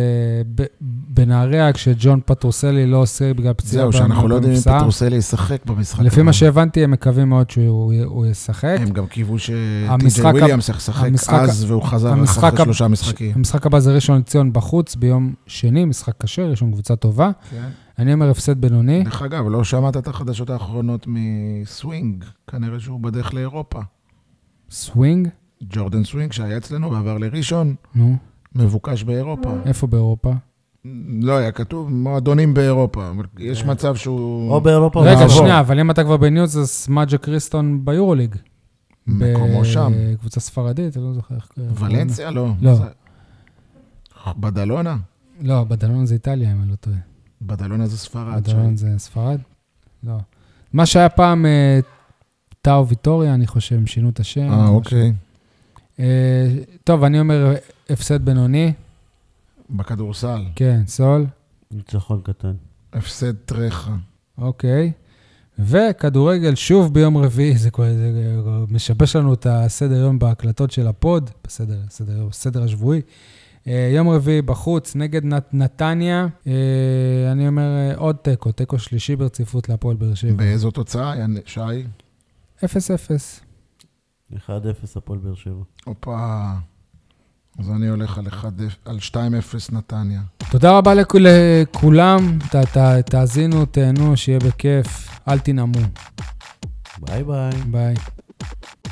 A: ב... בנהריה, כשג'ון פטרוסלי לא עושה בגלל פציעה.
C: זהו, שאנחנו לא יודעים אם
A: במכבסה.
C: פטרוסלי ישחק במשחק.
A: לפי
C: הבא.
A: מה שהבנתי, הם מקווים מאוד שהוא י- הוא ישחק.
C: הם גם קיוו שטי.ג'יי
A: המשחק ה-
C: וויליאמס ישחק
A: המשחק ה-
C: אז, והוא חזר
A: המשחק
C: אחרי
A: ה-
C: שלושה משחקים.
A: המשחק הבא זה ראשון לציון בחוץ, ביום שני, משחק קשה, ראשון קבוצה טובה.
C: כן.
A: אני אומר הפסד בינוני.
C: דרך אגב, לא שמעת את החדשות האחרונות מסווינג, כנראה שהוא בדרך לאירופה.
A: סווינג?
C: ג'ורדן סווינג, שהיה אצלנו ועבר לראשון,
A: נו,
C: מבוקש באירופה.
A: איפה באירופה?
C: לא היה כתוב, מועדונים באירופה. אבל יש
A: כן.
C: מצב
B: או
C: שהוא...
B: באירופה או
A: רגע,
B: בעבור.
A: שנייה, אבל אם אתה כבר בניוז, אז מג'ה קריסטון ביורוליג.
C: מקומו שם.
A: קבוצה ספרדית, אני לא זוכר איך... קוראים לה.
C: ולנסיה? לא.
A: לא.
C: זה- בדלונה?
A: לא, בדלון זה איטליה, אם אני לא טועה.
C: בדלונה זה ספרד.
A: בדלון זה ספרד? לא. מה שהיה פעם אה, טאו ויטוריה, אני חושב, הם שינו את השם.
C: אה, אוקיי.
A: אה, טוב, אני אומר אה, הפסד בינוני.
C: בכדורסל,
A: כן, סול.
B: ניצחון קטן.
C: הפסד טרחה.
A: אוקיי. וכדורגל שוב ביום רביעי, זה, כל- זה משבש לנו את הסדר יום בהקלטות של הפוד, בסדר, סדר, סדר השבועי. אה, יום רביעי בחוץ נגד נת, נתניה, אה, אני אומר אה, עוד תיקו, תיקו שלישי ברציפות להפועל באר שבע.
C: באיזו תוצאה, יעני- שי?
A: 0-0.
B: 1-0 הפועל באר שבע.
C: הופה. אז אני הולך על 1 על 2-0 נתניה.
A: תודה רבה לכ- לכולם, ת, ת, תאזינו, תהנו, שיהיה בכיף, אל תנעמו,
B: ביי ביי.
A: ביי.